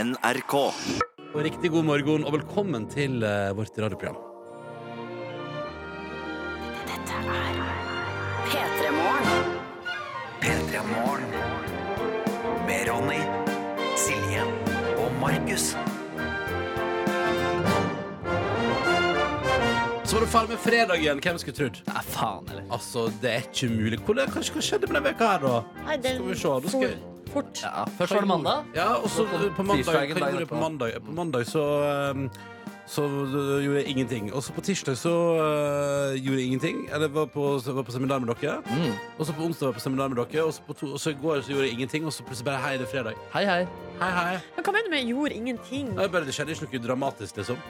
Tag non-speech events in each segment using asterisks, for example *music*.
NRK. Og riktig god morgen og velkommen til eh, vårt radioprogram. P3 Morgen. Med Ronny, Silje og Markus. Så var det faen meg fredag igjen. Hvem skulle trodd? Nei, faen, eller? Altså, det er ikke mulig. Hvordan, hva, hva skjedde med denne veka her, da? Nei, den Skal vi se. Nå skal jeg fort. Ja, først var det mandag. Ja, og så eh, på mandag Hva Tirsdagen dagen gjorde jeg på etterpå. mandag? På mandag så eh, så eh, gjorde jeg ingenting. Og så på tirsdag så eh, gjorde jeg ingenting. Eller var på, var på seminar med dere. Mm. Og så på onsdag var jeg på seminar med dere. Og så, på to, og så i går så gjorde jeg ingenting, og så plutselig bare hei, det er fredag. Hei, hei. Hei, hei. Men hva mener du med 'gjorde ingenting'? Nei, bare det skjedde ikke noe dramatisk, liksom.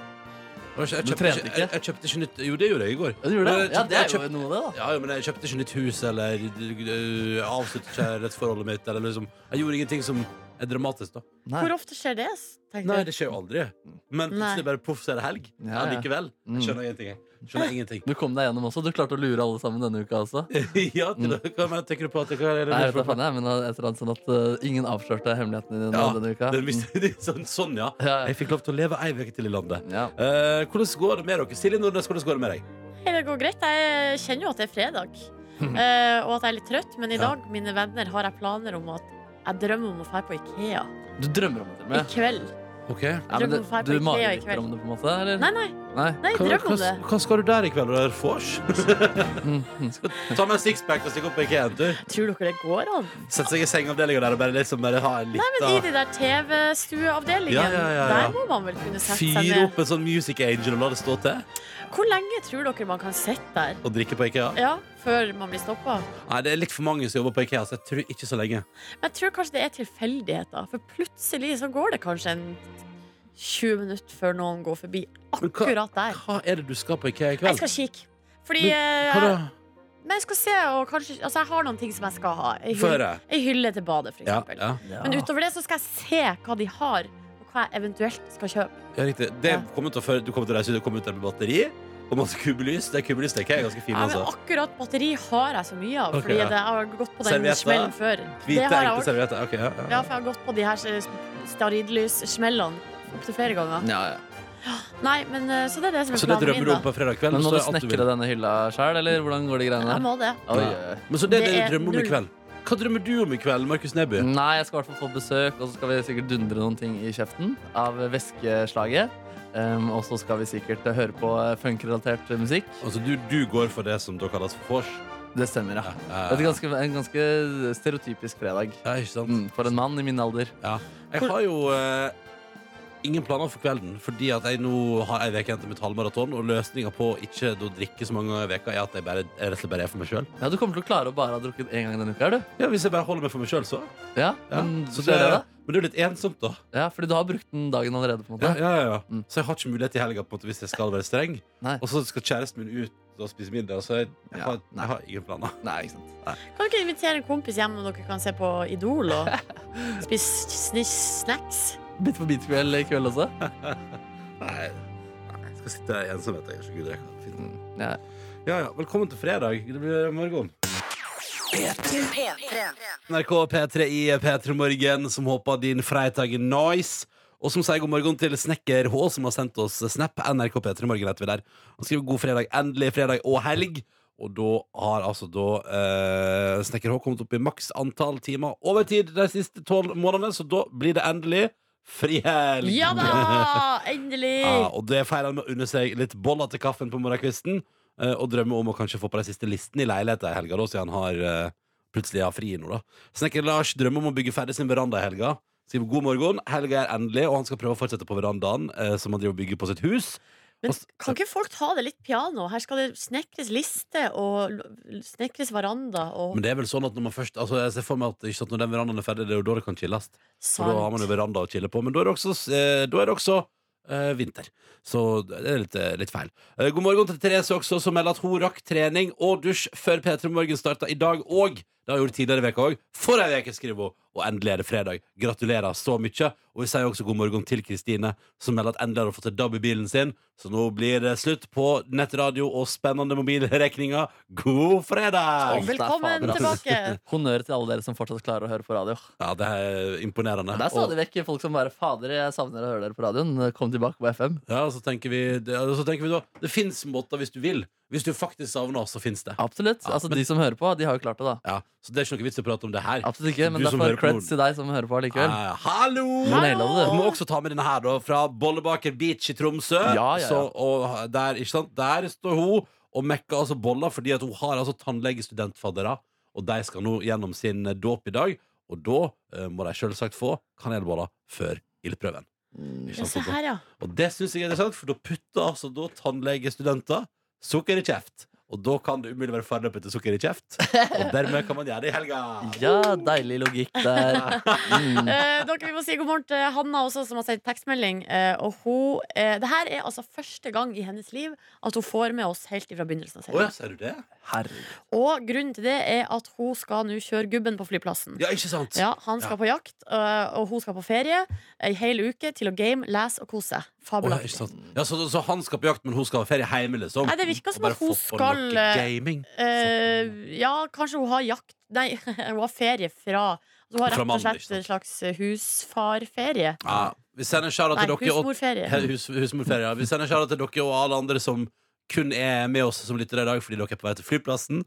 Det var ikke- Du Jeg kjøpte, trente ikke, ikke? jeg, jeg kjøpte ikke nytt Jo, det gjorde jeg i går. Ja, du gjorde det? Men jeg Ja, kjøpte- det jeg er jo kjøpte- noe av det, da. Ja, ja, men jeg kjøpte ikke nytt hus eller øh, avsluttet ikke rettsforholdet mitt. Eller liksom. Jeg gjorde ingenting som er dramatisk, da. Nei. Hvor ofte skjer det? tenker Nei, du? det skjer jo aldri. Men Nei. plutselig bare poff, så er det helg. Ja, Ja, ja. Mm. likevel. Jeg skjønner ingenting. jeg. Skjønner ingenting. *laughs* Du kom deg gjennom også. Du klarte å lure alle sammen denne uka også. Nei, ja, til det. Hva mener- tenker du på? At jeg kan gjøre jeg Mm. vet *laughs* da faen jeg, men et eller annet sånn at eh, ingen avslørte hemmelighetene dine Ja, denne uka. Mm. den visste- sånn, sånn, ja. Ja, ja. Jeg fikk lov til å leve ei uke til i landet. Ja. Eh, hvordan går det med dere? Silje Nordnes, hvordan går det med deg? Nei, det går greit. Jeg kjenner jo at det er fredag, eh, og at jeg er litt trøtt. Men i Ja. dag, mine venner, har jeg planer om at jeg drømmer om å dra på Ikea Du drømmer om det til og i med. kveld. Okay. Ja, men det, drømmer om å dra på du Ikea i mager litt kveld. om det, på en måte? Eller? Nei, nei, nei Hva, drøm om det. hva- hva skal du der i kveld? Er det vors? Mm. *laughs* Ta med en sixpack og stikk opp på Ikea en tur. Tror dere det går an? Sett seg i sengeavdelinga der og bare, liksom bare ha en Nei, men I lita de der TV-stueavdelingene, Ja, ja, ja, ja. der må man vel kunne sette seg Fyre ned. opp en sånn Music Angel og la det stå til. Hvor lenge tror dere man kan sitte der? Og drikke på Ikea. Ja, Før man blir stoppa? Nei, Det er litt for mange som jobber på Ikea, så jeg tror ikke så lenge. Jeg tror kanskje det er tilfeldigheter. For plutselig så går det kanskje en 20 minutter før noen går forbi Men hva- akkurat der. Hva er det du skal på Ikea i Jeg kveld? skal kikke. Fordi Men, eh, Hva da? jeg- Men jeg skal se, og kanskje Altså, jeg har noen ting som jeg skal ha. Ei Få hylle, høre. ei hylle til badet, for Ja, eksempel. ja. Ja. Men utover det så skal jeg se hva de har, og hva jeg eventuelt skal kjøpe. ja, riktig. Det kommer til å føre, du kommer til å reise ut og komme ut der med batteri og masse kubbelys. Det er kubbelys, det er ikke ganske fint, Ja, men altså. akkurat batteri har jeg så mye av, Ok, fordi ja. det, jeg har gått på den Servietter? smellen før. det Hvite, har jeg enkle også. servietter. Ok, ja, ja. Ja, for jeg har gått på de her stearinlyssmellene opptil flere ganger. Ja, ja. Nei, men eh, Så det er det som er Så det planen drømmer min, du da. om på fredag kveld? Men og må så du er alt vil. snekre denne hylla sjøl, eller hvordan går de greiene Jeg der? må det. Oi, Ja. oi, oi. Men så det, er det, Det du er drømmer om i null. kveld. Hva drømmer du om i kveld, Markus Neby? Nei, jeg skal i hvert fall få besøk, og så skal vi sikkert dundre noen ting i kjeften av væskeslaget. Um, og så skal vi sikkert eh, høre på eh, funkrelatert musikk. Altså, du, du går for det som da kalles for vors? Det stemmer, ja. ja, ja. Det er et ganske, en ganske stereotypisk fredag. Ja, ikke sant? Mm, for en mann i min alder. Ja. Jeg har jo eh, ingen planer for kvelden, fordi at jeg nå har ei uke igjen til mitt halvmaraton, og løsninga på å ikke å drikke så mange ganger i veka er at jeg bare, jeg rett og slett bare er for meg sjøl. Ja, Du kommer til å klare å bare ha drukket én gang denne uka, er du? Ja, hvis jeg bare holder meg for meg sjøl, så. Ja, Ja. men, så det, det, da? men det er jo litt ensomt, da. Ja, fordi du har brukt den dagen allerede, på Ja, en måte. ja, ja, ja. Mm. Så jeg har ikke mulighet i helga på en måte, hvis jeg skal være streng. Nei. Og så skal kjæresten min ut og spise middag, så jeg, jeg, Ja, har, nei. jeg har ingen planer. Nei, ikke sant. Kan dere invitere en kompis hjem og dere kan se på Idol og spise sniss- snacks? Bit for bit-kveld i kveld også. Nei, nei, jeg skal sitte i ensomhet. Jeg er så gud, jeg kan finne Mm, Ja. Ja, ja, velkommen til fredag. Det blir morgen. NRK P3 i P3 Morgen, som håper din fredag er nice. Og som sier god morgen til Snekker H, som har sendt oss snap. NRK P3 Morgen heter vi der. Han skriver god fredag, endelig fredag og helg. Og da har altså da eh, Snekker H kommet opp i maks antall timer overtid de siste tolv månedene, så da blir det endelig frihelg. Ja da! Endelig! Ja, og det feirer han med å unne seg litt boller til kaffen på morgenkvisten. eh, Og drømmer om å kanskje få på de siste listene i leiligheten i helga, da, siden han har eh, plutselig har fri nå. da Snekker Lars drømmer om å bygge ferdig sin veranda i helga. Skriver god morgen, helga er endelig, og han skal prøve å fortsette på verandaen eh, som han driver og bygger på sitt hus. Men Og s- kan ikke folk ta det litt piano? Her skal det snekres liste og l- snekres veranda og Men det er vel sånn at når man først Altså jeg ser for meg at, ikke sant, når den verandaen er ferdig, det er jo da det kan chilles. For da har man jo sant. veranda å chille på. Men da er det også, eh, da er det også eh, vinter. Så det er litt, eh, litt feil. Eh, god morgen til Therese også, som melder at hun rakk trening og dusj før P3 Morgen starta i dag òg. Det har hun gjort tidligere i veka òg. For ei uke, skriver hun. og endelig er det fredag. Gratulerer så mye. Og vi sier også god morgen til Kristine, som melder at endelig har hun fått et DAB i bilen sin. Så nå blir det slutt på nettradio og spennende mobilregninger. God Alt fredag! er Velkommen fader, ass. tilbake! Honnør til alle dere som fortsatt klarer å høre på radio. Ja, det er imponerende. Det er Og- stadig vekk folk som bare Fader, jeg savner å høre dere på radioen. Kom tilbake på FM. Ja, og så tenker vi, det, og så tenker vi da Det fins måter hvis du vil. Hvis du faktisk savner oss, så fins det. Absolutt. Ja, altså men- De som hører på, de har jo klart det, da. Ja, så det er ikke noe vits i å prate om det her. Absolutt ikke, men Du som derfor hører på creds til deg som hører på allikevel. Eh, hallo! Du naila det, Du du. *laughs* må også ta med denne her da Fra Bollebaker Beach i Tromsø Ja, ja, ja. Så, og der, ikke sant? der står hun og mekker altså boller Fordi at hun har altså tannlegestudentfaddere Og de skal nå gjennom sin eh, dåp i dag Og da eh, må de selvsagt få kanelboller før ildprøven Mm. Ja, se her, ja. Og det synes jeg er interessant For da putter altså da tannlegestudenter sukker i kjeft Og da kan det umulig være farlig å putte sukker i kjeft Og dermed kan man gjøre det i helga Ja, deilig logikk der. *laughs* Mm. Eh, dere, vi må si god morgen til Hanna også, som har sendt tekstmelding. Eh, og hun, eh, det her er altså første gang i hennes liv at hun får med oss helt fra begynnelsen av Åja, serien. ser du det? Herregud. Og grunnen til det er at hun skal nå kjøre gubben på flyplassen. Ja, ikke sant? Ja, Han skal på jakt, eh, og hun skal på ferie ei hel uke til å game, lese og kose seg. Åh, Fabelaktig. ikke sant. Ja, så, så han skal på jakt, men hun skal ha ferie hjemme, liksom? Nei, det virker som Og bare at hun få på noe skal, eh, gaming. Eh, ja, kanskje hun har jakt Nei, *laughs* hun har ferie fra altså, Hun har Fra rett og mannen, slett en ikke slags øh, husfarferie. Ja, vi sender skjæra Nei, til dere og husmorferie. He- hus, husmorferie, ja. Vi sender skjæra til dere og alle andre som kun er med oss som lyttere i dag fordi dere er på vei til flyplassen,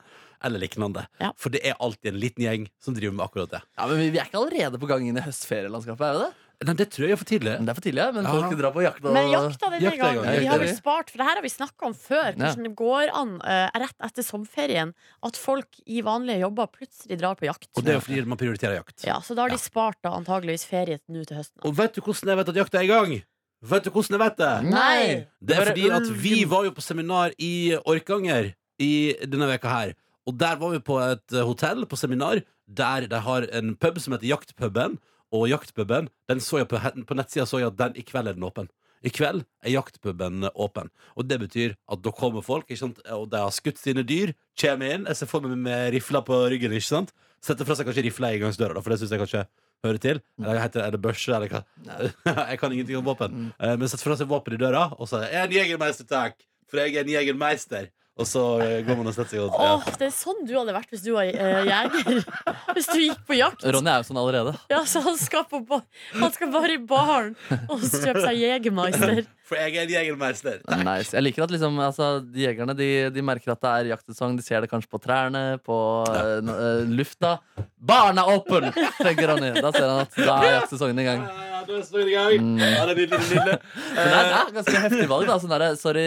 eller lignende. Ja. For det er alltid en liten gjeng som driver med akkurat det. Ja, men vi, vi er ikke allerede på gang inn i høstferielandskapet, er vi det? Nei, det tror jeg er for tidlig. Men Det er for tidlig, ja, men Ja. folk drar på jakt og Men jakta denne Jakta i gang, gangen. Vi jakta har i vel gang. spart, for det her har vi snakka om før, Ja. hvordan det går an eh, rett etter sommerferien at folk i vanlige jobber plutselig drar på jakt. Og det er jo fordi man prioriterer jakt. Ja, Så da har de spart da antageligvis ferie nå til høsten. Og vet du hvordan jeg vet at jakta er i gang? Vet du hvordan jeg vet det? Nei! Det er Mm. Bare fordi at vi ulven. var jo på seminar i Orkanger i denne veka her. Og der var vi på et eh, hotell på seminar der de har en pub som heter Jaktpuben. Og Jaktpuben, den så jeg på, he- på nettsida så jeg at den i kveld er den åpen. I kveld er Jaktpuben åpen. Og det betyr at da kommer folk, ikke sant? og de har skutt sine dyr, kommer inn. Jeg ser for meg med rifla på ryggen, ikke sant? Setter fra seg kanskje rifla i inngangsdøra, da, for det syns jeg kanskje hører til. Eller heter det, er det børse, eller hva? *laughs* jeg kan ingenting om våpen. Mm. Eh, men setter fra seg våpen i døra, og så er det 'en jegermeister, takk', for jeg er en jegermeister. Og så eh, går man og setter seg og Åh, det er sånn du hadde vært hvis du var eh, jeger. Hvis du gikk på jakt. Ronny er jo sånn allerede. Ja, så han skal, på ba han skal bare i baren og kjøpe seg Jegermeister. For jeg er en jegermeister. Nice. Jeg liker at liksom, altså, de jegerne de, de merker at det er jaktsesong. De ser det kanskje på trærne, på eh, n- eh, lufta. Barn er åpen! tenker Ronny. Da ser han at da er jaktsesongen i gang. Ja, da står det i gang. Ja, det er nydelig, nydelig. Men det er, det er ganske heftig valg. da sånn der, Sorry,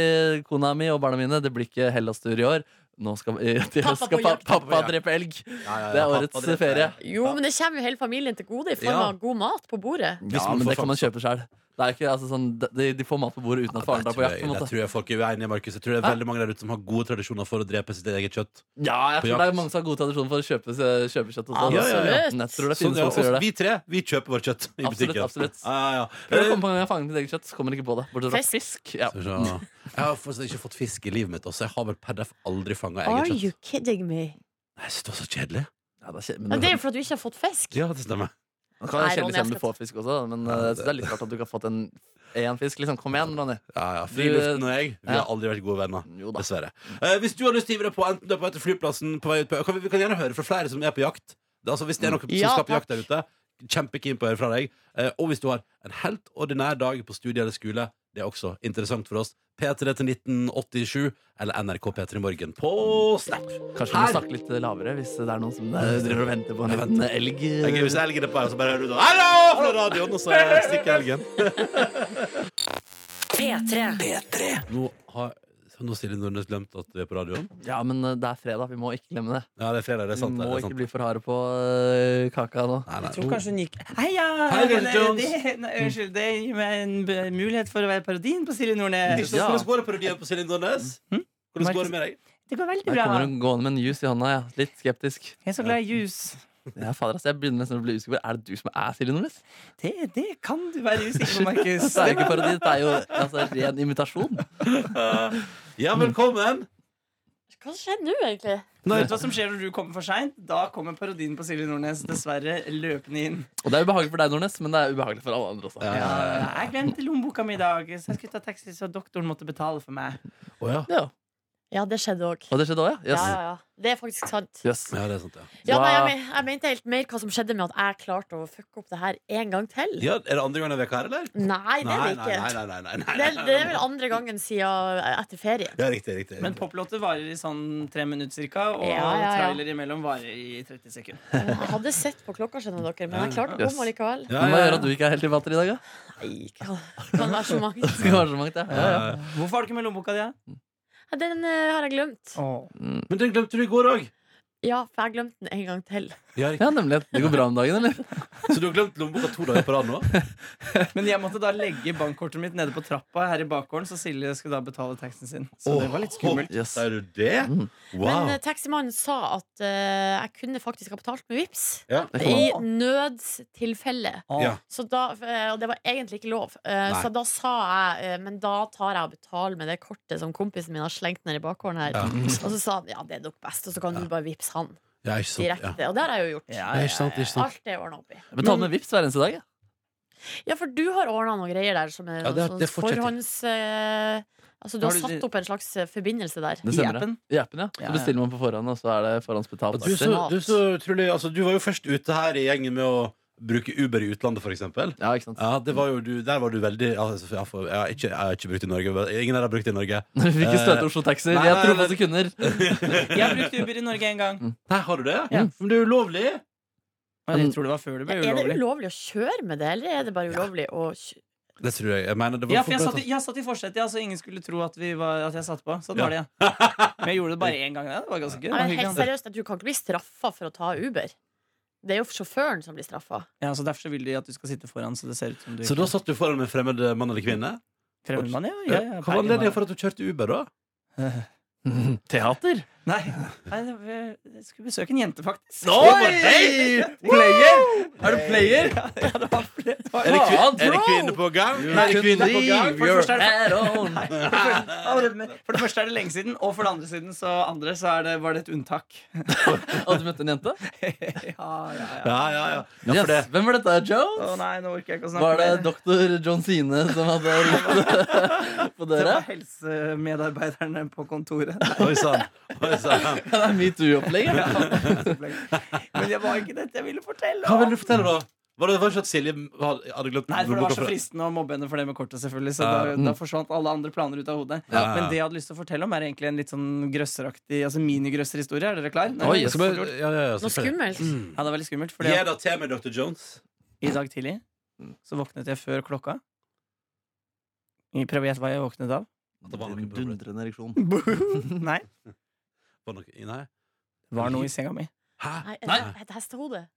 kona mi og barna mine, det blir ikke Hellas-tur i år. Nå skal, vi- *laughs* til Pappa høst skal på pa, jakt. pappa drepe elg. Ja, ja, ja, Det er pappa årets dreper. ferie. Jo, men det kommer jo hele familien til gode i form Ja. av god mat på bordet. Hvis Ja, man men får det kan man fram- kjøpe sjøl. Altså, sånn, de, de får mat på bordet uten at faren Der drar på tror, jakt. jeg, på en der måte. tror jeg folk er uenige, Markus. Jeg tror det er veldig mange der ute som har gode tradisjoner for å drepe sitt eget kjøtt. Ja, På jeg tror det jakt. er mange som har god tradisjon for å kjøpe, kjøpe kjøtt. Også. altså. Ja, ja, ja. Men Jeg tror det Sånn, finnes ja, folk også som gjør det. vi tre vi kjøper vårt kjøtt i Absolutt, butikken. absolutt. Ja, ja, ja. Prøv å komme på en gang fange ditt eget kjøtt, så kommer dere ikke på det. sånn- Bortsett fra Fisk. fisk. Ja. Skal vi se. Jeg har fortsatt ikke fått fisk i livet mitt også. Jeg har vel per def aldri fanga Are eget you kjøtt. kidding me? Nei, Jeg synes det var så kjedelig. Ja, det er kje- men Ja, du- det er jo for at du ikke har fått fisk. Ja, det stemmer. det kan være Nei, Ronny, kjedelig jeg selv om du skal- får fisk også, men eh, jeg synes det er litt rart at du ikke har fått en én fisk. Liksom. Kom igjen, Ronny. Ja, ja, Friluften og jeg Vi Ja. har aldri vært gode venner. Jo da. Dessverre. Eh, hvis du har lyst til å hive deg på, enten du er på vei til flyplassen på vei ut på, kan vi, vi kan gjerne høre fra flere som er på jakt. Det, er altså, hvis det er noen Ja, som skal på takk. jakt der ute, kjempekeen på å høre fra deg. Eh, og hvis du har en helt ordinær dag på studie eller skole, det er også interessant for oss. P3 til 1987 eller NRK P3 Morgen på Snap. Kanskje du må Her. snakke litt lavere hvis det er noen som eh, driver og venter på en liten elg. Det er gøy hvis elgen er på her, og så bare hører du sånn Hallo! fra radioen, og så eh, stikker elgen. Nå har nå har Silje Nordnes glemt at vi er på radioen. Ja, men eh, det er fredag. Vi må ikke glemme det. Ja, det er fredag. Det er Vi sant. det, må det er sant. ikke bli for harde på eh, kaka nå. Nei, nei. Jeg tror kanskje hun gikk Heia! Hei, Bjørn Nei, Jones. Det, nei, unnskyld, det gir meg en b- mulighet for å være parodien på Silje Ikke Nordnes. sant, Hvordan går det på parodien på Silje Nordnes? Hvordan går det med deg? Det går veldig Der bra. kommer hun gående med en juice i hånda. Ja. Litt skeptisk. Jeg er så glad i juice. Ja, fader, altså, jeg begynner nesten å bli usikker. Er det du som er Silje Nordnes? Det, det kan du være usikker på, *laughs* Markus. Det er jo ikke parodi, det er jo altså, ren imitasjon. Ja, velkommen! Hva skjedde nå, egentlig? Vet du hva som skjer når du kommer for seint? Da kommer parodien på Silje Nordnes dessverre løpende inn. Og det er ubehagelig for deg, Nordnes, men det er ubehagelig for alle andre også. Ja. Jeg glemte lommeboka mi i dag, så jeg skulle ta taxi, så doktoren måtte betale for meg. Å ja. Ja. Ja, det skjedde òg. Og det skjedde òg, Ja, ja? ja, ja. Det er faktisk sant. Yes. yes. ja, det er sant, ja. Ja, nei, jeg, Wow. men- jeg mente helt mer hva som skjedde med at jeg klarte å fucke opp det her en gang til. ja. Er det andre gangen i veka her, eller? Nei, nei, det er det nei, ikke. nei, nei, nei, nei, nei, Det er, det er vel andre gangen siden etter ferien. Ja, riktig, riktig. Men poplåter varer i sånn tre minutter cirka, og Ja, ja, ja. trailer imellom varer i 30 sekunder. Jeg hadde sett på klokka, skjønner dere, men jeg klarte å Yes. komme allikevel. Ja, Men Hva ja, ja. gjør at du ikke er helt i batteri i dag, da? Nei, kan, kan være så *laughs* mange. Det skal være så mangt, ja. Ja, ja. Hvorfor har du ikke med lommeboka di? da? Ja, Den eh, har jeg glemt. Mm. Men den glemte du i går òg! Ja, for jeg glemte den en gang til. Ja, riktig. ja, nemlig. Det går bra om dagen, eller? så du har glemt lommeboka to dager på rad *laughs* nå? Men jeg måtte da legge bankkortet mitt nede på trappa her i bakgården, så Silje skulle da betale taxien sin. Så det var litt skummelt. Yes. Er du det? Mm. Wow. Men eh, taximannen sa at eh, jeg kunne faktisk ha betalt med vips ja. Det kan I man. nødstilfelle. Ja. Så da, eh, og det var egentlig ikke lov. Eh, Nei. Så da sa jeg eh, Men da tar jeg og betaler med det kortet som kompisen min har slengt ned i bakgården her. Ja. Og så sa han ja, det er nok best, og så kan du bare vippse han ja, ikke sant. Ja. direkte. Og det har jeg jo gjort. Ja, Ja, ikke sant, ikke sant. Alt er ordna opp i. Jeg betaler med Vipps hver eneste dag. Ja. Ja, for du har ordna noen greier der som er Ja, det- sånn det fortsetter. forhånds... eh, altså, du Har har du- satt opp en slags eh, forbindelse der. Det I stemmer, appen? Ja. I appen, ja. Ja, Så ja. bestiller man på forhånd, og så er det forhåndsbetalt. Og Du, er så, du, er så utrolig, altså, du var jo først ute her i gjengen med å bruke Uber i utlandet, for eksempel. Ja, ikke sant? Ja, det var jo du, der var du veldig ja, altså, ja, for, jeg, har ikke, jeg har ikke brukt i Norge. Ingen her har brukt i Norge. *laughs* Vi fikk ikke støte Oslo Taxi. Eh, Nei, Jeg nei, tror nei. på sekunder. Jeg brukte Uber i Norge en gang. Nei, har du det? Ja. Mm. Men det er jo ulovlig! Og jeg tror det var før det Ja, ble er det ulovlig. ulovlig å kjøre med det, eller er det bare ulovlig å kj- Det tror jeg. jeg mener, det var Ja, for jeg forberedt, satt i, jeg satt i forsetet, ja, så ingen skulle tro at, vi var, at jeg satt på. Sånn var det, ja. Men jeg gjorde det bare én gang. ja. Det var ganske gøy. Det Nei, var men hyggelig, helt ja. seriøst, du kan ikke bli straffa for å ta Uber. Det er jo sjåføren som blir straffa. Ja, så Derfor så vil de at du skal sitte foran, så det ser ut som du altså. Så da satt du foran en fremmed mann eller kvinne? Fremmedmann, ja. ja, ja Hva var anledningen for at du kjørte Uber, da? Teater? Nei, Nei det var- jeg skulle besøke en jente, faktisk. Player? Er du player? Ja, ja, det var flere. Det var- Er det, kvin- Faen, er det bro! kvinne på gang? Er det kvinne på gang? For det første er det- sånn- on. Nei, for det- allerede med- For det første er det lenge siden, og for det andre siden så, andre, så er det, var det et unntak. Og du møtte en jente? ja, ja, ja. Ja, ja, ja. ja Yes. for det. Hvem var dette? Å Jones? nei, nå orker jeg ikke å snakke Var det mer. doktor John Sine som hadde ropt *laughs* på Det døra? var helsemedarbeiderne på kontoret. *laughs* Oi sann. Oi sann. Ja, det er metoo-opplegg. Ja, ja. Men det var ikke dette jeg ville fortelle. Hva vil om. du fortelle, da? Var det, var det ikke at Silje hadde hadde glemt Nei, for Det var så lommeboka fra- fristende å mobbe henne for det med kortet, selvfølgelig så Ja. da, da forsvant alle andre planer ut av hodet. Ja. Men det jeg hadde lyst til å fortelle om, er egentlig en litt sånn grøsseraktig Altså minigrøsserhistorie. Er dere klar? Nei, Oi, det er Skal vi- fort gjort. ja, ja, ja, Noe selvfølgelig. skummelt. Mm. Ja, det er veldig skummelt. Fordi Gi da til meg, Dr. Jones. I dag tidlig så våknet jeg før klokka. Prøv å gjette hva jeg våknet av. det var noe på bordet. Dundrende ereksjon. Nei. Var det noe- Nei. Det var noe i senga mi. Hæ? Nei, er det et hestehode?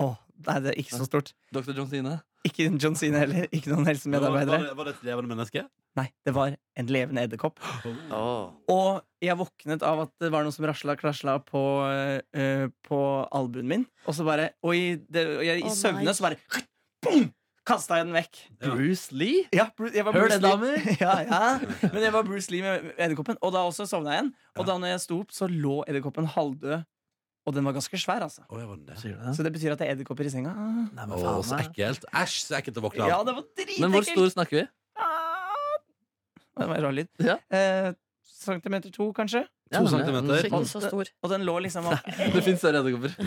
Åh, nei, det er ikke så stort. Dr. John Sine. Ikke en John Cena heller. Ikke Var, noen var, helsemedarbeidere. det, var det et levende menneske? Nei, det var en levende edderkopp. Oh. Og jeg våknet av at det var noe som rasla og klasla på, eh, på albuen min. Og så bare Og i, det, og jeg, Å, i nei. søvne så bare boom, Kasta jeg den vekk. Bruce Lee? Ja, Bru- jeg var Hør Bruce det, Lee. damer. *laughs* ja, ja. Men jeg var Bruce Lee med edderkoppen. Og da også sovna jeg igjen. Og da når jeg sto opp, så lå edderkoppen halvdød. Og den var ganske svær, altså. Å, ja, var den det? Nei, Så det betyr at det er edderkopper i senga. men Å, så faen. ekkelt. Æsj, så ekkelt å våkne Ja, av. det var Men hvor dritekkelt! stor snakker vi? Ah! Det var en rar lyd. Ja. Eh, centimeter to, kanskje. Ja, To men- centimeter. Ikke så stor. Og den lå liksom opp. *laughs* Det fins større edderkopper.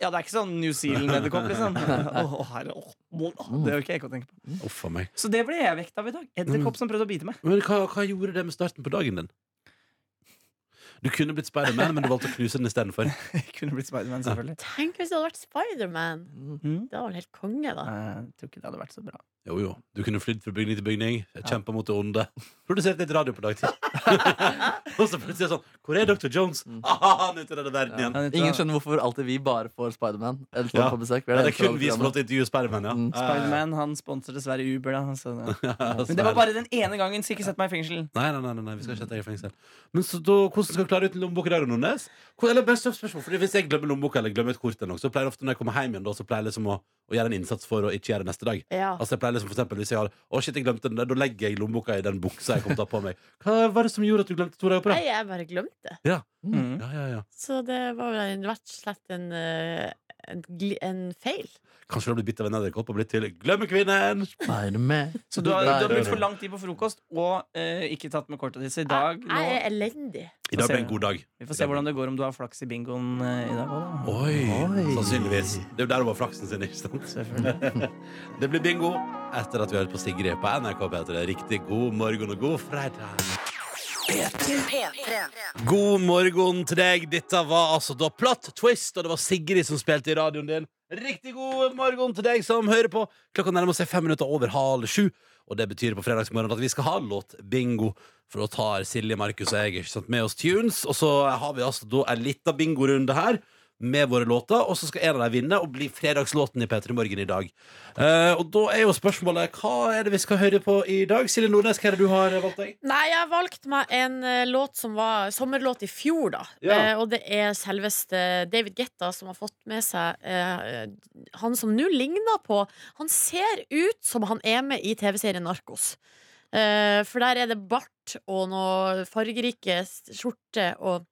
Ja, det er ikke sånn New Zealand-edderkopp, *laughs* liksom. Åh, herre, åh, åh. Det orker jeg ikke å tenke på. Uff a meg. Så det ble jeg vekt av i dag. Mm. Edderkopp som prøvde å bite meg. Men hva, hva gjorde det med starten på dagen din? Du kunne blitt Spiderman, men du valgte å knuse den istedenfor. *laughs* Jeg kunne blitt Spiderman, selvfølgelig. Tenk hvis det hadde vært Spiderman! Mm. Det var vel helt konge, da. Jeg Eh, tror ikke det hadde vært så bra. Jo, jo. Du kunne flydd fra bygning til bygning, kjempa mot det onde. Produsert litt radio på dagtid. og så plutselig er det sånn Hvor er Dr. Jones? Aha, han er ute i denne verden igjen. Ingen skjønner hvorfor alltid vi bare får Spiderman. Eller får Ja. på besøk. Vi Ja, er det er det kun eneste vi som radioprogrammet. måtte intervjue Spiderman, ja. Mm. Spiderman han sponser dessverre Uber, da. Så, *laughs* ja. Ja, Men det var bare den ene gangen, så ikke sett meg i fengsel. Nei, nei, nei, nei, nei, vi skal ikke sette deg i fengsel. Men så da, hvordan skal du klare uten lommebok i dag, Nordnes? Hvor- Eller best of spørsmål, fordi Hvis jeg glemmer lommeboka eller glemmer et kort, eller noe, så pleier jeg ofte når jeg kommer hjem igjen, da, så pleier jeg liksom å, å gjøre en innsats for å ikke gjøre det neste dag. Ja. Altså, jeg pleier liksom, for eksempel, hvis jeg har Å, shit, jeg glemte den der, da legger jeg lommeboka i den buksa jeg kom til å ha på meg. Hva var det som gjorde at du glemte to dager på Nei, rad? jeg bare glemte det. Mm. Ja, ja, ja. Så det var vel en- rett og slett en, eh, en, gli- en feil. Kanskje du har blitt bitt av en edderkopp og blitt til Glemmekvinnen! Spiderman. Så du har, du har brukt for lang tid på frokost og eh, ikke tatt med kortet ditt. Så i dag Jeg, nå, Ah, jeg er elendig. I dag blir en god dag. Vi får se hvordan det går om du har flaks i bingoen eh, i dag òg, da. Oi, Sannsynligvis. Det er jo der det var flaksen sin, ikke sant? Selvfølgelig. *laughs* Det blir bingo etter at vi har hørt på Sigrid på NRK P3. Riktig god morgen og god fredag. God morgen til deg. Dette var altså da Plot Twist, og det var Sigrid som spilte i radioen din. Riktig god morgen til deg som hører på. Klokka nærmer seg fem minutter over halv sju, og det betyr på fredagsmorgen at vi skal ha låtbingo. For da tar Silje, Markus og jeg ikke sant, med oss tunes, og så har vi altså da en lita bingorunde her. Med våre låter, og så skal en av dem vinne og bli fredagslåten i P3 Morgen i dag. Eh, og da er jo spørsmålet hva er det vi skal høre på i dag? Silje Nordnes, hva er det du har valgt deg? Nei, jeg valgte meg en eh, låt som var sommerlåt i fjor, da. Ja. Eh, og det er selveste David Getta som har fått med seg eh, han som nå ligner på Han ser ut som han er med i TV-serien Narkos. Eh, for der er det bart og noe fargerike s- skjorter og,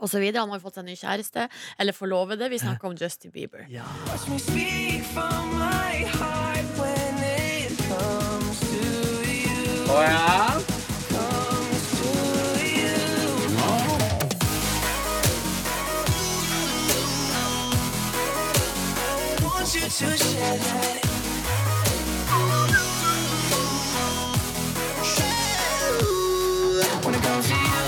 og så videre. Han har jo fått seg ny kjæreste, eller forlovede. Vi snakker om Justin Bieber. Watch me speak from my heart when it comes to you. Comes to you. Want you to share that. When it comes to you.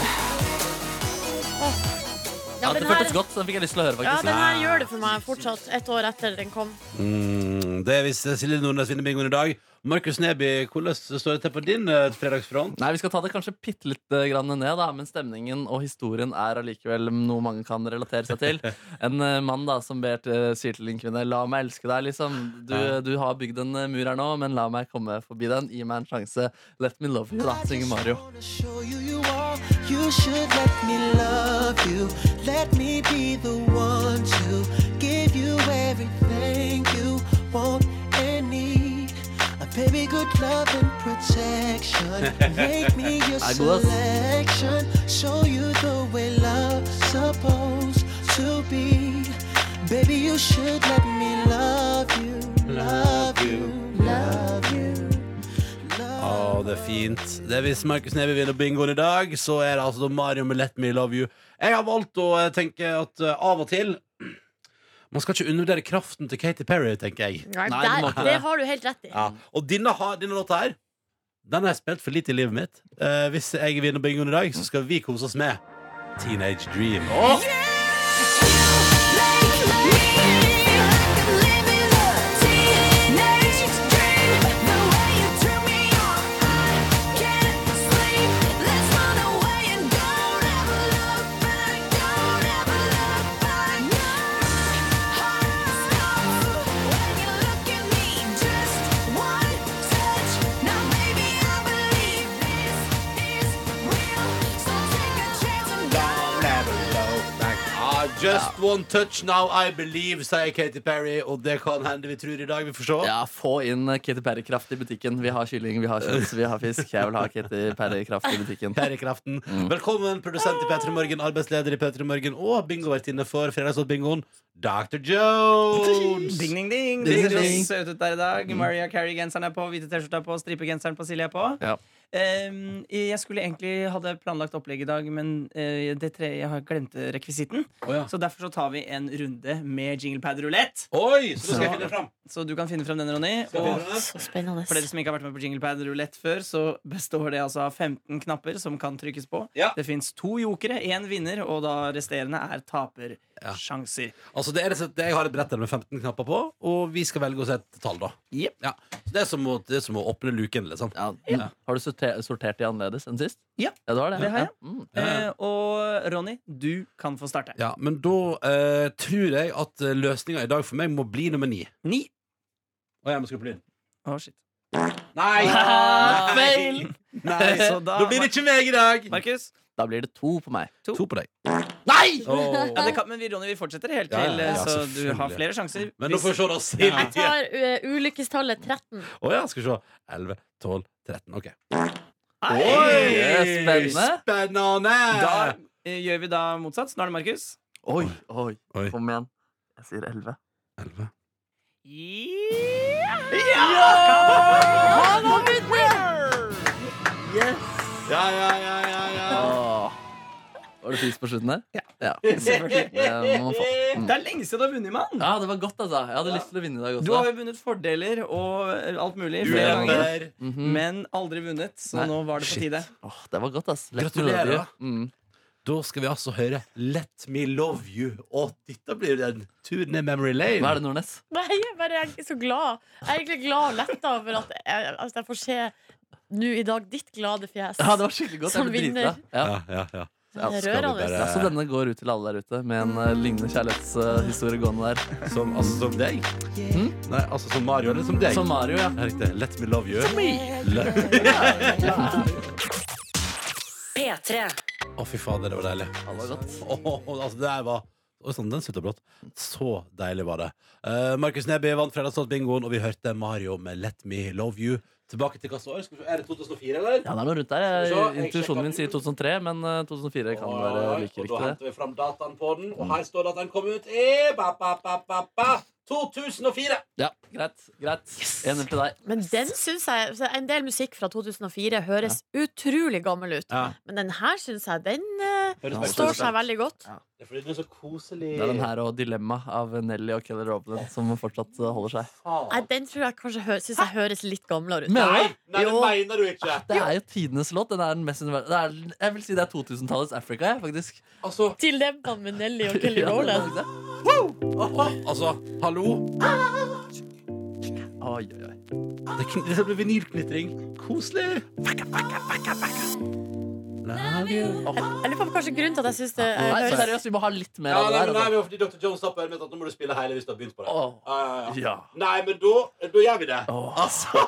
Ja, den det her- føltes godt, så den fikk jeg lyst til å høre, ja, faktisk. den her gjør det for meg fortsatt, ett år etter den kom. Mm, det er hvis Silje Nordnes vinner bingoen i dag. Markus Neby, hvordan står det til på din eh, fredagsfront? Nei, Vi skal ta det kanskje bitte litt eh, grann ned, da, men stemningen og historien er allikevel noe mange kan relatere seg *laughs* til. En eh, mann da som ber til, eh, sier til en kvinne 'la meg elske deg', liksom. Du, du har bygd en eh, mur her nå, men la meg komme forbi den. Gi meg en sjanse. 'Let me love you', da, synger Mario. I just wanna show you you are. You should let me love you. Let me be the one to give you everything you want and need. A baby, good love and protection. *laughs* Make me your I love- selection. Show you the way love's supposed to be. Baby, you should let me love you. Love you. Love you. Å, det er fint. Det er hvis Markus Neby vinner bingoen i dag, så er det altså da Mario med 'Let me love you'. Jeg har valgt å eh, tenke at eh, av og til Man skal ikke undervurdere kraften til Katy Perry, tenker jeg. Nei, Nei, du må der, ikke det. det har du helt rett i. Ja. Og denne, har- denne låta her Den har jeg spilt for lite i livet mitt. Eh, hvis jeg vinner bingoen i dag, så skal vi kose oss med Teenage Dream. Åh! Oh, I just one touch now I believe, sier Katy Perry. Og det kan hende vi tror i dag. Vi får se. Ja, Få inn eh, Katy Perry-kraft i butikken. Vi har kylling, vi har kjøtt, vi har fisk. Jeg vil ha Katy Perry-kraft i butikken. Perrykraften. Velkommen, produsent i P3 Morgen, arbeidsleder i P3 Morgen og bingovertinne for fredagslåtbingoen, Dr. Jones. Ding, ding, ding. Mm. Ding, Dere ser ding. så søte ut der i dag. Maria Carrie-genseren er på, hvite T-skjorta er på, stripegenseren på Silje er på. Ja. Ehm, jeg skulle egentlig hadde planlagt opplegg i dag, men eh, det tre, jeg har glemte rekvisitten. Å, ja. Så derfor så tar vi en runde med jinglepad rulett. Oi, så nå skal jeg finne fram. Så du kan finne frem den, Ronny. finne Og den? Så spennende. for dere som ikke har vært med på jinglepad rulett før, så består det altså av 15 knapper som kan trykkes på. Ja. Det fins to jokere, én vinner, og da resterende er tapersjanser. Altså, det er rett og slett- jeg har et brett der med 15 knapper på, og vi skal velge oss et tall, da. Jep. Ja. Så det er som å, det er som å åpne luken, liksom. Ja. Har du sorter- sortert de annerledes enn sist? Ja. ja du har det. Det har jeg. Ja. Mm. Eh, og Ronny, du kan få starte. Ja, men da eh, tror jeg at løsninga i dag for meg må bli nummer ni. Ni. Og jeg må skru på lyd. Å, shit. Nei! Ah, Nei. feil! Nei, så da, da- da blir det ikke meg i dag! Markus? Da blir det to på meg. To på deg. Nei! Ja, det kan, men vi, Ronny, vi fortsetter helt Ja, ja, til, eh, ja, så du selvfølgelig. har flere sjanser. Men nå får vi se, da. Jeg Silje. tar eh, ulykkestallet 13. Å ja, skal vi se. 11, 12, 13. OK. Oi! Spennende. Spennende! Da eh, gjør vi da motsatt. Nå er det Markus. Oi, oi, Oi. kom igjen. Jeg sier elleve. 11. Han var Ja, ja, ja, ja, ja. Åh. Var det pris på slutten der? *laughs* Ja. Selvfølgelig. Det må man få. Mm. *laughs* Det er lenge siden du har vunnet, mann! ja, det var godt, altså. Jeg hadde lyst til å vinne i dag Du har også. jo vunnet fordeler og eh, alt mulig flere ganger, Ulemper. Mhm. men aldri vunnet, så Nei. nå var det på tide. Åh, det var godt, ass. Gratulerer, med da. det. Mm. Da skal vi altså høre Let Me Love You. Og dette blir jo en tur ned memory lane. Hva er det, Nordnes? Nei, jeg er bare jeg er så glad. Jeg er egentlig glad og letta over at jeg, altså, jeg får se nå i dag ditt glade fjes. *laughs* Ja, det var skikkelig godt. Som jeg ble vinner. dritglad. Ja. Ja, ja, ja. Det er skal vi rørende. bare- Ja, så denne går ut til alle der ute med en eh, lignende kjærlighetshistorie gående der. Som, altså som deg? Hm? Nei, altså som Mario, eller som deg? Som Mario, ja. Ja, Riktig. Let Me Love You. P3. Å, fy fader, det var deilig. det var godt. Å, å, å, altså, det her var Oi sann, den slutta brått. Så deilig var det. Eh, Markus Neby vant Fredagslåtbingoen, og vi hørte Mario med Let Me Love You. Tilbake til hvilket år? Skal vi se, Er det 2004, eller? Ja, det er noe rundt der. Skal vi se, jeg Intuisjonen min sjekker sier 2003, men eh, 2004 kan være Oi, like og da riktig. Mm. henter vi fram dataen på den, og her står det at den kom ut i ba, ba, ba, ba, ba, 2004. Ja, greit. greit. En til deg. Men den syns jeg så En del musikk fra 2004 høres utrolig gammel ut. Ja. Men den her syns jeg den eh, Høres Ja, veldig står koselig seg ut. veldig godt. Det er fordi den er så koselig. Det er den her og 'Dilemma' av Nelly og Kelly Rowland som fortsatt eh, holder seg. Nei, den tror jeg kanskje hø- syns jeg høres litt gamlere ut. Men Nei, nei, det Jo. mener du ikke. det er jo tidenes låt. Den er den mest univer- det er, jeg vil si det er 2000-tallets Africa, jeg, faktisk. Altså, Til dempene med Nelly og *laughs* Kelly Ja, det er Rowland. det. altså hallo. Oi, oi, oi. Det, kn- det blir vinylknitring. Koselig. Love you. Jeg lurer på om kanskje grunnen til at jeg syns det eh, Nei, høres seriøst, vi må ha litt mer Ja, av nei, det men der. nei, Altså. men fordi Dr. Jones sa på Hermet at nå må du spille hele hvis du har begynt på det. Åh. Ja, ja, ja. Ja. Nei, men da, da gjør vi det. Åh. Altså,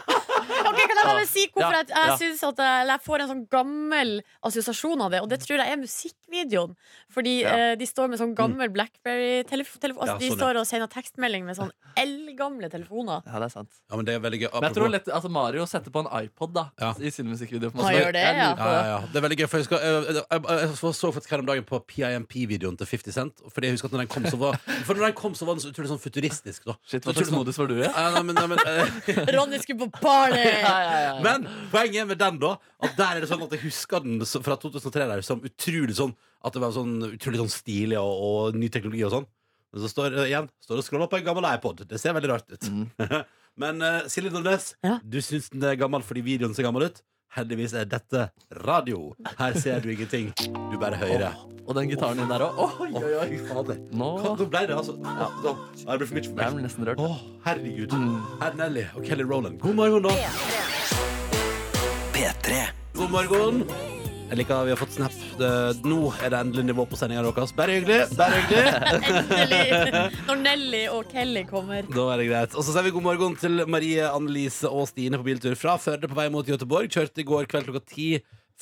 Ok, Kan jeg bare si hvorfor Ja, jeg, jeg ja. synes at jeg, eller jeg får en sånn gammel assosiasjon av det? Og det tror jeg er musikkvideoen. Fordi Ja. Mm. eh, de står med sånn gammel Blackberry-telefon. Altså, Ja, de sånn, ja. står og sender tekstmelding med sånn eldgamle telefoner. Ja, det er sant. Ja, men det er veldig gøy. Men jeg tror lett, altså Mario setter på en iPod da Ja. i sin musikkvideo. på en Han måte. gjør det, Jeg lurer ja. på Ja, ja, ja. Det er veldig gøy, for jeg, skal, jeg, jeg, jeg, jeg så faktisk her om dagen på PIMP-videoen til 50 Cent. Fordi jeg husker at når den kom, så var, for når den kom, så var den så utrolig sånn futuristisk. Da. sånn- Shit, Hva slags modus var du i? Ja, nei, men, nei, men, eh, *laughs* Ronny skulle på party! *laughs* men poenget med den, da, at der er det sånn at jeg husker den så- fra 2003 der som utrolig sånn At det var sånn utrolig sånn stilig og, og ny teknologi og sånn. Men så står jeg igjen Står og scroller på en gammel iPod. Det ser veldig rart ut. Mm. *laughs* Men eh, Silje Nordnes, Ja. du syns den er gammel fordi videoen ser gammel ut. Heldigvis er dette radio. Her ser du ingenting. Du bare hører. Og den gitaren din der òg. Oi, oi, oi. Fy fader. Nå Hva- Nå ble det altså ja. da, Det ble for mye for ble jeg meg. nesten rørt. Å, herregud. Herr Nelly og Kelly Rowland. Mm. God morgen, da. God morgen. Jeg liker at vi har fått snap. Det, nå er det endelig nivå på sendinga deres. Bare hyggelig. Bare hyggelig. Endelig! Når Nelly og Kelly kommer. Da er det greit. Og så sier vi god morgen til Marie, Annelise og Stine på biltur fra Førde på vei mot Göteborg. Kjørte i går kveld klokka ti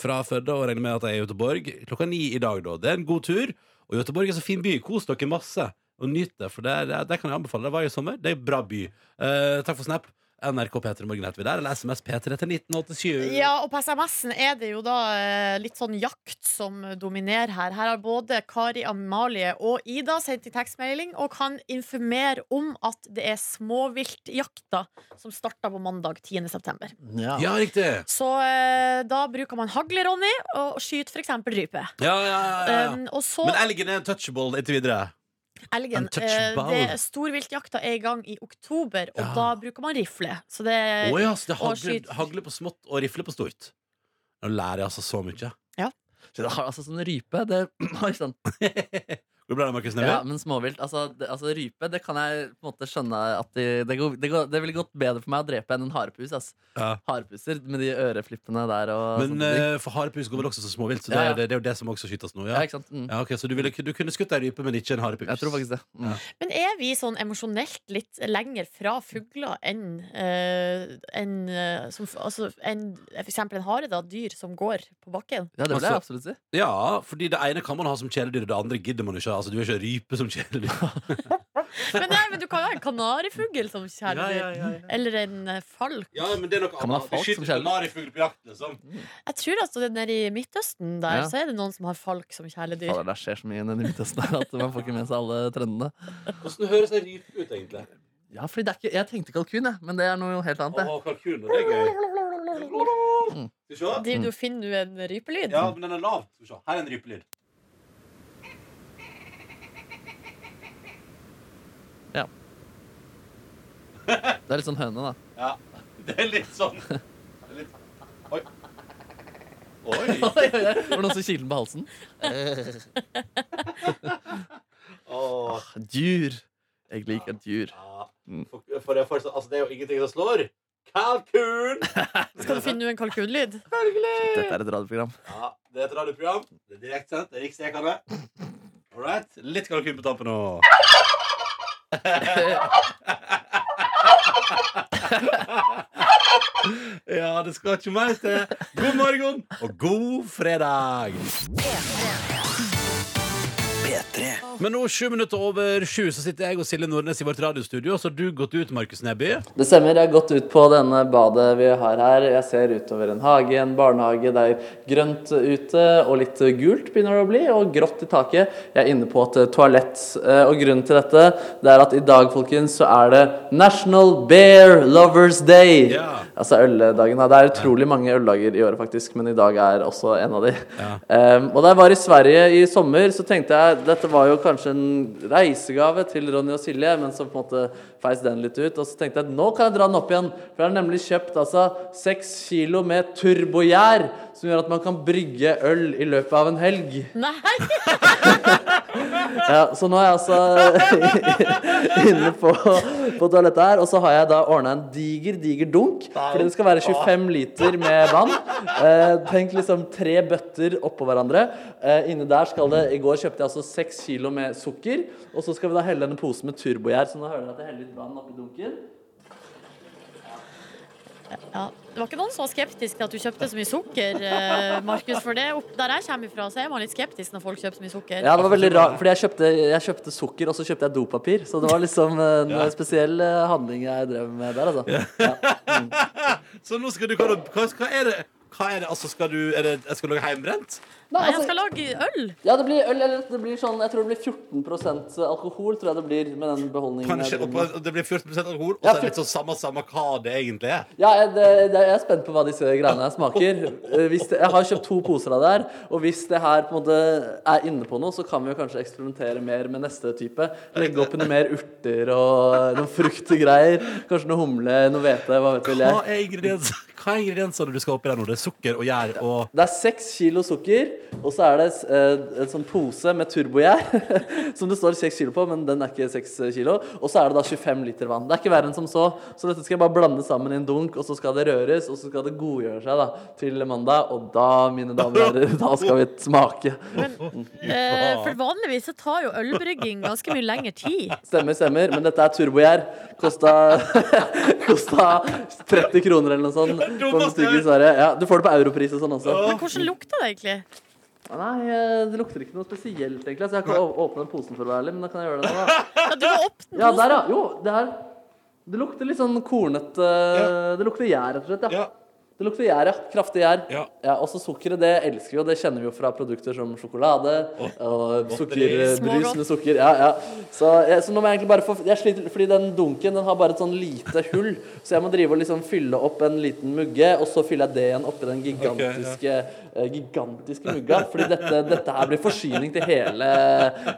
fra Førde og regner med at jeg er i Göteborg klokka ni i dag, da. Det er en god tur. Og Göteborg er så fin by. Kos dere masse og nyt det, for det, det, det kan jeg anbefale. Det var i sommer. Det er en bra by. Eh, takk for snap. NRK P3 Morgen heter vi der, eller SMS P3 til 1987. Ja, og på SMS-en er det jo da eh, litt sånn jakt som dominerer her. Her har både Kari Amalie og Ida sendt i tekstmelding og kan informere om at det er småviltjakta som starta på mandag 10. september. Ja. Ja, riktig. Så eh, da bruker man hagle, Ronny, og skyter f.eks. rype. Ja, ja, ja, ja. Um, og så Men elgen er en touchable inntil videre. elgen. Eh, untouchable. det- Storviltjakta er i gang i oktober, og Ja. da bruker man rifle. Så det Å ja, så det er Eh, og hagle, skyt. hagle på smått og rifle på stort. Nå lærer jeg altså så mye. *clears throat* Så det har altså sånn rype det, Oi sann. Går det bra, Markus Neby? Ja, men småvilt. Altså, det, altså rype, det kan jeg på en måte skjønne at de, det, går, det, går, det ville gått bedre for meg å drepe enn en harepus. ass. Ja. Harpuser Harepuser med de øreflippene der og Men sånne ting. eh, for harepus går vel også så småvilt, så det, sånn Ja, ja. er- det, det er jo det som også skytes nå. ja, Ja. ikke sant? Mm. Ja, ok, Så du, ville, du kunne skutt ei rype, men ikke en harepus? Jeg tror faktisk det. Mm. Men er vi sånn emosjonelt litt lenger fra fugler enn eh, enn, eh, som, altså, enn for eksempel en hare, da? Dyr som går på bakken? Ja, det vil jeg Altså- absolutt si. Ja, fordi det ene kan man ha som kjæledyr, og det andre gidder man ikke. ha. Altså, du er ikke rype som kjæledyr. *laughs* Men, nei, men du kan jo ha en kanarifugl som kjæledyr. Ja, ja, ja, ja. Eller en eh, falk. Ja, men det er noe Kan man ha folk som kjæledyr? kanarifugl på jakt, liksom. Jeg tror altså det nede i Midtøsten der, Ja. så er det noen som har falk som kjæledyr. Fader, det skjer så mye nede i Midtøsten her at man får ikke med seg alle trendene. Hvordan høres ei rype ut, egentlig? Ja, fordi det er ikke, Jeg tenkte kalkun, jeg, men det er noe helt annet. det. kalkun, det er gøy. Mm. Skal vi se? Driver du og finner du en rypelyd? Ja, men den er lav. Skal vi se. Her er en rypelyd. Det er litt sånn høne, da. Ja. Det er litt *laughs* sånn det er litt... Oi. Oi. Oi, oi, oi. Var det noen som kilte den på halsen? Åh. Dyr. Jeg liker dyr. Ja. Mm. For, for det, er fortsatt, altså, det er jo ingenting som slår. Kalkun! Skal du finne nå en kalkunlyd? Dette er et radioprogram. Ja, det er et radioprogram. Det er direktsendt. Det er riksdekende. All right. Litt kalkun på tampen nå. *laughs* Ja, det skal ikke mer til. God morgen og god fredag. Men nå sju minutter over sju så sitter jeg og Silje Nordnes i vårt radiostudio. Så har du gått ut, Markus Neby. Det stemmer. Jeg har gått ut på denne badet vi har her. Jeg ser utover en hage, en barnehage. Det er grønt ute, og litt gult begynner det å bli, og grått i taket. Jeg er inne på et eh, toalett. eh, Og grunnen til dette det er at i dag, folkens, så er det National Bear Lovers Day. Ja. Altså øldagen. da. Det er utrolig mange øldager i året, faktisk, men i dag er også en av de. Ehm, og da jeg var i Sverige i sommer, så tenkte jeg dette var jo kanskje en reisegave til Ronny og Silje, men så på en måte feis den litt ut. Og så tenkte jeg at nå kan jeg dra den opp igjen, for jeg har nemlig kjøpt altså seks kilo med turbogjær, som gjør at man kan brygge øl i løpet av en helg. Nei! Ja, så nå er jeg altså *laughs* inne på, på toalettet her, og så har jeg da ordna en diger, diger dunk. Fordi det skal være 25 liter med vann. Eh, tenk liksom tre bøtter oppå hverandre. Eh, inne der skal det I går kjøpte jeg altså seks kilo med sukker. Og så skal vi da helle en pose med turbogjær, så nå hører dere at jeg heller litt vann oppi dunken. Ja. Det var ikke noen som var skeptisk til at du kjøpte så mye sukker, eh, Markus. For det, opp der jeg kommer ifra, så er man litt skeptisk når folk kjøper så mye sukker. Ja, det var veldig rart, fordi jeg kjøpte, jeg kjøpte sukker, og så kjøpte jeg dopapir. Så det var liksom en spesiell eh, handling jeg drev med der, altså. Så nå skal du Hva, hva hva er det? Hva er det? Altså, skal du er det, Skal du lage heimbrent? Nei, jeg skal lage øl. Ja, det blir øl, eller det blir sånn, jeg tror det blir 14 alkohol, tror jeg det blir med den beholdningen. Kanskje, jeg driver og, med. og det blir 14 alkohol, og Ja, så er det litt sånn samme, samme hva det egentlig er. Ja, jeg, det, det, jeg er spent på hva disse greiene her smaker. Eh, Hvis det, jeg har kjøpt to poser av det her, og hvis det her på en måte er inne på noe, så kan vi jo kanskje eksperimentere mer med neste type. Legge opp i noe mer urter og noen fruktgreier. Kanskje noe humle, noe hvete, hva vet vel Hva jeg. er, ingrediens, hva er ingrediensene du skal oppi der nå? Det er sukker og gjær og Det er seks kilo sukker, og så er det eh, en sånn pose med turbogjær *laughs* som det står seks kilo på, men den er ikke seks kilo. Og så er det da 25 liter vann. Det er ikke verre enn som så. Så dette skal jeg bare blande sammen i en dunk, og så skal det røres, og så skal det godgjøre seg da til mandag. Og da, mine damer og herrer, da skal vi smake. Eh, for vanligvis så tar jo ølbrygging ganske mye lengre tid. Stemmer, stemmer. Men dette er turbogjær. Kosta, *laughs* kosta 30 kroner eller noe sånt. På en stygg i Sverige. Ja, du får det på europris og sånn også. Men hvordan lukter det egentlig? Nei, eh, det lukter ikke noe spesielt, egentlig. Så jeg har ikke å- åpnet den posen for å være ærlig, men da kan jeg gjøre det nå, da. Ja, du må åpne Ja, der, posen. ja. Jo, det her Det lukter litt sånn kornete Det lukter gjær, rett og slett. Ja. ja. Det lukter gjær, ja. Kraftig gjær. Ja. også sukkeret, det elsker vi jo. Det kjenner vi jo fra produkter som sjokolade og godteri. sukkerbrus Smågodt. med sukker. Ja, ja. Så, jeg, så nå må jeg egentlig bare få Jeg sliter fordi den dunken den har bare et sånn lite hull, så jeg må drive og liksom fylle opp en liten mugge, og så fyller jeg det igjen oppi den gigantiske eh, Gigantiske mugga. Fordi dette, dette her blir forsyning til hele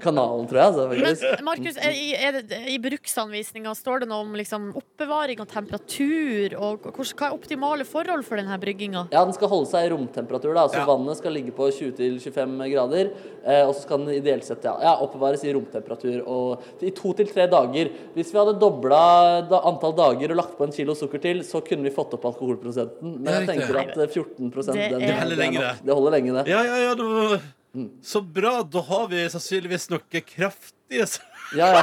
kanalen, tror jeg. Altså, faktisk. Men Markus, er, i- er det, i bruksanvisninga står det noe om liksom, oppbevaring og temperatur, og hvordan, hva er optimale forhold for denne brygginga? Ja, Den skal holde seg i romtemperatur. da, altså Ja. Vannet skal ligge på 20-25 grader. Eh, og så skal den ideelt sett ja, ja, oppbevares i romtemperatur og i to til tre dager. Hvis vi hadde dobla da, antall dager og lagt på en kilo sukker til, så kunne vi fått opp alkoholprosenten. Men Ja, jeg riktig. tenker at eh, 14 Det den, er- Det holder er lenge, nok. det. det holder lenge, det. Ja, ja, ja, det var... Så bra, da har vi sannsynligvis noe kraftig s- Ja, ja.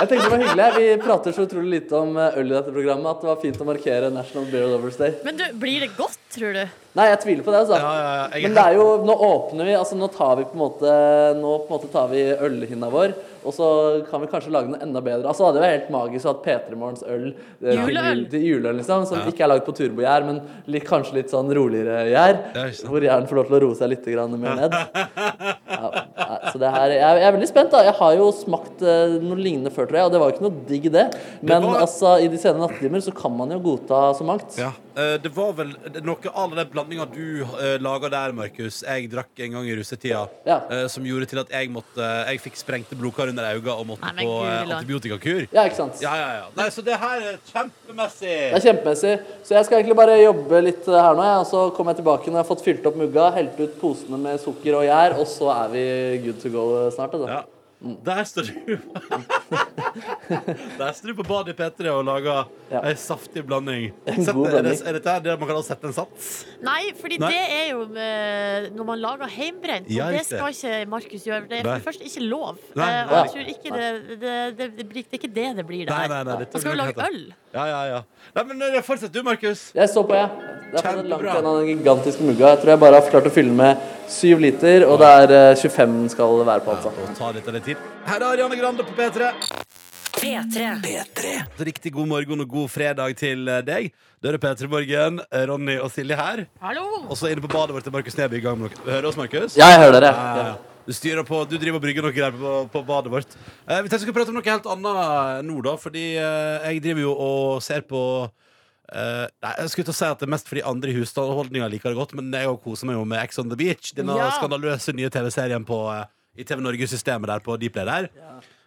Jeg tenkte det var hyggelig. Vi prater så utrolig lite om eh, øl i dette programmet at det var fint å markere National Beer Lovers Day. Men du, blir det godt, tror du? Nei, jeg tviler på det, altså. Ja, ja, ja, jeg er Men det er jo, nå åpner vi, altså nå tar vi på en måte Nå på en måte tar vi ølhinna vår, og så kan vi kanskje lage den enda bedre. Altså, det var helt magisk at P3 Morgens øl eh, til, Juleøl. til juleøl, liksom, som ikke er lagd på turbogjær, men litt, kanskje litt sånn roligere gjær, Ja, ikke sant. hvor gjæren får lov til å roe seg litt grann mer *laughs* ned. Ja, nei, så det her, jeg, jeg er veldig spent. da Jeg har jo smakt eh, noe lignende før, tror jeg, og det var jo ikke noe digg, det. Men var- altså, i de sene nattetimer så kan man jo godta så mangt. Eh, Det var vel noe av den blandinga du uh, laga der, Markus, jeg drakk en gang i russetida, Ja. eh, som gjorde til at jeg måtte Jeg fikk sprengte blodkar under øynene og måtte Nei, men på eh, guri land. antibiotikakur. Ja, ikke sant? Ja, ja, ja. Nei, så det her er Det kjempemessig. er kjempemessig. Så jeg skal egentlig bare jobbe litt eh, her nå, jeg, og så kommer jeg tilbake når jeg har fått fylt opp mugga, helt ut posene med sukker og gjær, og så er vi good to go eh, snart. Altså. Ja. Der står du *laughs* Der står du på badet i P3 og lager Ja. ei saftig blanding. *laughs* En Sett, god er, det, blanding. er dette her det man kaller å sette en sats? Nei, fordi Nei. det er jo eh, når man lager heimbrent. Ja, og det riktig. skal ikke Markus gjøre. Det er Nei. for det første ikke lov. Nei, Eh, og nei. jeg tror ikke det, det, det, det, blir- det er ikke det det blir, det Nei, her. nei, nei, dette Man skal jo blir lage helt- øl. Ja, ja, ja. Nei, men eh, fortsett du, Markus. Jeg står på, jeg. Det er fortsatt langt Kjempebra. igjen av den gigantiske mugga. Jeg tror jeg bare har klart å fylle med syv liter, og det er eh, 25 skal det være på, altså. Og ta litt av din tid. Her er Ariane Grande på P3. Riktig god morgen og god fredag til eh, deg. Det er P3 Morgen, eh, Ronny og Silje her. Hallo! Og så inne på badet vårt er Markus Neby i gang med noe. Hører du oss, Markus? Ja, jeg hører dere. Ja, ja, ja. Du styrer på, du driver og brygger noe greier på, på badet vårt. Eh, vi tenkte vi skulle prate om noe helt annet nå, da. Fordi eh, jeg driver jo og ser på eh, Nei, jeg skulle til å si at det er mest fordi andre i husholdninga liker det godt, men jeg også koser meg jo med Ex on the Beach. Denne Ja. skandaløse nye TV-serien på, eh, i TV Norge-systemet der på Dplay der.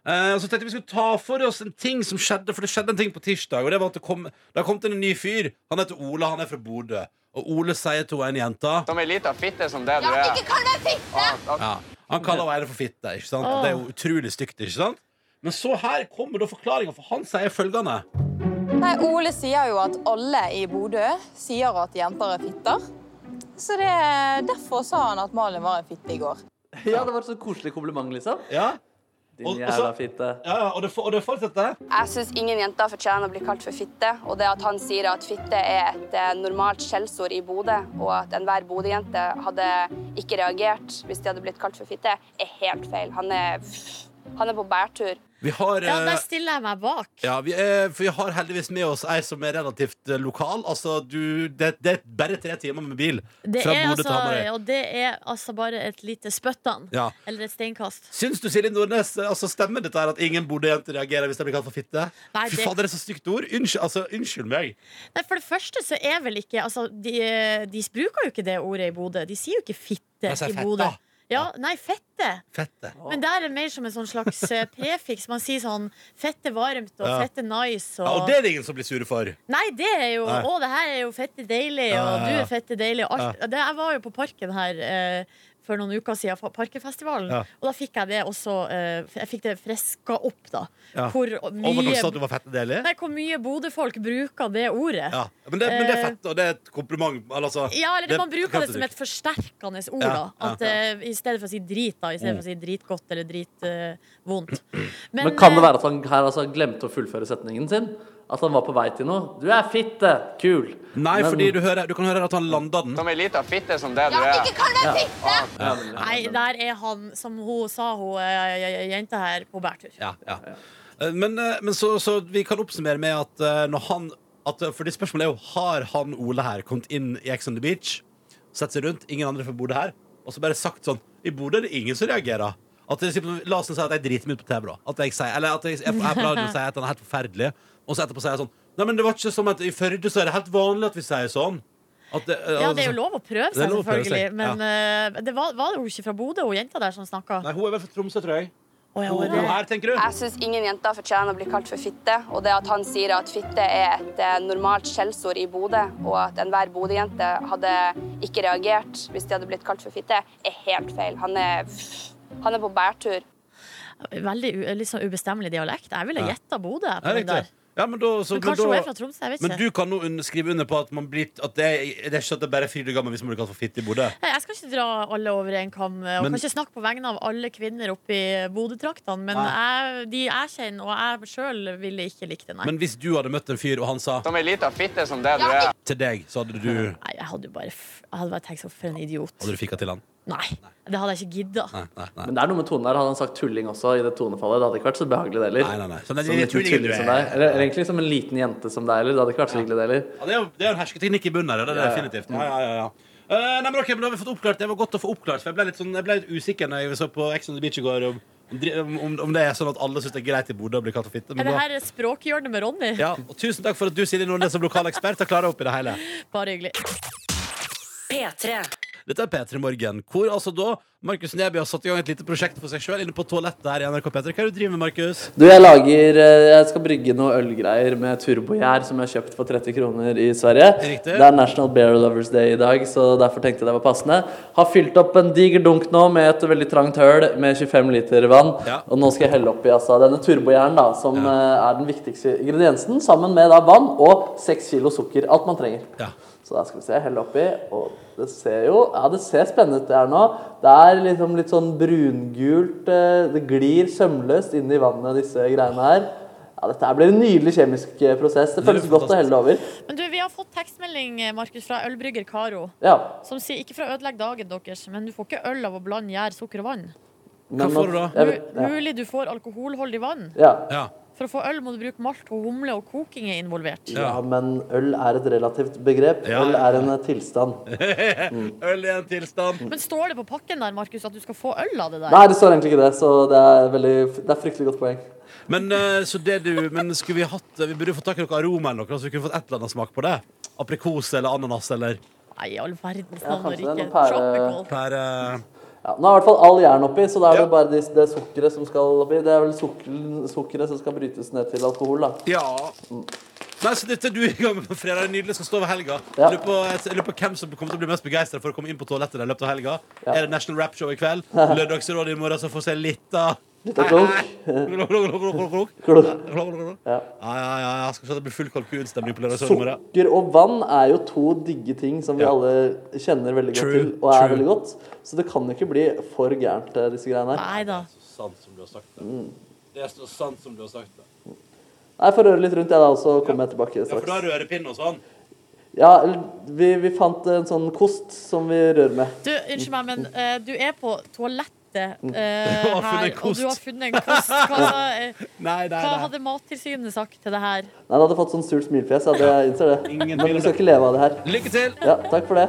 Eh, så tenkte jeg vi skulle ta for oss en ting som skjedde, for det skjedde en ting på tirsdag. Og det var at det kom, det har kommet en ny fyr. Han heter Ole, han er fra Bodø. Og Ole sier til en jente Som ei lita fitte som det du Ja, er. ikke kall meg fitte! ja. Han kaller henne for fitte. Ikke sant? Det er jo utrolig stygt. ikke sant? Men så her kommer da forklaringa, for han sier følgende. Nei, Ole sier jo at alle i Bodø sier at jenter er fitter. Så det, derfor sa han at Malin var en fitte i går. Ja, det var et så koselig kompliment, liksom. Ja, Og- og Din så- jævla fitte. ja, ja Og det, for- og det fortsetter. Jeg syns ingen jenter fortjener å bli kalt for fitte. Og det at han sier at fitte er et eh, normalt skjellsord i Bodø, og at enhver Bodø-jente hadde ikke reagert hvis de hadde blitt kalt for fitte, er helt feil. Han er, han er på bærtur. Vi har, Ja, eh, der stiller jeg meg bak. ja, vi, er, for vi har heldigvis med oss ei som er relativt eh, lokal. Altså, du, det, det er bare tre timer med bil Det fra er Bodø til altså, Hamarøy. og det er altså bare et lite spyttan. Ja. Eller et steinkast. Syns du, Silje Nordnes, eh, altså, stemmer dette her at ingen Bodø-jenter reagerer hvis de blir kalt for fitte? Nei, Fy det- fader, det er så stygt ord. Unnskyld, altså, unnskyld meg. Nei, for det første så er vel ikke altså, de, de bruker jo ikke det ordet i Bodø. De sier jo ikke fitte Jeg sier i fett, Bodø. da. Ja, nei, fette. Fette. Men der er det mer som en sånn slags eh, prefiks. Man sier sånn fette varmt og Ja. fette nice. Ja, Og, og det er det ingen som blir sure for. Nei, det er jo Nei. Å, det her er jo fette deilig, Ja, og ja, du ja. er fette deilig. Og alt. Det, jeg var jo på Parken her eh, for noen uker siden, fa- Parkenfestivalen. Ja. Og da fikk jeg det også eh, f- Jeg fikk det freska opp, da. Ja. Hvor Over at du sa at mye du var fette deilig? Nei, hvor mye Bodø-folk bruker det ordet. Ja. Eh, Ja, men det, men det er fett, og det er et kompliment. eller Altså, eller man bruker det som et forsterkende ord. Ja, da ja, Mm. At, eh, I stedet for å si drit, da. I stedet for å si dritgodt eller *clears throat* eh, dritvondt. Men kan eh, det være at han her altså glemte å fullføre setningen sin? At han var på vei til noe? Du er fitte! Kul! Nei, Men- fordi du, hører, du kan høre at han landa den. Som ei lita fitte som det du Ja, er. ikke kall meg fitte! Nei, der er han, som hun sa, hun eh, jenta her, på bærtur. Ja, ja. Eh, Men, eh, men så, så vi kan oppsummere med at eh, når han at, eh, Fordi spørsmålet er jo har han Ole her kommet inn i Ex on the Beach, sett seg rundt, ingen andre får Bodø her, og så bare sagt sånn I Bodø er det ingen som reagerer. At det, la oss si at jeg driter meg ut på TV, da. At jeg sier, eller at jeg, jeg, jeg pleier å si at han er helt forferdelig, og så etterpå sier jeg sånn Nei, men det var ikke som at i Førde så er det helt vanlig at vi sier sånn. At det, eh, Ja, altså- det er jo lov å prøve Det er seg, lov å prøve selvfølgelig. seg, Men eh, det var, var det jo ikke fra Bodø, hun jenta der som snakka? Nei, hun er vel fra Tromsø, tror jeg. Å Å, ja, Ho, var ho, det- her, tenker du? Jeg syns ingen jenter fortjener å bli kalt for fitte, og det at han sier at fitte er et eh, normalt skjellsord i Bodø, og at enhver Bodø-jente hadde ikke reagert hvis de hadde blitt kalt for fitte, er helt feil. Han er, han er på bærtur. Veldig u- litt sånn ubestemmelig dialekt. Jeg ville gjetta Bodø. på Ja, den riktig. der. Ja, men da, så, Men men kanskje hun er fra da Tromsø, jeg vet men ikke. du kan nå un- skrive under på at, man blir, at det, er, det er ikke at det er bare fire gammel hvis man blir kalt for fitte i Bodø. Nei, Jeg skal ikke dra alle over en kam. Og Men- kan ikke snakke på vegne av alle kvinner oppe i Bodø-traktene. Men jeg, de jeg kjenner, og jeg sjøl, ville ikke likt det, nei. Men hvis du hadde møtt en fyr, og han sa Som ei lita fitte som det du er. til deg, så hadde du, nei jeg hadde jo bare, f- jeg hadde bare tenkt sånn, for en idiot. hadde du fika til han? Nei, det hadde jeg ikke gidda. Nei, nei, nei. Men det er noe med tonen der. Hadde han sagt tulling også i det tonefallet, det hadde ikke vært så behagelig det heller. Nei, nei, nei. Sånn, det er litt Som en liten tulling du tulling er. som deg. Eller, eller egentlig som en liten jente som deg heller. Det hadde ikke vært så hyggelig det heller. Ja, det, er jo, det er jo en hersketeknikk i bunnen her. Det er det Ja, ja. definitivt. Ja, ja, ja, ja. Eh, nei, men ok, men da har vi fått oppklart Det var godt å få oppklart, for jeg ble litt, sånn, jeg ble litt usikker Når jeg så på Ex on the Beach i går om, om, om det er sånn at alle syns det er greit i Bodø å bli kalt for fitte. men Er det da- her språkhjørnet med Ronny? Ja, og tusen takk for at du, Silje Nordnes, som lokal ekspert, har klart opp i det hele. Bare hyggelig. P3. Dette er P3 Morgen, hvor altså da Markus Neby har satt i gang et lite prosjekt for seg sjøl inne på toalettet her i NRK P3. Hva er det du driver med, Markus? Du, jeg lager eh, Jeg skal brygge noe ølgreier med turbogjær som jeg har kjøpt for 30 kroner i Sverige. Riktig. Det er National Bear Lovers Day i dag, så derfor tenkte jeg det var passende. Har fylt opp en diger dunk nå med et veldig trangt høl med 25 liter vann. Ja. Og nå skal jeg helle oppi altså, denne turbogjæren, da, som eh, er den viktigste ingrediensen, sammen med da, vann og 6 kilo sukker. Alt man trenger. Ja. Så da skal vi se, helle oppi, og det ser jo, ja det ser spennende ut det her nå. Det er liksom litt sånn brungult, eh, det glir sømløst inn i vannet disse greiene her. Ja, dette her blir en nydelig kjemisk eh, prosess, det føles godt å helle det over. Men du, vi har fått tekstmelding eh, Markus, fra ølbrygger Karo, Ja, som sier ikke for å ødelegge dagen deres, men du får ikke øl av å blande gjær, sukker og vann. men får du da? at- jeg Mu- vet- Ja. Mulig du får alkoholholdig vann. Ja. Ja. For å få øl må du bruke malt og humle, og koking er involvert. ja, men øl er et relativt begrep. Ja, Øl ja, er en eh, tilstand. Øl i en tilstand. Men står det på pakken der, Markus, at du skal få øl av det der? Nei, det står egentlig ikke det, så det er, veldig, det er fryktelig godt poeng. Men, eh, så det du, men skulle vi hatt eh, Vi burde fått tak i noe aroma eller noe, så vi kunne fått et eller annet smak på det. Aprikose eller ananas eller Nei, i all verdens Ja, navn og kanskje det er rike. noen pære- Tropical. pære... Ja, nå er i hvert fall all jern oppi, så da er Ja. det bare de, det sukkeret som skal oppi. Det er vel sukker- sukkeret som skal brytes ned til alkohol, da. Ja. Nei, så dette er du i gang med på fredag. Det er Nydelig. Skal stå over helga. Ja. Jeg Lurer på, jeg lurer på hvem som kommer til å bli mest begeistra for å komme inn på toalettet i løpet av helga. Ja. Er det National Rap Show i kveld? Lørdagsrådet i morgen, så får vi se litt av Litt av klunk. Klok, klok, klok, klok, klok. Klok. Ja, klok, klok, klok. Ja. Ja, ja, ja, ja. Skal vi se at det blir full kalkunstemning på lørdag i morgen. Sukker og vann er jo to digge ting som vi Ja. alle kjenner veldig godt True, til, og er true. veldig godt. Så det kan jo ikke bli for gærent, eh, disse greiene her. Nei da. Sant som du har sagt det. Det er så sant som du har sagt det. Nei, får røre litt rundt, jeg da, og så kommer jeg tilbake Ja, for du har straks. rørepinne og sånn? Ja, vi, vi fant en sånn kost som vi rører med. Du, unnskyld meg, men eh, du er på toalettet eh, Du har funnet her, og kost. du har funnet en *laughs* kost. Hva, eh, Nei, nei, hva nei. hadde Mattilsynet sagt til det her? Nei, det hadde fått sånn surt smilefjes, ja, det jeg innser det. Ingen Men tvil om vi skal det. ikke leve av det her. Lykke til! Ja, takk for det.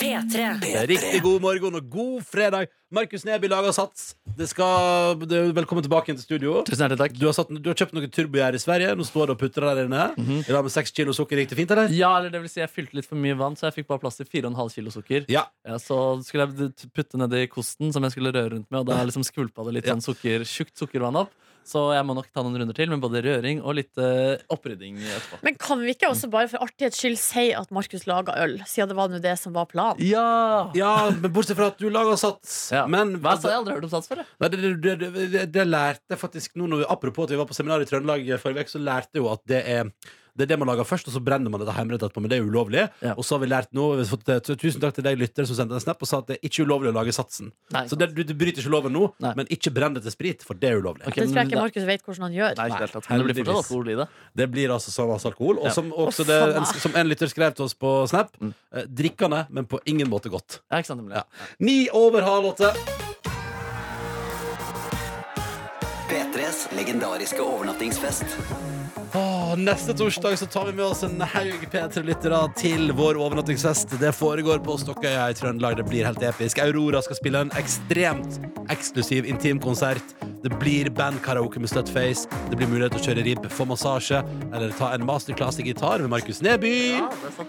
P3. Riktig god morgen og god fredag. Markus Neby lager Sats. Det skal, det, velkommen tilbake igjen til studio. Tusen hjertelig takk. Du har, satt, du har kjøpt noe turbogjær i Sverige. Nå står det og putter der inne. Mhm. I dag med seks kilo sukker. Gikk det fint, eller? Ja, eller det vil si jeg fylte litt for mye vann, så jeg fikk bare plass til 4,5 kilo sukker. Ja. Ja, så skulle jeg t- putte nedi kosten som jeg skulle røre rundt med, og da liksom skvulpa det litt Ja. sånn sukker, tjukt sukkervann opp. Så jeg må nok ta noen runder til med både røring og litt eh, opprydding etterpå. Men kan vi ikke også bare for artighets skyld si at Markus laga øl, siden det var nå det som var planen? Ja! Ja, men bortsett fra at du lager Sats. Men Hva sa jeg aldri hørt om sats før? jeg. Nei, det, det, det, det, det lærte jeg faktisk nå når vi, Apropos at vi var på seminar i Trøndelag forrige uke, så lærte jeg jo at det er det er det man lager først, og så brenner man dette hjemmebrent etterpå. Men det er ulovlig. Ja. Og så har vi lært nå vi har fått, eh, Tusen takk til deg lyttere som sendte en snap og sa at det er ikke ulovlig å lage satsen. Nei, så det, du, du bryter ikke loven nå, Nei. men ikke brenn det til sprit, for det er ulovlig. Ok, Det tror jeg men ikke Markus vet hvordan han gjør. Nei, ikke i det hele tatt. Men det blir heldigvis. fortsatt alkohol i det. Det blir altså samme som alkohol. Og Ja. som, også det, en, som en lytter skrev til oss på Snap, eh, drikkende, men på ingen måte godt. Ja, ikke sant, nemlig. Ja. Ni over halv åtte. P3s legendariske overnattingsfest. Åh, neste torsdag så tar vi med oss en haug P3-lyttere til vår overnattingsfest. Det foregår på Stokkøya i Trøndelag. Det blir helt episk. Aurora skal spille en ekstremt eksklusiv intimkonsert Det blir bandkaraoke med Slutface. Det blir mulighet til å kjøre ribb, få massasje eller ta en masterclass i gitar med Markus Neby.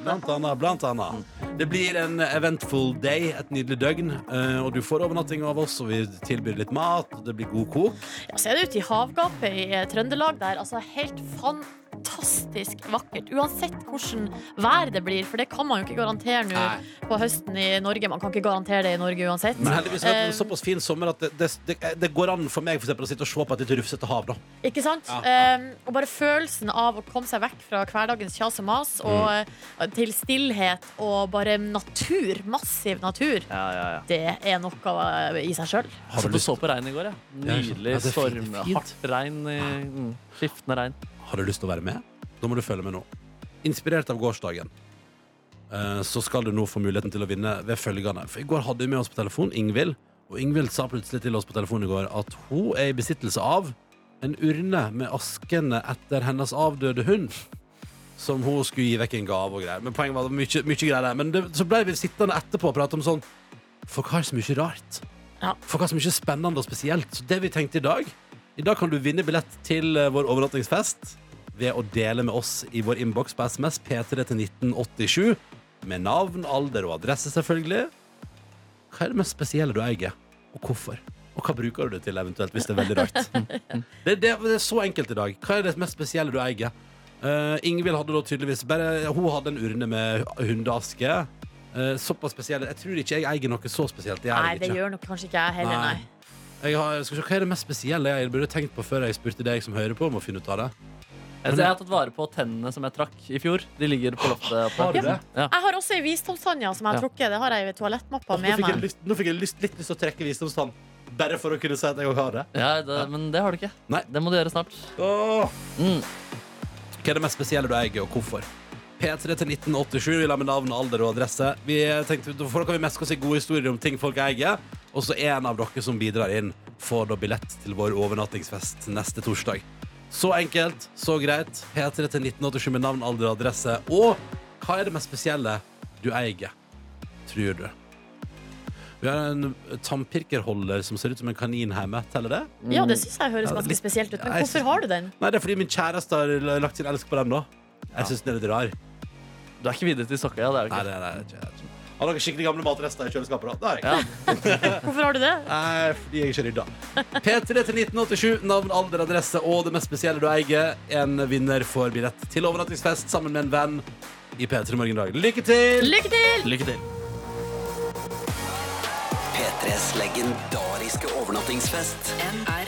blant annet, blant annet. Det blir en eventful day, et nydelig døgn. eh, Og du får overnatting av oss, og vi tilbyr litt mat, og det blir god kok. Ja, så er det ute i havgapet i eh, Trøndelag der. Altså helt fantastisk vakkert. Uansett hvordan vær det blir, for det kan man jo ikke garantere nå Nei. på høsten i Norge. Man kan ikke garantere det i Norge uansett. Men heldigvis har vi hatt en Eh, såpass fin sommer at det, det, det, det går an for meg for eksempel, å sitte og se på et litt rufsete hav. Da. Ikke sant? Ja, ja. Um, og bare følelsen av å komme seg vekk fra hverdagens kjas og mas Mm. og eh, til stillhet og bare natur, massiv natur, Ja, ja, ja. det er noe eh, i seg sjøl. Har Så du, du lyst, så på regn i går, ja? Ja, jeg skjønner. Nydelig Ja, det er fint, storm. fint. Hardt regn. i- mm, Skiftende regn. har du lyst til å være med? Da må du følge med nå. Inspirert av gårsdagen. eh, Så skal du nå få muligheten til å vinne ved følgende. For I går hadde vi med oss på telefon Ingvild, og Ingvild sa plutselig til oss på telefonen i går at hun er i besittelse av en urne med askene etter hennes avdøde hund. Som hun skulle gi vekk en gave og greier. Men poenget var det var mye, mye greier der. Men det, så ble vi sittende etterpå og prate om sånn Folk har så mye rart. Ja. Folk har så mye spennende og spesielt. Så det vi tenkte i dag I dag kan du vinne billett til eh, vår overnattingsfest ved å dele med oss i vår innboks på SMS P3 til 1987. Med navn, alder og adresse, selvfølgelig. Hva er det mest spesielle du eier, og hvorfor? Og hva bruker du det til, eventuelt, hvis det er veldig *laughs* rart? det, det, det er så enkelt i dag. Hva er det mest spesielle du eier? Uh, Ingvild hadde da tydeligvis bare Hun hadde en urne med hundeaske. Eh, såpass spesielle. Jeg tror ikke jeg eier noe så spesielt. Jeg, Nei, eier det ikke. gjør nok kanskje ikke jeg heller, Nei. nei. jeg har, skal se, Hva er det mest spesielle jeg burde tenkt på før jeg spurte deg som hører på, om å finne ut av det? Jeg, jeg har tatt vare på tennene som jeg trakk i fjor. De ligger på loftet. oppe. Har du det? Ja. Jeg har også ei visdomstann ja, som jeg har Ja. trukket. Det har jeg ved toalettmappa Åh, nå, med fikk jeg meg. lyst, nå fikk jeg lyst, litt lyst til å trekke visdomstann. Bare for å kunne si at jeg også har det. Ja, det, men det har du ikke. Nei. Det må du gjøre snart. Åh. Mm. Hva er det mest spesielle du eier, og hvorfor? P3 til 1987, vi la med navn, alder og adresse. Vi tenkte, Folk kan vi meske oss i gode historier om ting folk eier, og så en av dere som bidrar inn, får da billett til vår overnattingsfest neste torsdag. Så enkelt, så greit. P3 til 1987 med navn, alder og adresse. Og hva er det mest spesielle du eier, tror du? Vi har en tannpirkerholder som ser ut som en kanin hjemme. Teller det? Ja, det syns jeg høres Ja, ganske litt- spesielt ut. Ja, Men jeg hvorfor synes- har du den? Nei, det er fordi min kjæreste har l- lagt sin elsk på den da Jeg synes den er litt rar Nei, Du er ikke videre til Sokkøya. Det er du ikke. nei, nei, det er ikke- Har dere skikkelig gamle matrester i kjøleskapet da? Det har jeg ikke. Ja. Hvorfor har du det? Nei, fordi jeg ikke rydda P3 til 1987, navn, alder, adresse Og det mest spesielle du eier En vinner får billett til overnattingsfest Sammen med en venn i P3 Morgendag Lykke til! Lykke til! Lykke til. P3s legendariske overnattingsfest. MR.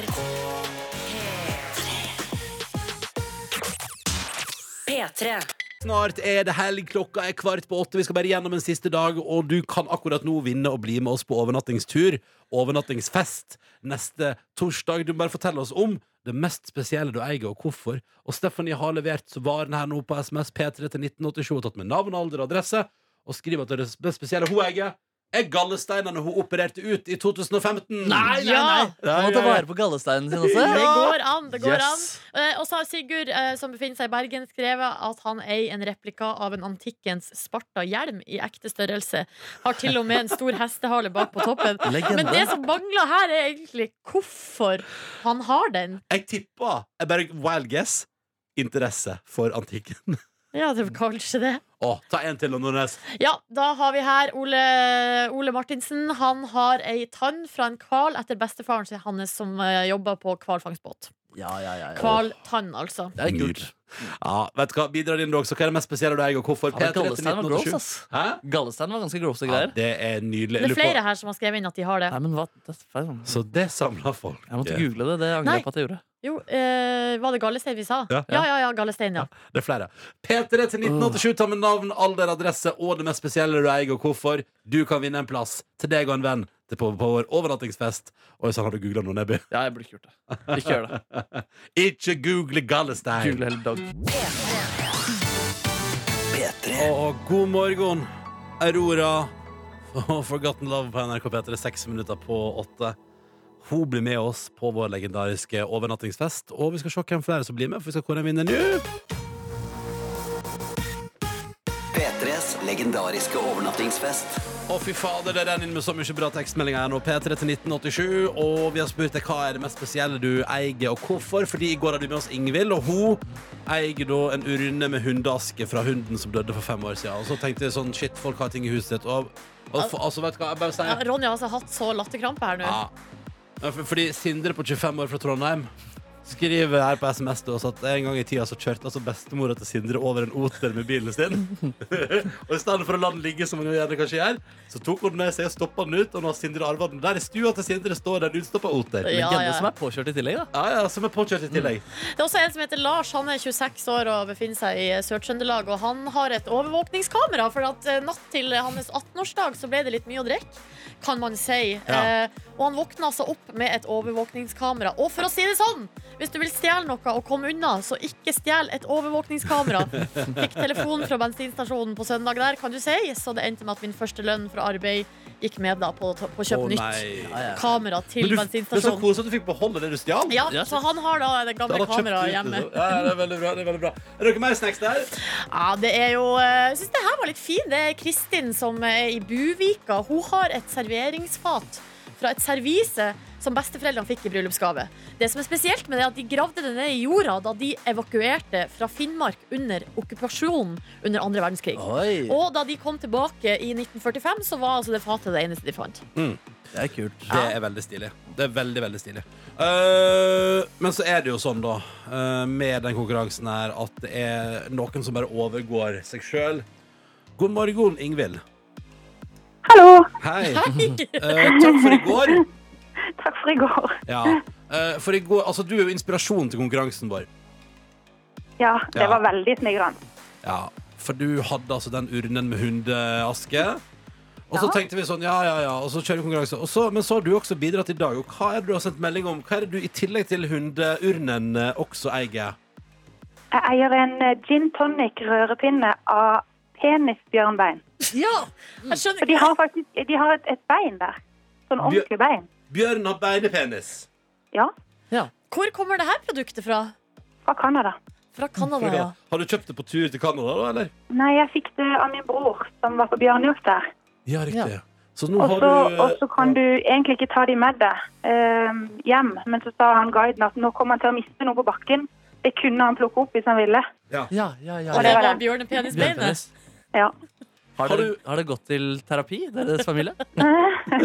P3. Snart er det helg, klokka er kvart på åtte Vi skal bare gjennom en siste dag Og du kan akkurat nå vinne og bli med oss på overnattingstur Overnattingsfest Neste torsdag Du må bare fortelle oss om det mest spesielle du eier og hvorfor Og Stephanie har levert varen her nå på sms P3 til 1987 Og tatt med navn, alder og adresse Og skriver at det mest spesielle hun eier Er gallesteinene hun opererte ut i 2015 Nei, Ja! Du må ta vare på gallesteinen sin også. Det går an. det går an Yes. Eh, Og så har Sigurd, eh, som befinner seg i Bergen, skrevet at han eier en replika av en antikkens Sparta-hjelm i ekte størrelse. Har til og med en stor hestehale bak på toppen. Legende. Men det som mangler her, er egentlig hvorfor han har den. Jeg tipper, jeg bare wild guess Interesse for antikken Ja, det var kanskje det. Åh, ta en til Nordnes Ja, da har vi her Ole, Ole Martinsen. Han har ei tann fra en hval etter bestefaren sin, hans som eh, jobber på hvalfangstbåt. Ja, ja, ja, ja. Hvaltann, altså. Det er kult. Ja, vet du hva, Bidrar inn du også. Hva er det mest spesielle du eier, og hvorfor? Ja, men P3 til Gallestein var gross, 1987. ass. Hæ? Gallestein var ganske grosse Ja, greier. det er nydelig. Det er Jeg lurer flere her som har skrevet inn at de har det. Nei, men hva? Det er feil. på- Så det samla folk. Jeg måtte google det. Det angrer Nei. jeg på at jeg gjorde. Jo, eh, var det Gallestein vi sa? Ja. Ja, ja, ja, Gallestein, ja. Det er flere. P3 til 1987. Ta med navn, alder, adresse og det mest spesielle du eier, og hvorfor. Du kan vinne en plass til deg og en venn til på, på vår overnattingsfest. Oi sann, har du googla noe, Nebby? Ja, jeg burde ikke gjort det. Ikke gjør det. Ikke google Gallestein. Google hele dag. P3. Og god morgen, Aurora og Forgotten Love på NRK P3, seks minutter på åtte. Hun blir med oss på vår legendariske overnattingsfest, og vi skal se hvem flere som blir med, for vi skal kåre en vinner nå. P3. P3s legendariske overnattingsfest. Å, fy fader, det renner inn med så mye bra tekstmeldinger her nå. P3 til 1987. Og vi har spurt deg hva er det mest spesielle du eier, og hvorfor. Fordi i går hadde vi med oss Ingvild, og hun eier da en urne med hundeaske fra hunden som døde for fem år siden. Og så tenkte jeg sånn, shit, folk har ting i huset sitt. Og, og for, altså, vet du hva, jeg bare Ja, sier Ronja har altså hatt så latterkrampe her nå. ja. Ja, for- Fordi Sindre på 25 år fra Trondheim skriver her på SMS til oss at en gang i tida så kjørte altså bestemora til Sindre over en oter med bilen sin. *laughs* og i stedet for å la den ligge, som hun gjerne kanskje gjør, så tok hun den med seg og stoppa den ut. Og nå har Sindre arva den. Der i stua til Sindre står det en utstoppa oter. Ja, Legende ja. Mm. som er påkjørt i tillegg, da. Ja, ja, som er påkjørt i tillegg. Det er også en som heter Lars. Han er 26 år og befinner seg i Sør-Trøndelag. Og han har et overvåkningskamera, for at eh, natt til hans 18-årsdag så ble det litt mye å drikke, kan man si. Ja. Eh, og han våkna altså opp med et overvåkningskamera. Og for å si det sånn, hvis du vil stjele noe og komme unna, så ikke stjel et *laughs* overvåkningskamera. Fikk telefon fra bensinstasjonen på søndag der, kan du si. Så det endte med at min første lønn fra arbeid gikk med da på, på å Å, kjøpe nytt nei. kamera til Men du, det er så bensinstasjonen. koselig at du fikk beholde det du stjal. Ja, Ja, så han har da det Da gamle hadde han kjøpt kameraet det ut, hjemme. liksom. Ja, ja, det er veldig bra. det Er veldig bra Er det noe mer snacks der? Ja, det er jo eh, Jeg syns det her var litt fin. Det er Kristin som er i Buvika. Hun har et serveringsfat fra et servise som besteforeldrene fikk i bryllupsgave. Det som er spesielt med det, er at de gravde det ned i jorda da de evakuerte fra Finnmark under okkupasjonen under andre verdenskrig. Oi, Og da de kom tilbake i 1945, så var altså det fatet det eneste de fant. det er kult. Det er veldig stilig. Det er veldig, veldig stilig. Eh, men så er det jo sånn, da, eh, med den konkurransen her, at det er noen som bare overgår seg sjøl. God morgen, Ingvild. Hallo! Hei. Hei! Eh, takk for i går. Takk for i går. Ja. Eh, for i går altså, du er jo inspirasjonen til konkurransen vår. Ja, Ja. var veldig smigrende. Ja, for du hadde altså den urnen med hundeaske. Og så Ja. tenkte vi sånn, ja, ja, ja, og så kjører vi konkurranse. Og så, men så har du også bidratt i dag. Og hva er det du har sendt melding om? Hva er det du i tillegg til hundeurnen eh, også eier? Jeg eier en eh, gin tonic rørepinne av penisbjørnbein. Ja! Jeg skjønner de har faktisk et, bein der. Sånn ordentlig bein. Bjørn har beinepenis. Ja, Hvor kommer det her produktet fra? fra Canada. Fra Canada, ja. Har du kjøpt det på tur til Canada, da, eller? Nei, jeg fikk det av min bror som var på bjørnejakt der. Ja, riktig. Så nå Og har så du eh, og så kan du egentlig ikke ta de med deg eh, hjem, men så sa han guiden at nå kom han til å miste noe på bakken. Det kunne han plukke opp hvis han ville. Ja, ja, ja, Og Det ja. var var det. bjørnepenisbeinet. Bjørnpenis. Ja. Har, Har dere- du- har det gått til terapi, deres familie?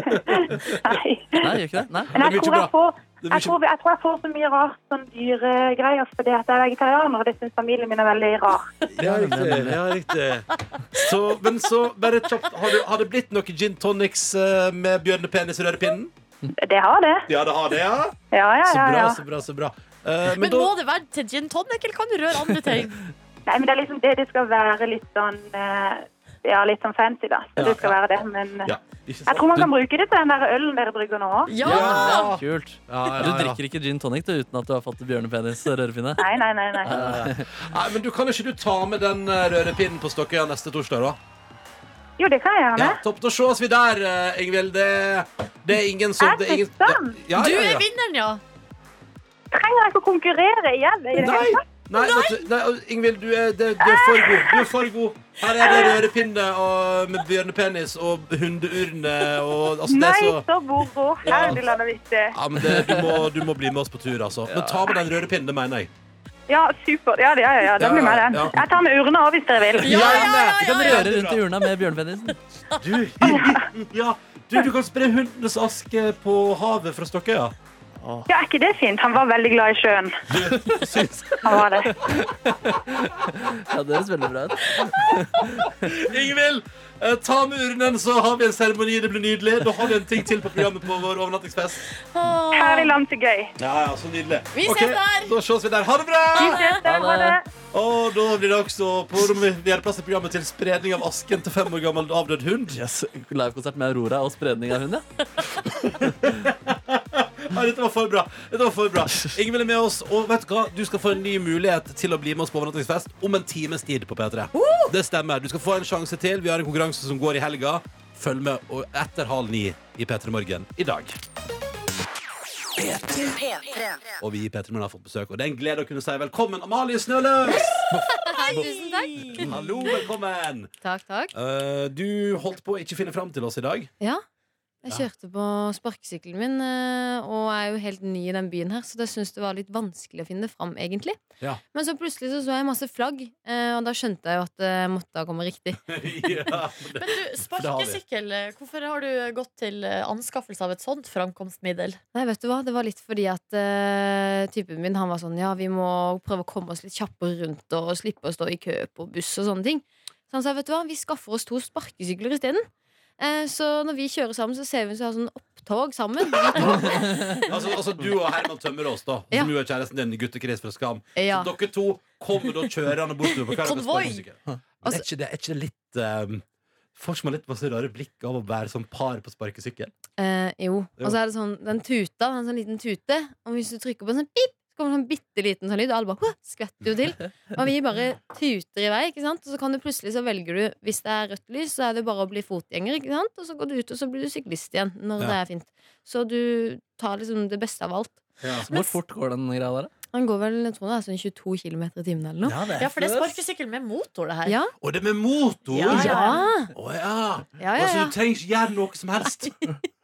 Nei. Nei, gjør ikke det? Nei. Men Det er jeg tror mye jeg, får, Det jeg, blir ikke... tror, jeg tror jeg får så mye rart sånn dyregreier fordi at jeg er vegetarianer, og det syns familien min er veldig rar. Ja, riktig. Ja, riktig. Så, men så, bare kjapt, har, du, har det blitt noe gin tonics eh, med bjørnepenis i rørepinnen? Det har det. Ja, det har det, ja. Ja, ja, Så ja. bra, ja. så bra, så bra. Eh, men Men da må det være til gin tonic, eller kan du røre andre ting? Nei, men det er liksom det det skal være litt sånn eh, Ja, litt sånn fancy, da. Så det skal være det. Men eh, ja, ikke sant? jeg tror man kan bruke det til den der ølen dere brygger nå òg. ja. Ja. Kult. Ja, ja, Du ja. drikker ikke gin tonic du, uten at du har fått bjørnepenis og rørepinne? Nei, nei, nei. nei. Nei, men du kan ikke du ta med den eh, rørepinnen på Stokkøya neste torsdag, da? Jo, det kan jeg gjerne. Ja, topp. Da sees vi der, eh, Ingvild. Det, det er ingen som Jeg det er ingen, fikk den. ja, Du ja, er ja. vinneren, ja. Trenger jeg ikke å konkurrere igjen? I det Nei! hele tatt? Nei, vet du- nei Ingvild, du er, det, du er for god. Du er for god. Her er det rørepinne og, med bjørnepenis og hundeurne og altså, det er Nei, så så hvor går Ferdinand og Vitte? ja, men det, du, må, du må bli med oss på tur, altså. Men ta med den rørepinnen, det mener jeg. Ja, supert. Ja, ja, ja, ja. Da blir Ja, med den. ja. Jeg tar med urne òg, hvis dere vil. ja, Du kan røre rundt i urna med bjørnepenisen. Du, ja, du, du kan spre hundenes aske på havet fra Stokkøya. Ja, er ikke det fint? Han var veldig glad i *laughs* sjøen. Han var det. Ja, det høres veldig bra ut. Ingvild, eh, ta med urnen, så har vi en seremoni. Det blir nydelig. Da har vi en ting til på programmet på vår overnattingsfest. Ferdinand så gøy. Ja, ja, så nydelig. Vi ses Ok, der. Da ses vi der. Ha det bra! Vi ses der, ha det. Og da blir det også på Gjerdplass i programmet til spredning av asken til fem år gammel avdød hund. Yes. Livekonsert med Aurora og spredning av hund, ja. Ja, dette var for bra. Dette var for bra. Ingvild er med oss, og vet du hva? Du skal få en ny mulighet til å bli med oss på overnattingsfest om en times tid på P3. Det stemmer. Du skal få en sjanse til. Vi har en konkurranse som går i helga. Følg med og etter halv ni i P3 Morgen i dag. P3. Og vi i P3 Morgen har fått besøk, og det er en glede å kunne si velkommen Amalie Snøløs! takk, tusen takk. Hallo, velkommen! Takk, takk. Eh, du holdt på å ikke finne fram til oss i dag. Ja. Jeg kjørte på sparkesykkelen min, eh, og er jo helt ny i den byen her, så jeg syntes det var litt vanskelig å finne det fram, egentlig. Ja. Men så plutselig så, så jeg masse flagg, eh, og da skjønte jeg jo at jeg måtte ha kommet riktig. *laughs* ja, det- det Men du, har vi. sparkesykkel, eh, hvorfor har du gått til eh, anskaffelse av et sånt framkomstmiddel? Nei, vet du hva, det var litt fordi at eh, typen min, han var sånn, ja, vi må prøve å komme oss litt kjappere rundt, og slippe å stå i kø på buss og sånne ting. Så han sa, vet du hva, vi skaffer oss to sparkesykler i stedet. Eh, så når vi kjører sammen, så ser vi oss ha sånn opptog sammen. Vi to. altså, altså du og Herman Tømmerås, da Ja. som jo er kjæresten din i Guttekris fra Skam. Ja. Så dere to kommer da kjørende bortover på kvelden med Konvoi. sparkesykkel. Men Altså- Er ikke det er ikke det litt um, Folk som har litt masse rare blikk av å være som par på sparkesykkel. Eh, jo. Og så er det sånn, den tuta, en sånn liten tute, og hvis du trykker på en sånn pip, så kommer det sånn bitte liten sånn lyd, og alle bare «Hå!» skvetter jo til. Og vi bare tuter i vei, ikke sant? Og så kan du plutselig, så velger du, hvis det er rødt lys, så er det bare å bli fotgjenger, ikke sant? Og så går du ut, og så blir du syklist igjen, når Ja. det er fint. Så du tar liksom det beste av alt. Hvor fort går den greia der? da? Han går vel, jeg tror det er sånn 22 kilometer i timen eller noe. Ja, for det er sparkesykkel med motor, det her. Ja, Og det med motor! ja, Ja, ja. Å ja. ja, ja, Altså, du trenger ikke gjøre noe som *laughs* helst.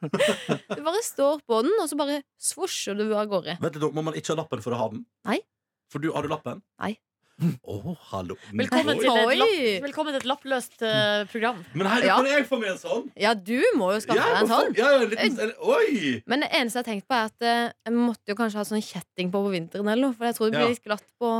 Du bare står på den, og så bare svosjer du av gårde. Vet du, Må man ikke ha lappen for å ha den? Nei. For du, Har du lappen? Nei. Å, hallo. Velkommen Oi. til et, Oi. lapp, velkommen til et lappløst eh, program. Men herre, Ja. kan jeg få med en sånn? Ja, du må jo skaffe Ja, deg en hvorfor- sånn. Ja, ja, en liten, en, oi! Men det eneste jeg har tenkt på er at eh, jeg måtte jo kanskje ha sånn kjetting på på vinteren, eller noe, for jeg tror det blir Ja. litt glatt på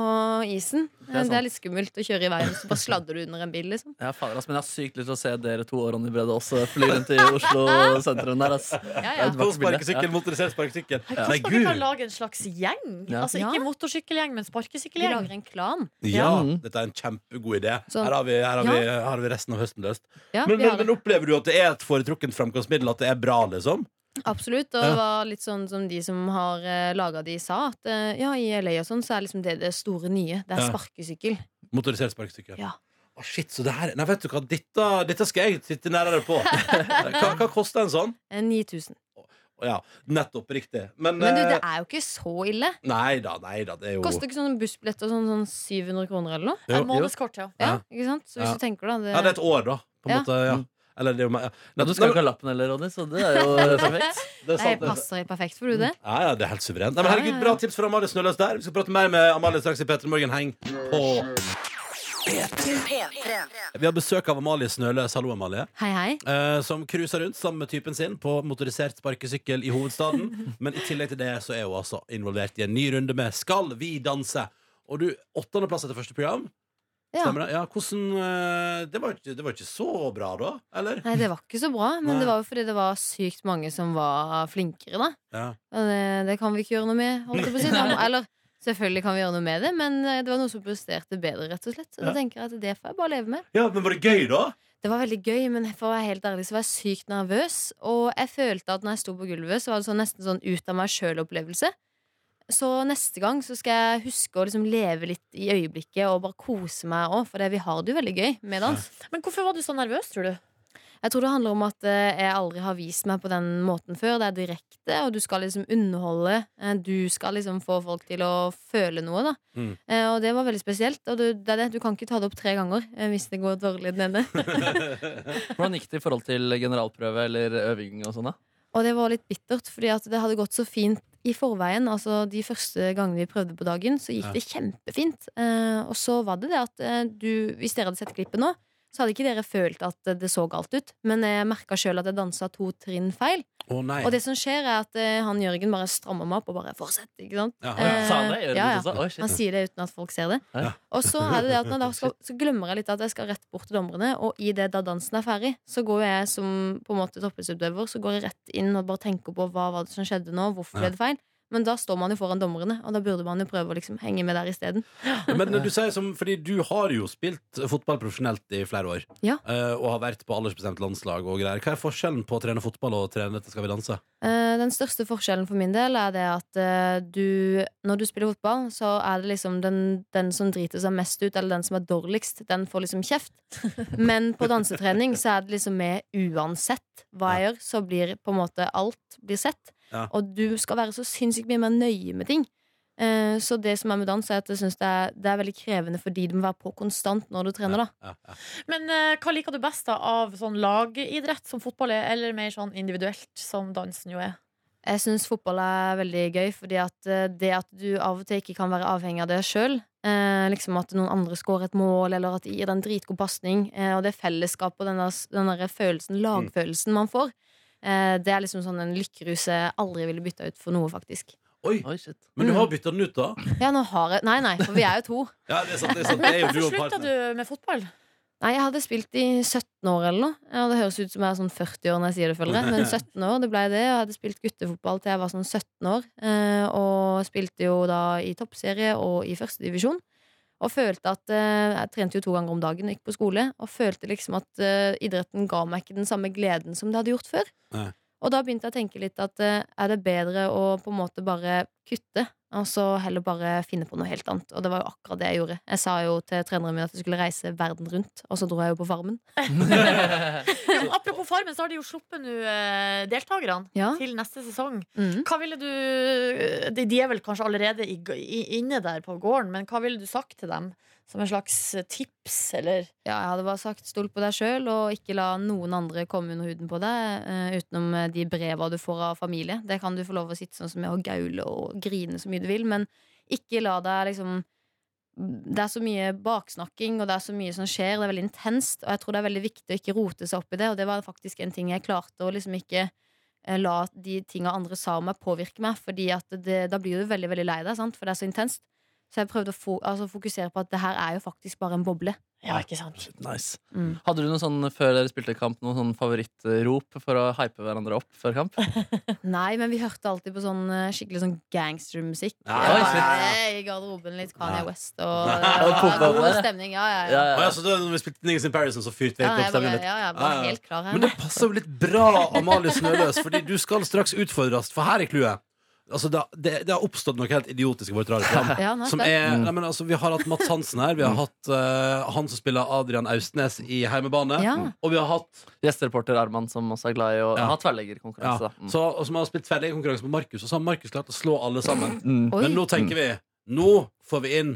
isen. Eh, Det er, sant. litt skummelt å kjøre i veien, så bare sladder du under en bil, liksom. Ja, fader, ass, men Jeg har sykt lyst til å se dere to og Ronny Brede også fly rundt i Oslo sentrum. der ass. Ja, ja. ja. På sparkesykkel, motorisert sparkesykkel. Kanskje vi kan lage en slags gjeng? Ja. Altså Ja. Ikke motorsykkelgjeng, men Vi sparkesykkelgjeng. lager en klan. Ja, Mm. dette er en kjempegod idé. Så- Her har vi, her har Ja. vi, her har vi resten av høsten løst. Ja, Men, vi men, har men opplever du at det er et foretrukket framkomstmiddel? At det er bra, liksom? Absolutt. Og det var litt sånn som de som har uh, laga de, sa. At eh, ja, i LA og sånn, så er liksom det det store nye. Det er Ja. sparkesykkel. Motorisert sparkesykkel? Ja. Å, shit, så det her Nei, vet du hva, dette, dette skal jeg sitte nærmere *laughs* på. hva, hva koster en sånn? Eh, 9000. Å, Ja, nettopp riktig. Men, Men du, eh, det er jo ikke så ille. Nei da, nei da, det er jo Koster ikke sånn bussbillett og sånn, sånn 700 kroner eller noe? Jo, En månedskort, ja. Ja. Ja, ikke sant? Så hvis Ja. du tenker da det, Ja, det er et år, da. På en Ja. måte, ja. Mm. Eller det er jo meg. Ja, du skal jo ikke ha lappen heller, Ronny, så det er jo *laughs* eh, perfekt. Det er Nei, sant, det. passer perfekt for du det. Ja, ja, det er helt suverent. Nei, men Ja, herregud, ja, ja. Bra tips fra Amalie Snøløs der. Vi skal prate mer med Amalie straks i Petter Morgen. Heng på. P3. Vi har besøk av Amalie Snøløs. Hallo, Amalie. Hei, hei. Eh, som cruiser rundt sammen med typen sin på motorisert sparkesykkel i *laughs* hovedstaden. Men i tillegg til det så er hun altså involvert i en ny runde med Skal vi danse? Og du, åttendeplass etter første program. Ja. Stemmer det? Ja, hvordan eh, det, var ikke, det var ikke så bra, da? Eller? Nei, det var ikke så bra, men Nei. det var jo fordi det var sykt mange som var flinkere, da. Ja. Og det, det kan vi ikke gjøre noe med, holdt jeg på å si. Da- *laughs* Eller selvfølgelig kan vi gjøre noe med det, men eh, det var noen som presterte bedre, rett og slett. Så Ja. da tenker jeg at det får jeg bare leve med. ja, men var det gøy, da? Det var veldig gøy, men for å være helt ærlig så var jeg sykt nervøs. Og jeg følte at når jeg sto på gulvet, så var det sånn, nesten sånn ut av meg sjøl-opplevelse. Så neste gang så skal jeg huske å liksom leve litt i øyeblikket og bare kose meg òg, for det- vi har det jo veldig gøy med dans. Men hvorfor var du så nervøs, tror du? Jeg tror det handler om at eh, jeg aldri har vist meg på den måten før. Det er direkte, og du skal liksom underholde. Eh, Du skal liksom få folk til å føle noe, da. Mm. Eh, Og det var veldig spesielt. Og du, det er det, du kan ikke ta det opp tre ganger eh, hvis det går dårlig den ene. Hvordan gikk det i forhold til generalprøve eller øving og sånn? da? og det var litt bittert, fordi at det hadde gått så fint i forveien. Altså de første gangene vi prøvde på dagen, så gikk Ja. det kjempefint. Eh, Og så var det det at eh, du, hvis dere hadde sett klippet nå, så hadde ikke dere følt at eh, det så galt ut. Men jeg merka sjøl at jeg dansa to trinn feil. Å nei. Og det som skjer er at eh, han Jørgen bare strammer meg opp og bare fortsett. Ikke sant? Ja, ja. Eh, Sa han det? Gjør ja, ja, ja. ja. Oi, Han shit. sier det uten at folk ser det. Ja. Og så er det det at når jeg da skal, så glemmer jeg litt at jeg skal rett bort til dommerne, og i det da dansen er ferdig, så går jeg som på en måte toppidrettsutøver Så går jeg rett inn og bare tenker på hva var det som skjedde nå, hvorfor ble det feil? Men da står man jo foran dommerne, og da burde man jo prøve å liksom henge med der isteden. Men du sier som, fordi du har jo spilt fotball profesjonelt i flere år. Ja. Eh, og har vært på aldersbestemt landslag og greier. Hva er forskjellen på å trene fotball og å trene dette skal vi danse? Eh, Den største forskjellen for min del er det at eh, du, når du spiller fotball, så er det liksom den, den som driter seg mest ut, eller den som er dårligst, den får liksom kjeft. Men på dansetrening så er det liksom med uansett hva jeg gjør, så blir på en måte alt blir sett. Ja. Og du skal være så sinnssykt mye mer nøye med ting. Eh, Så det som er med dans, er at jeg synes det, er, det er veldig krevende fordi du må være på konstant når du trener. da Men eh, hva liker du best da av sånn lagidrett som fotball er, eller mer sånn individuelt som dansen jo er? Jeg syns fotball er veldig gøy, fordi at eh, det at du av og til ikke kan være avhengig av det sjøl, eh, liksom at noen andre scorer et mål, eller at de gir deg en dritgod pasning, eh, og det fellesskapet og den der, den der følelsen, lagfølelsen man får, eh, det er liksom sånn en lykkerus jeg aldri ville bytta ut for noe, faktisk. Oi, Men Mm. du har bytta den ut, da? Ja, nå har jeg Nei, nei, for vi er jo to. Ja, det er sant, det er sant. *laughs* Det er jo du og Slutta partner. du med fotball? Nei, jeg hadde spilt i 17 år eller noe. Ja, det høres ut som jeg er sånn 40 år når jeg sier det, føler *laughs* jeg. Men 17 år, det ble det. Jeg hadde spilt guttefotball til jeg var sånn 17 år. eh, Og spilte jo da i toppserie og i førstedivisjon. Og følte at eh, Jeg trente jo to ganger om dagen og gikk på skole. Og følte liksom at eh, idretten ga meg ikke den samme gleden som det hadde gjort før. Nei. Og da begynte jeg å tenke litt at eh, er det bedre å på en måte bare kutte? Og så heller bare finne på noe helt annet. Og det var jo akkurat det jeg gjorde. Jeg sa jo til treneren min at jeg skulle reise verden rundt, og så dro jeg jo på Farmen. *laughs* Ja, *laughs* men apropos Farmen, så har de jo sluppet nå eh, deltakerne Ja. til neste sesong. Mhm. Hva ville du eh, De de er vel kanskje allerede i, i, inne der på gården, men hva ville du sagt til dem? Som en slags eh, tips, eller? Ja, jeg hadde bare sagt stol på deg sjøl, og ikke la noen andre komme under huden på deg, eh, utenom eh, de breva du får av familie. Det kan du få lov å sitte sånn som jeg og gaule og grine så mye du vil, men ikke la deg liksom det er så mye baksnakking, og det er så mye som skjer. Det er veldig intenst, og jeg tror det er veldig viktig å ikke rote seg opp i det. Og det var faktisk en ting jeg klarte å liksom ikke eh, la de tinga andre sa om meg, påvirke meg. Fordi at det, da blir du veldig veldig lei deg, sant? for det er så intenst. Så jeg prøvde å fo altså fokusere på at det her er jo faktisk bare en boble. Ja, ikke sant? Nice. Mm. Hadde du noe sånn før dere spilte kamp Noen sånn favorittrop for å hype hverandre opp før kamp? Nei, men vi hørte alltid på sånn eh, skikkelig sånn gangstermusikk. Nei, Det var shit. bare eh, I garderoben litt Kanye West og det Og var pumpa god på det. stemning. Ja, ja, ja. Å, ja, så da når vi spilte Niggas in Paris, så fyrte vi Ja, helt jeg opp stemmen bare, litt. ja, jeg Ja, var ja. helt klar her. Men det passer jo litt bra, Amalie Snøløs, fordi du skal straks utfordres, for her er clouet. Altså, det, har- det, det har oppstått noe helt idiotisk i vårt radioprogram. Ja, nei, som det- er, Mm. nei, men, altså, vi har hatt Mats Hansen her, vi har hatt eh, han som spiller Adrian Austnes i Heimebane, Ja. og vi har hatt Gjestereporter Arman, som også er glad i å Ja. ha ja, tverrleggerkonkurranse. da. Mm. så, og som har spilt ferdig konkurranse med Markus, og så har Markus klart å slå alle sammen. Mm. Oi. Men nå tenker vi Nå får vi inn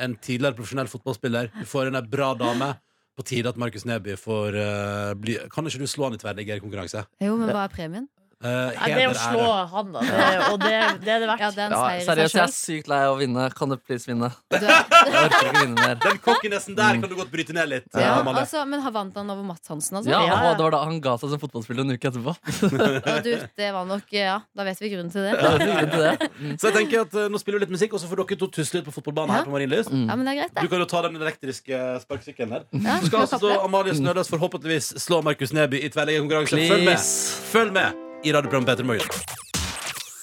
en tidligere profesjonell fotballspiller. Vi får inn ei bra dame. På tide at Markus Neby får eh, bli Kan ikke du slå han i tverrliggerkonkurranse? Jo, men hva er premien? Uh, Nei, det er å slå han, da. Det, og det, det er det verdt. Ja, det er en Ja, seier i seriøst, jeg seg er sykt lei av å vinne. Kan du please vinne? sjøl. Jeg orker ikke vinne *laughs* mer. Den kokkenessen Mm. der kan du godt bryte ned litt. Ja, eh, Amalie. altså, men har vant han over Mats Hansen, altså? Ja, Ja. og det var da han ga seg som fotballspiller en uke etterpå. *laughs* Og du, det var nok Ja, da vet vi grunnen til det. Det er grunnen til det. Så jeg tenker at eh, nå spiller vi litt musikk, og så får dere to tusle litt på fotballbanen her på Marienlyst. Ja, men det er greit, Du det. kan jo ta den elektriske sparkesykkelen her. Ja, Så skal skal altså vi da kappe? Amalie Snødøs forhåpentligvis slå Markus Neby i tverrliggerkonkurranse. Følg med! Please. Følg med i radioprogrammet Petter Morgen.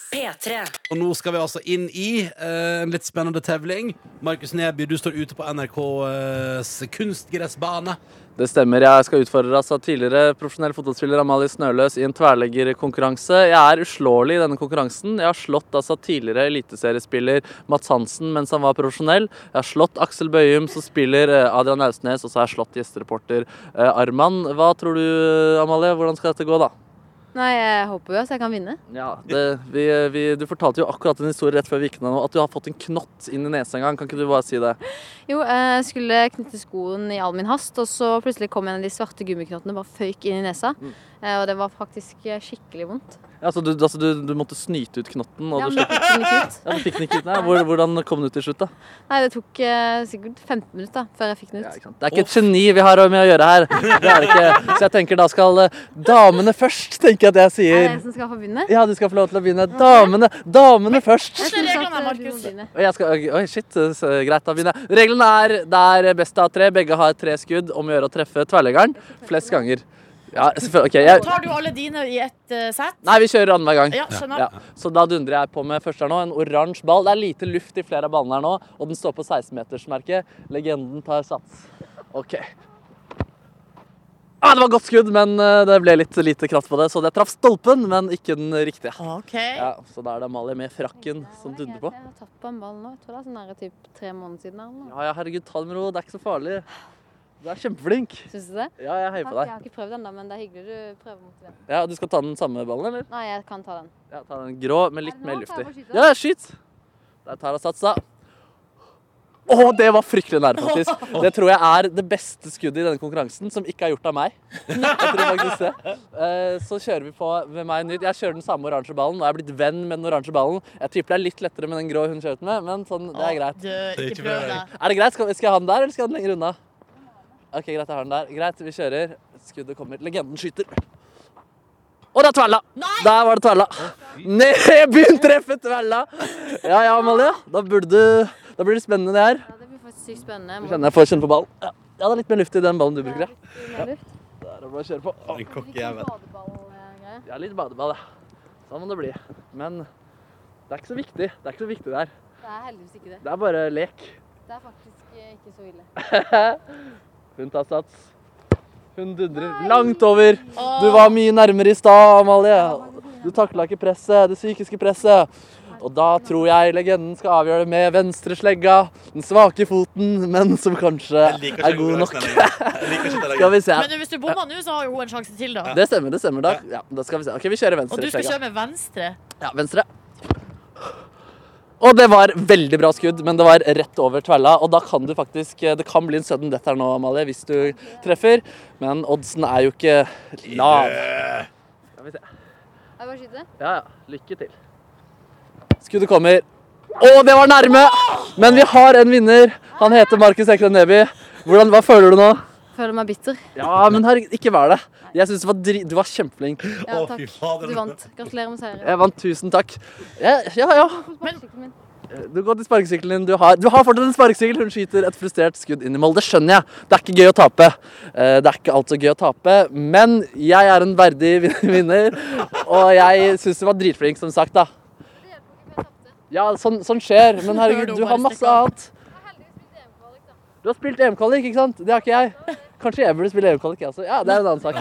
P3. Og nå skal vi altså inn i eh, en litt spennende tevling. Markus Neby, du står ute på NRKs kunstgressbane. Det stemmer. Jeg skal utfordre altså tidligere profesjonell fotballspiller Amalie Snøløs i en tverrleggerkonkurranse. Jeg er uslåelig i denne konkurransen. Jeg har slått altså tidligere eliteseriespiller Mats Hansen mens han var profesjonell. Jeg har slått Aksel Bøyum, som spiller eh, Adrian Austnes, og så har jeg slått gjestereporter eh, Arman. Hva tror du, Amalie? Hvordan skal dette gå, da? Nei, jeg håper jo at jeg kan vinne. Ja, det, vi, vi, Du fortalte jo akkurat en historie rett før vi gikk ned nå, at du har fått en knott inn i nesa en gang. Kan ikke du bare si det? Jo, jeg skulle knytte skoen i all min hast, og så plutselig kom en av de svarte gummiknottene bare føyk inn i nesa. Mm. Eh, Og det var faktisk eh, skikkelig vondt. Altså, du, altså, du, du måtte snyte ut knotten, og Ja, du men det slapp fikk den ikke ut. ja, du fikk den ikke ut. Nei, hvor- Hvordan kom den ut til slutt, da? Nei, det tok eh, sikkert 15 minutter da, før jeg fikk den Ja, ut. ikke sant. Det er ikke et geni vi har med å gjøre her. Det er det ikke. Så jeg tenker da skal eh, damene først, tenker jeg at jeg Er det jeg sier. som skal få begynne? Ja, du skal få lov til å begynne. Damene, damene først. Jeg Reglene, synes at, eh, du må Markus. begynne. Og jeg skal, oi, shit, så greit, da begynner jeg. Reglene er det er best av tre. Begge har tre skudd om å gjøre å treffe tverrleggeren flest ganger. Ja, selvfølgelig. Ok. Jeg, Tar du alle dine i ett eh, sett? nei, vi kjører annenhver gang. Ja, skjønner. Ja. Så da dundrer jeg på med først her nå, en oransje ball. Det er lite luft i flere av ballene her nå, og den står på 16-metersmerket. Legenden tar sats. OK. Ah, det var godt skudd, men eh, det ble litt lite kraft på det, så det traff stolpen, men ikke den riktige. OK. Ja, så da er det Amalie med frakken som dundrer på. Jeg har tatt på en ball nå. Jeg tror det er sånn der typ tre måneder siden. eller noe. Ja, ja, herregud, ta det med ro. Det er ikke så farlig. Du er kjempeflink. Synes du det? Ja, jeg heier Takk, på jeg deg. har ikke prøvd ennå, men det er hyggelig du prøver mot det. Ja, Du skal ta den samme ballen, eller? Nei, jeg kan ta den. Ja, ta den grå, men litt Er det nå? mer Kan luftig. jeg få skyte? Ja, skyt! Der tar jeg satsa. Å, det var fryktelig nære, *laughs* faktisk. Det tror jeg er det beste skuddet i denne konkurransen som ikke er gjort av *laughs* meg. Jeg tror faktisk det. Eh, Så kjører vi på ved meg nytt. Jeg kjører den samme oransje ballen. Nå er jeg blitt venn med den oransje ballen. Jeg tipper det er litt lettere med den grå hun kjørte med, men sånn, det er greit. ikke prøv deg. Er det greit? Skal, skal jeg ha den der, eller skal jeg ha den lenger unna? Ok, greit, jeg har den der. Greit, vi kjører. Skuddet kommer. Legenden skyter. Og det er Tverla! Der var det Tverla. Nedbegynt treffe Tverla! Ja ja, Amalie. Da burde du Da blir det spennende, det her. Det blir faktisk sykt spennende. Jeg Kjenner jeg får kjenne på ballen. Ja, Ja, det er litt mer luft i den ballen du bruker, ja. Der er det bare å kjøre på. Å, Ja, litt badeball, ja. Sånn må det bli. Men det er ikke så viktig. Det er ikke så viktig det her. Det er heldigvis ikke det. Det er bare lek. Det er faktisk eh, ikke så ille. Hun tar sats. Hun dundrer langt over. Du var mye nærmere i stad, Amalie. Du takla ikke presset, det psykiske presset. Og da tror jeg legenden skal avgjøre det med venstreslegga, den svake foten, men som kanskje ikke er god den nok. den Skal vi se. Men hvis du bommer nå, så har jo hun en sjanse til, da. Det stemmer, det stemmer. Da, ja, da skal vi se. OK, vi kjører Og du skal venstreslegga. kjøre med venstre. Ja, venstre. Og det var veldig bra skudd, men det var rett over tverla. Og da kan du faktisk eh, Det kan bli en sudden death her nå, Amalie, hvis du treffer. Men oddsen er jo ikke lav. Skal vi se. Jeg bare skyter. Ja, ja. Lykke til. Skuddet kommer. Å, det var nærme! Men vi har en vinner. Han heter Markus Eklen Neby. Hvordan, hva føler du nå? Føler meg bitter. Ja, men herregud, ikke vær det. Jeg synes det var dri... Du var kjempeflink. Ja, takk. Du vant. Gratulerer med seieren. Jeg vant. Tusen takk. Ja, ja. ja. Min. Du går til sparkesykkelen din. Du har, du har fortsatt en sparkesykkel. Hun skyter et frustrert skudd inn i mål. Det skjønner jeg. Det er ikke gøy å tape. Eh, Det er ikke alltid gøy å tape, men jeg er en verdig vin- *laughs* vinner. Og jeg syns du var dritflink, som sagt, da. Ja, sånn, sånn skjer. Men herregud, du har masse annet. Du har spilt EM-kvalik, ikke sant? Det har ikke jeg. Kanskje jeg burde spille EM-kvalik, jeg også. Ja, det er en annen sak.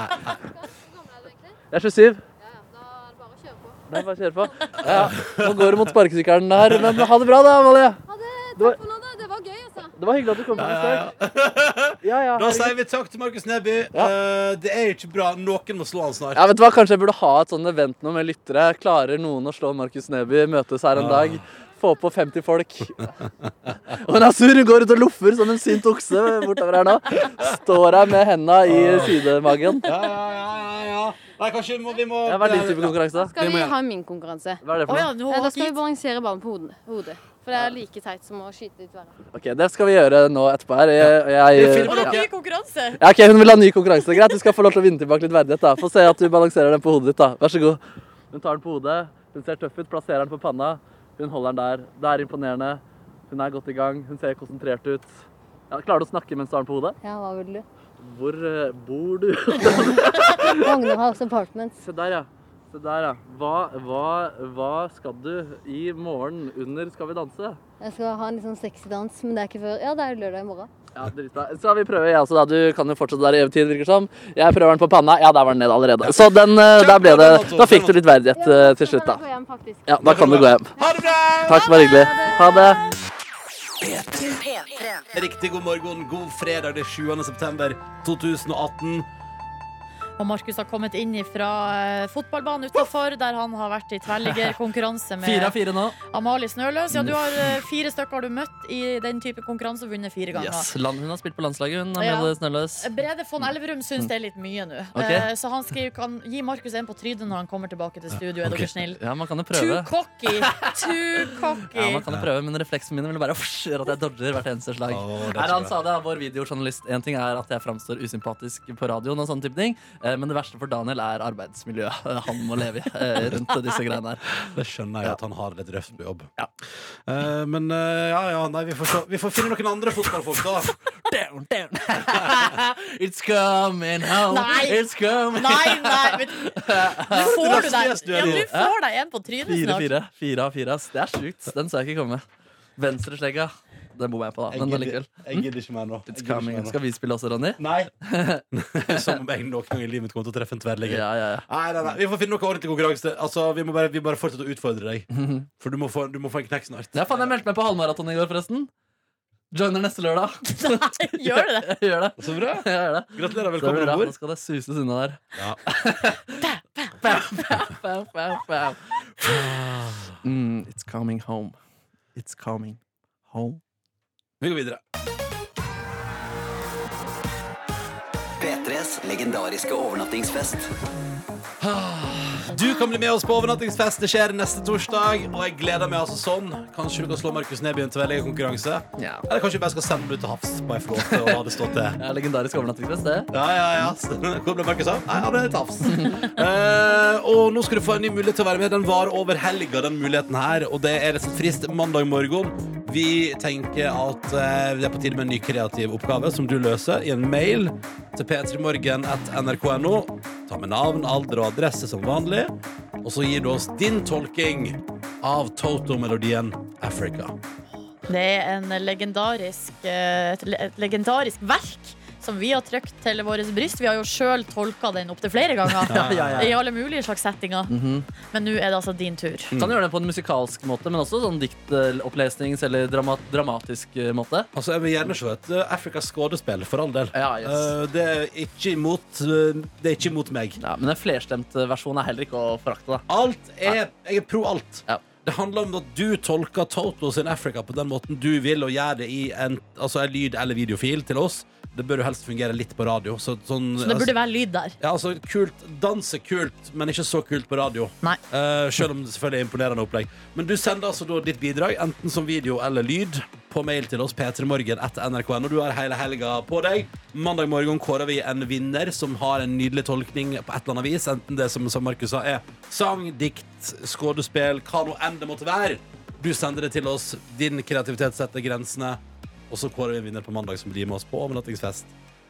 Jeg er 27. Det er bare å kjøre på. Ja, nå går du mot sparkesykkelen der, men ha det bra da, Amalie. Det var, Det var gøy, altså. det var hyggelig at du kom på besøk. Ja, ja. Da sier vi takk til Markus Neby. Eh, det er jo ikke bra. Noen må slå han snart. Ja, vet du hva? Kanskje jeg burde ha et sånn event nå med lyttere. Klarer noen å slå Markus Neby, møtes her Ah. en dag, få på 50 folk. Og hun er sur, hun går ut og loffer som en sint okse bortover her nå. Står her med henda i sidemagen. Ah. Ja, ja, ja, ja, ja. Nei, kanskje vi må, vi må Ja, Hva er din type konkurranse? da? Skal må vi jeg. ha min konkurranse? Hva er det Å for ja, noe? nå Eh, Da har skal vi gitt balansere ballen på hoden- hodet. For det er like teit som å skyte litt verre. Ok, Det skal vi gjøre nå etterpå her. Jeg, Det er jeg, film- Å, det er ny konkurranse! ja, ok, Hun vil ha ny konkurranse. Greit, du skal få lov til å vinne tilbake litt verdighet. da. Få se at du balanserer den på hodet ditt. da. Vær så god. Hun tar den på hodet. Hun ser tøff ut. Plasserer den på panna. Hun holder den der. Det er imponerende. Hun er godt i gang. Hun ser konsentrert ut. Ja, klarer du å snakke mens du har den på hodet? Ja, hva vil du? Hvor eh, bor du? Ragnar House Apartments. *laughs* Se der, ja. Se der, ja. Hva, hva, hva skal du i morgen under Skal vi danse? Jeg skal ha en litt sånn sexy dans, men det er ikke før Ja, det er lørdag i morgen. Ja, drita. Så vi prøver, jeg også, da. Du kan jo fortsette der i eventid, virker det som. Jeg prøver den på panna. Ja, der var den ned allerede. Så den, eh, der ble det Da fikk du litt verdighet eh, til slutt, da. Ja, da kan du gå hjem. Ha det bra! Takk, bare hyggelig. Ha det. P3. Riktig god morgen. God fredag det er 7. september 2018. Og Markus har kommet inn fra eh, fotballbanen utafor, der han har vært i *laughs* tverrliggerkonkurranse Fire av med fire nå. Amalie Snøløs. Ja, du Mm. har eh, fire stykker har du møtt i den type konkurranse og vunnet fire ganger. Yes. Land, hun har spilt på landslaget, hun. Ja. Amalie Snølløs. Brede von Elverum syns det er litt mye nå. Mm. Ok. Eh, Så han skriver kan gi Markus en på trynet når han kommer tilbake til studio. Er dere snill? Ja, man kan jo Too prøve. cocky! *laughs* Too Ja, man cocky! kan jo prøve, men refleksen min vil være «Fsj», at jeg dodger hvert eneste slag. Å, det er Nei, så han bra. sa det, vår videojournalist. En ting er at jeg framstår usympatisk på radioen, og sånne type ting, eh, men det verste for Daniel er arbeidsmiljøet *laughs* han må leve i eh, rundt disse greiene *laughs* her. Det skjønner jeg at han har litt røft på jobb. Eh, men eh, ja, ja, nei, vi får, se- vi får finne noen andre fotballfolk, *laughs* da. Down, down. It's coming home. Nei. It's coming *laughs* Nei, nei, vet du Nå får du deg, ja, du får deg en på trynet Fire, snart. fire. Fire av fire, ass. Det er sjukt. Den skal jeg ikke komme med. Venstreslegga. Den bommer jeg på, da. Men allikevel. jeg gidder ikke mer nå. Jeg It's gidder ikke coming. mer nå. Skal vi spille også, Ronny? Nei. Som om jeg noen gang i livet mitt kommer til å treffe en tverrligger. Ja, ja, ja. Nei, nei, nei, Vi får finne noe ordentlig konkurranse. Altså, vi må bare, vi bare fortsette å utfordre deg. For du må få, du må få en knekk snart. Mhm. Ja, faen, jeg meldte meg på halvmaraton i går, forresten. Joiner neste lørdag. *laughs* Nei, *laughs* gjør det det? *laughs* Jeg gjør det. Så bra. Jeg gjør det. Gratulerer og Så det blir velkommen bra. om Nå bord. skal det suses unna der. Ja. Pow, pow, pow, pow. Mm, it's coming home. It's coming home. Vi går videre. P3s legendariske overnattingsfest. Du kan bli med oss på overnattingsfest. Det skjer neste torsdag. Og jeg gleder meg altså sånn. Kanskje du kan slå Markus Neby i en tverrleggerkonkurranse? Ja. Eller kanskje vi bare skal sende den ut til havs på ei flåte og la det stå til? Det er legendarisk overnattingsfest, det. Ja, ja, ja. *laughs* Så, Hvor ble Markus av? Nei, han ble litt tafs. *laughs* Eh, og nå skal du få en ny mulighet til å være med. Den var over helga, den muligheten her. Og det er rett og slett frist mandag morgen. Vi tenker at eh, det er på tide med en ny kreativ oppgave som du løser i en mail til p3morgen.nrk.no. Ta med navn, alder og adresse som vanlig. Og så gir du oss din tolking av Toto-melodien Africa. Det er en legendarisk, eh, et le- et legendarisk verk som vi har trykt til vårt bryst. Vi har jo sjøl tolka den opptil flere *laughs* ganger. Ja, ja, ja. I alle mulige slags settinger. Mhm. Men nå er det altså din tur. Mm. Kan gjøre det på en musikalsk måte, men også sånn diktopplesnings- eller dramat dramatisk eh, måte. Altså, Jeg vil gjerne se et eh, Afrikas skådespill, for all del. Ja, yes. Eh, det, er ikke imot, eh, det er ikke imot meg. men den flerstemte versjonen er heller ikke å forakte. da Alt er, Jeg er pro alt. Det handler om at du tolker Toto sin Africa på den måten du vil, og gjør det i en, altså, en lyd- eller videofil til oss. Det bør jo helst fungere litt på radio. Så, sånn, Så det burde være lyd der. Ja, altså kult, Dans er kult, men ikke så kult på radio. Eh, selv om det selvfølgelig er imponerende opplegg. Men du sender altså da ditt bidrag, enten som video eller lyd, på mail til oss p3morgen etter nrk.no. Du har hele helga på deg. Mandag morgen kårer vi en vinner som har en nydelig tolkning på et eller annet vis. Enten det som, som Markus sa, er sang, dikt, skuespill, hva nå enn det måtte være. Du sender det til oss. Din kreativitet setter grensene. Og så kårer vi en vinner på mandag som blir med oss på overnattingsfest.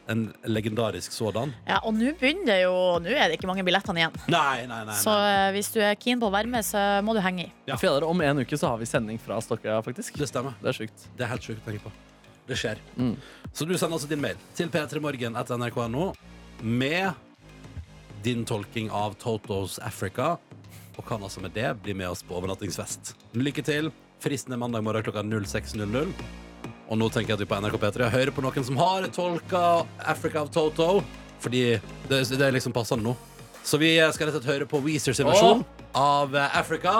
En legendarisk sådan. Ja, og nå begynner det jo Nå er det ikke mange billettene igjen. Nei, nei, nei. Så eh, hvis du er keen på å være med, så må du henge i. Ja. Fredere, om en uke så har vi sending fra Stokkøya, faktisk. Det stemmer. Det er sjukt. Det er helt sjukt å tenke på. Det skjer. Så du sender altså din mail til p3morgen etter nrk.no med din tolking av Totos Africa, og kan altså med det bli med oss på overnattingsfest. Lykke til. Fristen er mandag morgen klokka 06.00. Og nå tenker jeg at vi på NRK P3 hører på noen som har tolka Africa av Toto, fordi det, det er liksom passende nå. Så vi skal rett og slett høre på Weezers versjon av eh, Africa.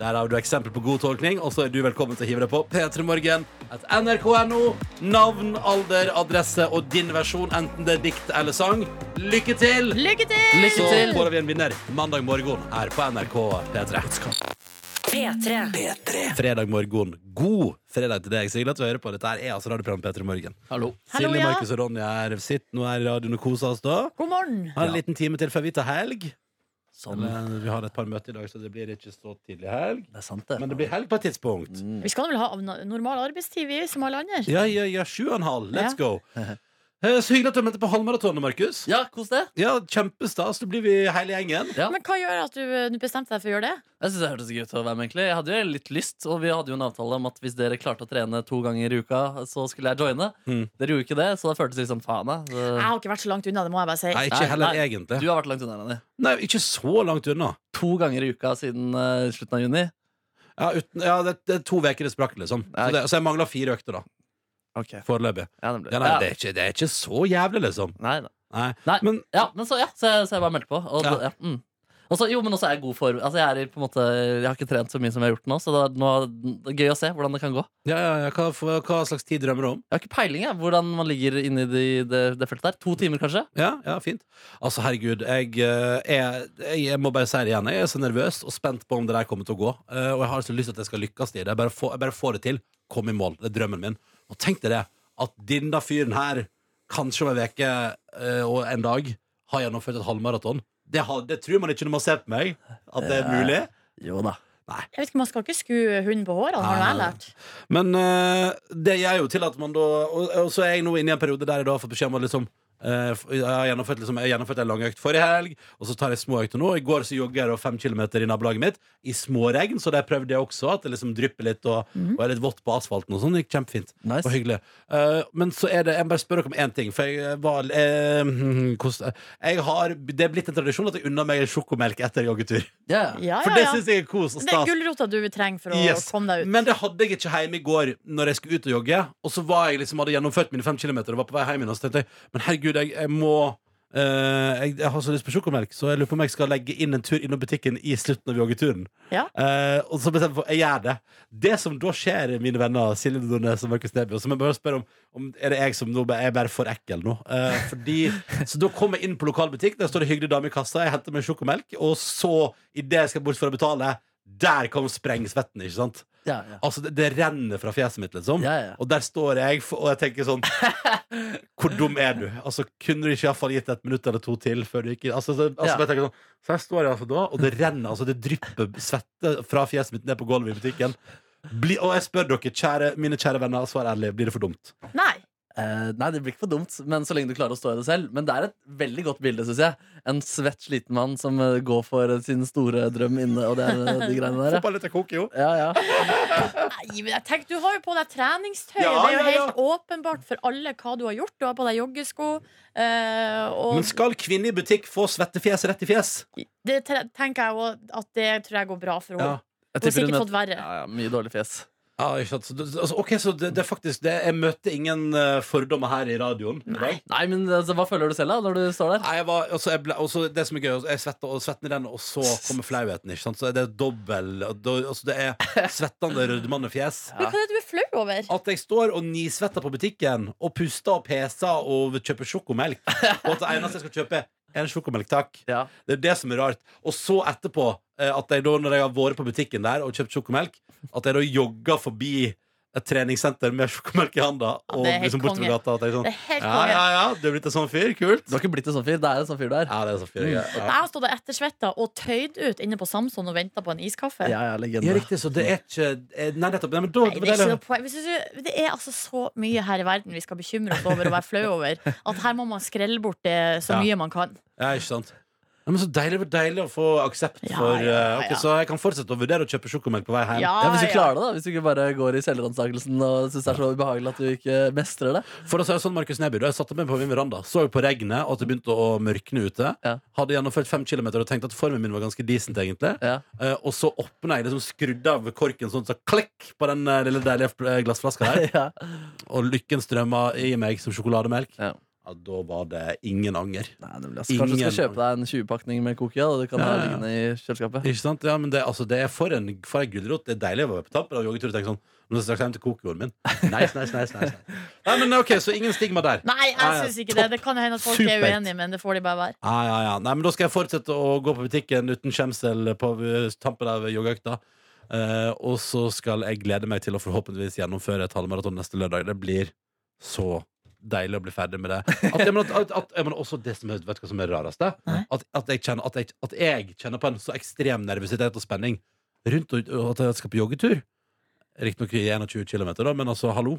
Der har du eksempel på god tolkning, og så er du velkommen til å hive deg på. P3morgen, et nrk.no, navn, alder, adresse og din versjon, enten det er dikt eller sang. Lykke til! Lykke til! Så kårer vi en vinner mandag morgen her på NRK P3. P3. Fredag morgen. God fredag til deg, Sigrid, at du hører på. Dette her er altså radioprogrammet P3 Morgen. Hallo. Silje, Hallo, ja. Markus og Ronny er sitt nå er i radioen og koser oss da. God morgen. Har en liten time til før vi tar helg. Sånn. Men vi har et par møter i dag, så det blir ikke så tidlig helg. Det er sant, det. Mm. Men det blir helg på et tidspunkt. Vi skal vel ha av- normal arbeidstid, vi, som alle andre. Ja, ja, ja, sju og en halv. Let's Ja. go. *laughs* Eh, Så hyggelig at du meldte på halvmaratonet, Markus. Ja, kos det. Ja, Kjempestas. Da blir vi hele gjengen. Men hva gjør at du, du bestemte deg for å gjøre det? Jeg synes det hørtes gøy ut å være med, egentlig. Jeg hadde jo litt lyst, og vi hadde jo en avtale om at hvis dere klarte å trene to ganger i uka, så skulle jeg joine. Dere gjorde ikke det, så det føltes litt sånn faen, jeg. Så- Jeg har ikke vært så langt unna, det må jeg bare si. Nei, ikke heller egentlig. Du har vært langt unna, Rani. Nei, ikke så langt unna. To ganger i uka siden eh, slutten av juni. Ja, uten, ja det, det er to uker det sprakk, liksom. Så, det, så jeg mangler fire økter, da. Foreløpig. Ja, nei, ja. det, er ikke, det er ikke så jævlig, liksom. Nei da. Nei. Nei, men, ja, men så, ja, så, jeg- så jeg bare meldte på. Og, Ja. da- ja. mm. Og så- jo, men også er jeg i god form. Altså, jeg, er i, på en måte, jeg har ikke trent så mye som jeg har gjort nå, så det er, nå, det er gøy å se hvordan det kan gå. Ja, ja, ja. Hva, for- hva slags tid drømmer du om? Jeg har ikke peiling jeg, hvordan man ligger inni det, det, det feltet der. To timer, kanskje? Ja, ja, fint. Altså, herregud, jeg, eh, er- jeg, jeg må bare si det igjen. Jeg er så nervøs og spent på om det der kommer til å gå. Eh, Og jeg har så lyst til at jeg skal lykkes i det. Jeg bare, får, jeg bare får det til. Kom i mål. Det er drømmen min. Og tenk deg det, at denne fyren her, kanskje om en uke eh, og en dag, har gjennomført et halvmaraton. Det, har, det tror man ikke når man ser på meg, at det er mulig. Jo da. Jeg vet ikke, Man skal ikke skue hunden på hårene, har nå jeg lært. Men eh, det gjør jo til at man da Og, og så er jeg nå inne i en periode der jeg da har fått beskjed om at liksom eh, f- jeg har gjennomført, liksom, jeg har gjennomført en lang økt forrige helg, og så tar jeg små økter nå. I går så jogger jeg da fem kilometer i nabolaget mitt i småregn, så der prøvde jeg også at det liksom drypper litt og, Mhm. og er litt vått på asfalten og sånn. Det gikk kjempefint og hyggelig. Eh, men så er det Jeg må bare spør dere om én ting, for jeg var eh, *laughs* hvordan- jeg har, Det er blitt en tradisjon at jeg unner meg sjokomelk etter joggetur. Ja, For ja, det ja. syns jeg er kos og Det er stas. gulrota du trenger for å Yes. komme deg ut. Men det hadde jeg ikke hjemme i går Når jeg skulle ut og jogge Og så var jeg liksom, hadde jeg gjennomført mine fem kilometer Og var på vei hjem igjen, Og så tenkte jeg, men herregud, jeg, jeg må Eh, jeg, jeg har så lyst på sjokomelk, så jeg lurer på om jeg skal legge inn en tur innom butikken i slutten av joggeturen. Ja. Eh, og så bestemmer jeg for jeg gjør det. Det som da skjer, mine venner, Silje Nordnes og Markus Neby, og som jeg bare spør om, om er det jeg som nå er bare for ekkel nå. Eh, fordi, så da kommer jeg inn på lokal butikk, der står det hyggelig dame i kassa, jeg henter meg sjokomelk, og så, idet jeg skal bort for å betale, der kom sprengsvetten, ikke sant? Ja, ja. Altså, det, det renner fra fjeset mitt, liksom. Og der står jeg, f- og jeg tenker *laughs* sånn Hvor dum er du? Altså, kunne du ikke i hvert fall gitt et minutt eller to til før du gikk inn? Altså, så, altså, Ja. bare tenker sånn, så her står jeg altså da, og det renner, altså, det drypper svette fra fjeset mitt ned på gulvet i butikken. Bli, og jeg spør dere, kjære, mine kjære venner, svar ærlig, blir det for dumt? Nei. Eh, nei, det blir ikke for dumt, men så lenge du klarer å stå i det selv. Men det er et veldig godt bilde, syns jeg. En svett, sliten mann som eh, går for eh, sin store drøm inne, og det er eh, de greiene der. *laughs* Få på litt av koke, jo. Ja, ja. Nei, men jeg tenker, Du har jo på deg treningstøy. Ja, det er jo ja, ja. helt åpenbart for alle hva du har gjort. Du har på deg joggesko. eh, og Men skal kvinner i butikk få svettefjes rett i fjes? det tre- tenker jeg òg at det tror jeg går bra for henne. Hun har sikkert fått verre. Ja, ja, mye dårlig fjes. Ja, ikke sant? Så, det- altså, ok, så det, det er faktisk det. Jeg møtte ingen eh, fordommer her i radioen. i dag. Nei, men altså, hva føler du selv da, når du står der? Nei, jeg var, altså, jeg ble, altså, det som er gøy, altså, jeg svetter, og svetten renner, og så kommer flauheten. Ikke sant? Så det er dobbel og da- altså, Det er svettende rødmende fjes. Men hva er det du er flau over? At jeg står og nisvetter på butikken og puster og peser og kjøper sjokomelk. Og at det eneste jeg skal kjøpe, er en sjokomelk, takk. Det er det som er rart. Og så etterpå, eh, at jeg da, når jeg har vært på butikken der og kjøpt sjokomelk, at jeg da jogger forbi et treningssenter med sjokomelk i handa. Ja, Og det er helt liksom bort til konge. gata. Og tenker sånn, Det er helt ja, konge. ja, ja, du er blitt en sånn fyr. Kult. Du har ikke blitt en sånn fyr. Det er en sånn fyr du er. Ja, det er en sånn fyr jeg er. Jeg Ja. har stått og ettersvetta og tøyd ut inne på Samson og venta på en iskaffe. ja, legende. Ja, riktig, så det er ikke eh, Nei, nettopp. Nei, men da, Nei, det, er ikke noe poeng. Vi synes jo- det er altså så mye her i verden vi skal bekymre oss over og være flau over, at her må man skrelle bort det så Ja. mye man kan. Ja, ikke sant Nei, men Så deilig, det var deilig å få aksept for ja, eh, ja, ok, ja. Så jeg kan fortsette å vurdere å kjøpe sjokomelk på vei hjem. Ja, Ja, Hvis du klarer det, da. Hvis du ikke bare går i selvransakelsen og syns det er så ubehagelig at du ikke mestrer det. For å si det sånn, Markus Neby, da jeg satte meg på min veranda, så på regnet og at det begynte å mørkne ute. Hadde gjennomført fem kilometer og tenkte at formen min var ganske decent, egentlig. Eh, og så åpna jeg liksom skrudde av korken sånn, så klikk på den eh, lille deilige eh, glassflaska der. Og lykken strømma i meg som sjokolademelk. Ja. da var det ingen anger. Altså, kanskje du skal kjøpe deg en 20-pakning med kokia, og det kan Ja, være ja, ja. liggende i kjøleskapet. Ikke sant? Ja, men det, altså, det er for en, for en gulrot. Det er deilig å være på tampen av joggetur og tenke sånn Nå skal jeg straks hjem til kokejorden min. Nice, nice, nice, nice. Nei, men ok, Så ingen stigma der. Nei, Ja, ja, jeg syns ikke det. Det kan hende at folk er Supert. uenige, men det får de bare være. Ja, ja, ja. Nei, men Da skal jeg fortsette å gå på butikken uten skjemsel på eh, tampen av joggeøkta. Eh, og så skal jeg glede meg til å forhåpentligvis gjennomføre et halvmaraton neste lørdag. Det blir så deilig å bli ferdig med det. At, jeg, mener, at, at, jeg mener, også det som er, vet du hva som er det rareste? At, at, jeg kjenner, at, jeg, at jeg kjenner på en så ekstrem nervøsitet og spenning rundt og, og at jeg skal på joggetur. Riktignok i 21 km, da, men altså, hallo.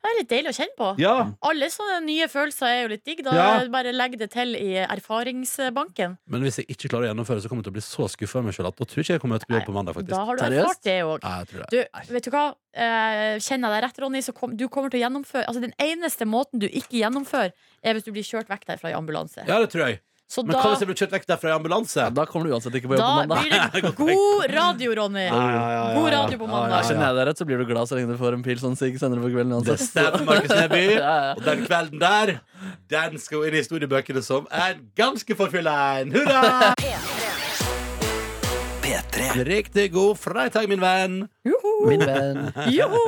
Det er litt deilig å kjenne på. Ja. Alle sånne nye følelser er jo litt digg. Da Ja. bare legg det til i erfaringsbanken. Men hvis jeg ikke klarer å gjennomføre, så kommer jeg til å bli så skuffa av meg sjøl at da tror jeg ikke jeg kommer til å jobbe på mandag, faktisk. Da har du erfart det òg. Ja, jeg tror det. Du, vet du hva? Eh, kjenner jeg deg rett, Ronny, så kom, du kommer til å gjennomføre Altså, Den eneste måten du ikke gjennomfører, er hvis du blir kjørt vekk derfra i ambulanse. Ja, det tror jeg. Så men da- hva hvis jeg blir kjørt vekk derfra i ambulanse? da kommer du uansett ikke Da *laughs* blir det god radio, Ronny. God radio på mandag. Kjenner jeg deg rett, så blir du glad så lenge du får en pil som Sig sender på kvelden uansett. Det stemmer, Markus Neby. Og den kvelden der, den skal jo inn i historiebøkene som en ganske forfyll en. Hurra! En Riktig god fredag, min venn. Min *laughs* venn. *laughs* Joho!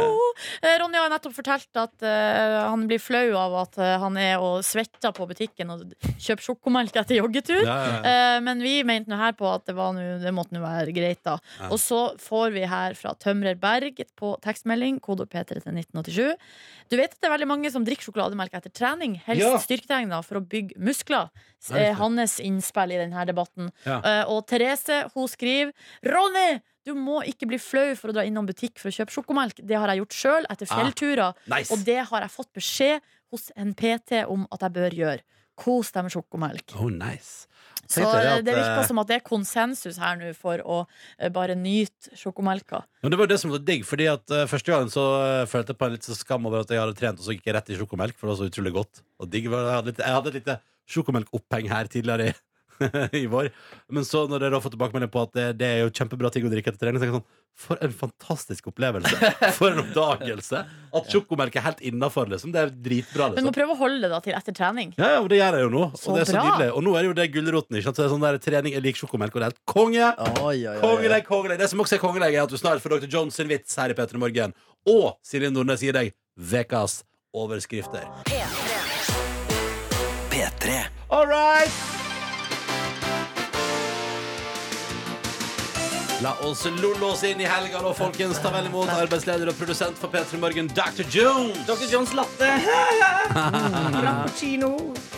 Eh, Ronny har nettopp fortalt at eh, han blir flau av at eh, han er og svetter på butikken og kjøper sjokomelk etter joggetur. Ja, ja, ja. Eh, men vi mente nå her på at det, var nå- det måtte nå være greit, da. Ja. Og så får vi her fra Tømrer Berg på tekstmelding, kode P3 til 1987. Du vet at det er veldig mange som drikker sjokolademelk etter trening, helst Ja. styrketrening, da, for å bygge muskler. Ja, Eh, riktig. hans innspill i denne debatten. Ja. Eh, og Therese hun skriver Ronny! Du må ikke bli flau for å dra innom butikk for å kjøpe sjokomelk. Det har jeg gjort sjøl etter Ah, fjellturer, nice. og det har jeg fått beskjed hos en PT om at jeg bør gjøre. Kos deg med sjokomelk. Oh, nice. Så Tenkte jeg eh, at, det virker eh, som at det er konsensus her nå for å eh, bare nyte sjokomelka. Men det var jo det som var digg, fordi at eh, første gangen så eh, følte jeg på en litt sånn skam over at jeg hadde trent, og så gikk jeg rett i *laughs* sjokomelk, for det var så utrolig godt. Og digg var det. Jeg hadde litt- Jeg hadde et lite sjokomelkoppheng her tidligere i i vår. Men så når dere har fått tilbakemelding på at det, det er jo kjempebra ting å drikke etter trening, så er jeg sånn For en fantastisk opplevelse! For en oppdagelse! At sjokomelk er helt innafor, liksom. Det er dritbra. Men Liksom. må prøve å holde det da til etter trening. Ja, ja, men det gjør jeg jo nå. Så Og det er så bra. nydelig. Og nå er det jo det gulroten. Ikke sant? Så det er sånn der trening jeg liker sjokomelk, og det er helt konge! Kongeleg, kongeleg. Det som også er kongeleg, er at du snart får Dr. John sin vits her i P3 Morgen. Og Silje Nordnes gir deg ukas overskrifter. P3. All right! La oss lulle oss inn i helga nå, folkens. Ta vel imot arbeidsleder og produsent for P3 Morgen, Dr. Jones. Dr. Johns latte. Frappuccino.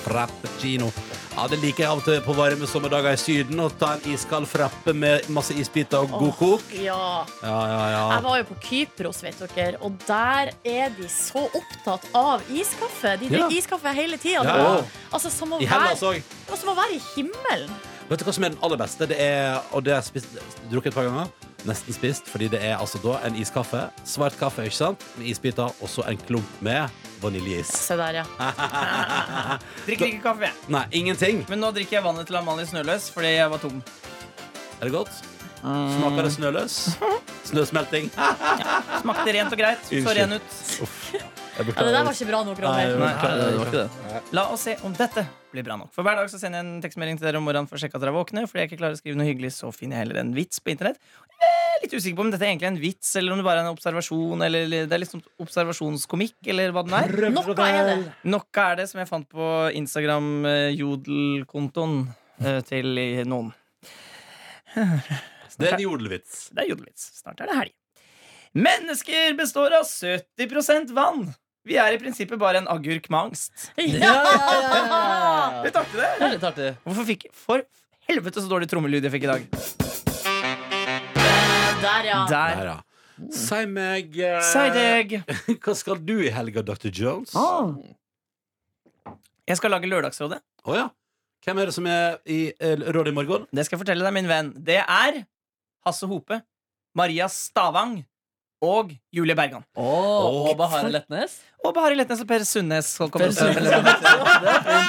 Frappuccino. Ja, det liker jeg av og til på varme sommerdager i Syden. Å ta en iskald frappe med masse isbiter og god kok. Ja. Ja, ja, ja. Jeg var jo på Kypros, vet dere, og der er de så opptatt av iskaffe. De Ja. drikker iskaffe hele tida. Ja, ja. Altså, som å I være- Hellas òg. Det var som å være i himmelen. Vet du hva som er den aller beste? Det er, og det har jeg spist, drukket et par ganger. Nesten spist, fordi det er altså da en iskaffe. Svart kaffe, ikke sant? Med isbiter, og så en klump med vaniljeis. Se der, ja. Drikker ikke kaffe. jeg. Nei, ingenting. Men nå drikker jeg vannet til Amalie Snøløs fordi jeg var tom. Er det godt? Smaker det snøløs? Snøsmelting? Smakte rent og greit. Så Unnskyld. ren ut. Jeg Ja, det der var ikke bra nok, Nei, Ronny. det var ikke det. La oss se om dette blir bra nok. For Hver dag så sender jeg en tekstmelding til dere om morgenen for å sjekke at dere er våkne. Fordi jeg ikke klarer å skrive noe hyggelig, så finner jeg heller en vits på internett. Jeg er litt usikker på om dette er egentlig en vits, eller om det bare er en observasjon, eller eller det er liksom observasjonskomikk, eller hva den er. Noe er det. Noe er det som jeg fant på Instagram-jodel-kontoen eh, til i- noen. Det er en jodelvits. Det er jodelvits. Snart er det helg. Mennesker består av 70 vann. Vi er i prinsippet bare en agurk med angst. Litt artig, det. Det er litt artig. Hvorfor fikk For helvete så dårlig trommelyd jeg fikk i dag. Der, ja. Der. Der, ja. Si meg eh, Si deg. *laughs* Hva skal du i helga, Dr. Jones? Jeg skal lage Lørdagsrådet. Å ja. Hvem er det som er i eh, rådet i morgen? Det skal jeg fortelle deg, min venn. Det er Hasse Hope, Maria Stavang og Julie Bergan. Åh, Åh, Åba Harald Letnes? Og Bahari Letnes og Per Sundnes. skal komme Per til å spille.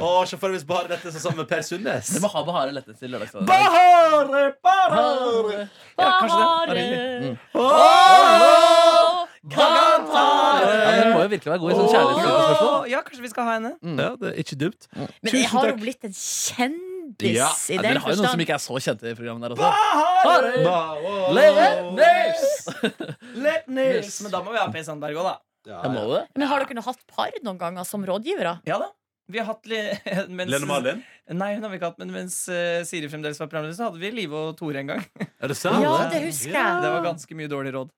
Å, se for deg hvis bare dette er sammen med Per Sundnes. Du må ha Bahare Letnes til lørdagsdagen. Bahare, Bahare Ja, kanskje det. Åh, Ja, men hun må jo virkelig være god i sånn kjærlighetsspørsmål. Mm. Åh, Ja, kanskje vi skal ha henne. Ja, det er ikke dumt. Men jeg har jo blitt en kjendis Ja, i ja, den Dere har jo noen som forstand. ikke er så kjente i programmet der Ah, også. Letnes! Letnes. Men da må vi ha Per Sandberg òg, da. Ja, Jeg må det. Men har dere noe hatt par noen ganger som rådgivere? Ja da. Vi har hatt li- *laughs* mens, Lene Marlin? Nei, hun har vi ikke hatt, men mens eh, Siri fremdeles var programleder, så hadde vi Live og Tore en gang. Er det sant? Ja, det husker jeg. Det var ganske mye dårlig *laughs* råd.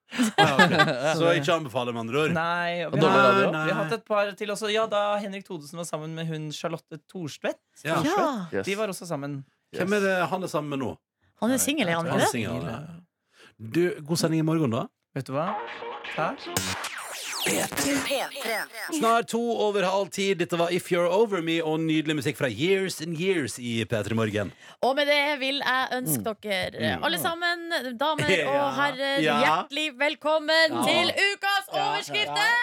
Ah. *laughs* Så ikke anbefale, med andre ord. Nei, og Og vi, dårlig har, radio? vi har hatt et par til også. Ja, da Henrik Thodesen var sammen med hun Charlotte Thorstvedt. Ja. Thorstvedt, Ja. De var også sammen. Hvem er det han er sammen med nå? Han er singel, er Han han er ikke det? singel, han er. Du, god sending i morgen, da. Vet du hva? Her. Snart to over halv ti. Dette var If You're Over Me og nydelig musikk fra Years and Years i P3 Morgen. Og med det vil jeg ønske dere, Mm. alle sammen, damer og Ja. herrer, Ja. hjertelig velkommen Ja. til ukas overskrifter!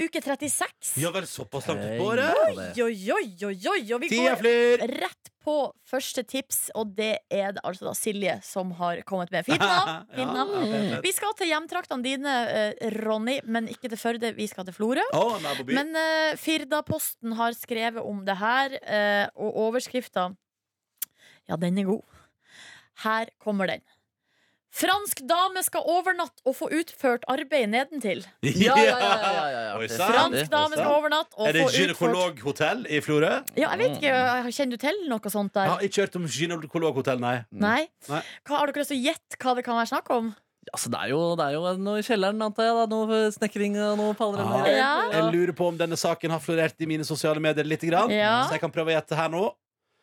Uke 36. Ja vel, såpass langt på Oi, sporet? oi, oi, oi, oi. Og vi Tida går *laughs* flyr! rett på første tips, og det er det altså da Silje som har kommet med. Fint *laughs* navn! Ja, Fint navn. ja, fint, fint. Vi skal til hjemtraktene dine, eh, Ronny, men ikke til Førde. Vi skal til Florø. Å, han er på by. *laughs* Men uh, Firdaposten har skrevet om det her, eh, og overskrifta Ja, den er god. Her kommer den. Fransk dame skal overnatte og få utført arbeid nedentil. Ja, ja, ja, ja, ja, ja. Oi, sant. Fransk dame skal overnatte og Er det Mm. få utført gynekologhotell i Florø? ja, jeg vet ikke, Kjenner du til noe Jeg sånt der? har ikke hørt om gynekologhotell, nei. Nei? Nei. Hva, har dere lyst til å gjette hva det kan være snakk om? Altså, det er jo, det er jo noe i kjelleren, antar jeg. da Noe snekring og noe paller. og noe greier. Ja. Jeg lurer på om denne saken har florert i mine sosiale medier litt. Grann, Ja. Så jeg kan prøve å gjette her nå.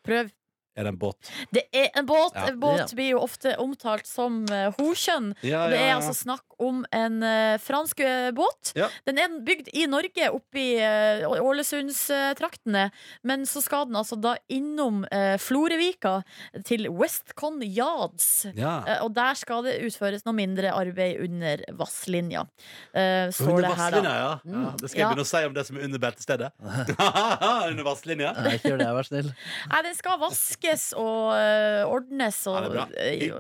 Prøv. er det en båt. Det er en båt. Ja. En båt Ja. blir jo ofte omtalt som eh, hokjønn. Ja, Og det ja, er ja. altså snakk om en eh, fransk eh, båt. Ja. Den er bygd i Norge, oppe i uh, Ålesundstraktene. Men så skal den altså da innom eh, Florevika, til Westcon Yards. Ja. Eh, og der skal det utføres noe mindre arbeid under vasslinja. Eh, står under det her, da. vasslinja, ja. ja. Det skal jeg Ja. begynne å si om det som er under *laughs* beltestedet. *laughs* under vasslinja. Nei, ikke gjør det, vær *laughs* snill. Nei, den skal vaskes og eh, ordnes og eh, Ja, det er bra.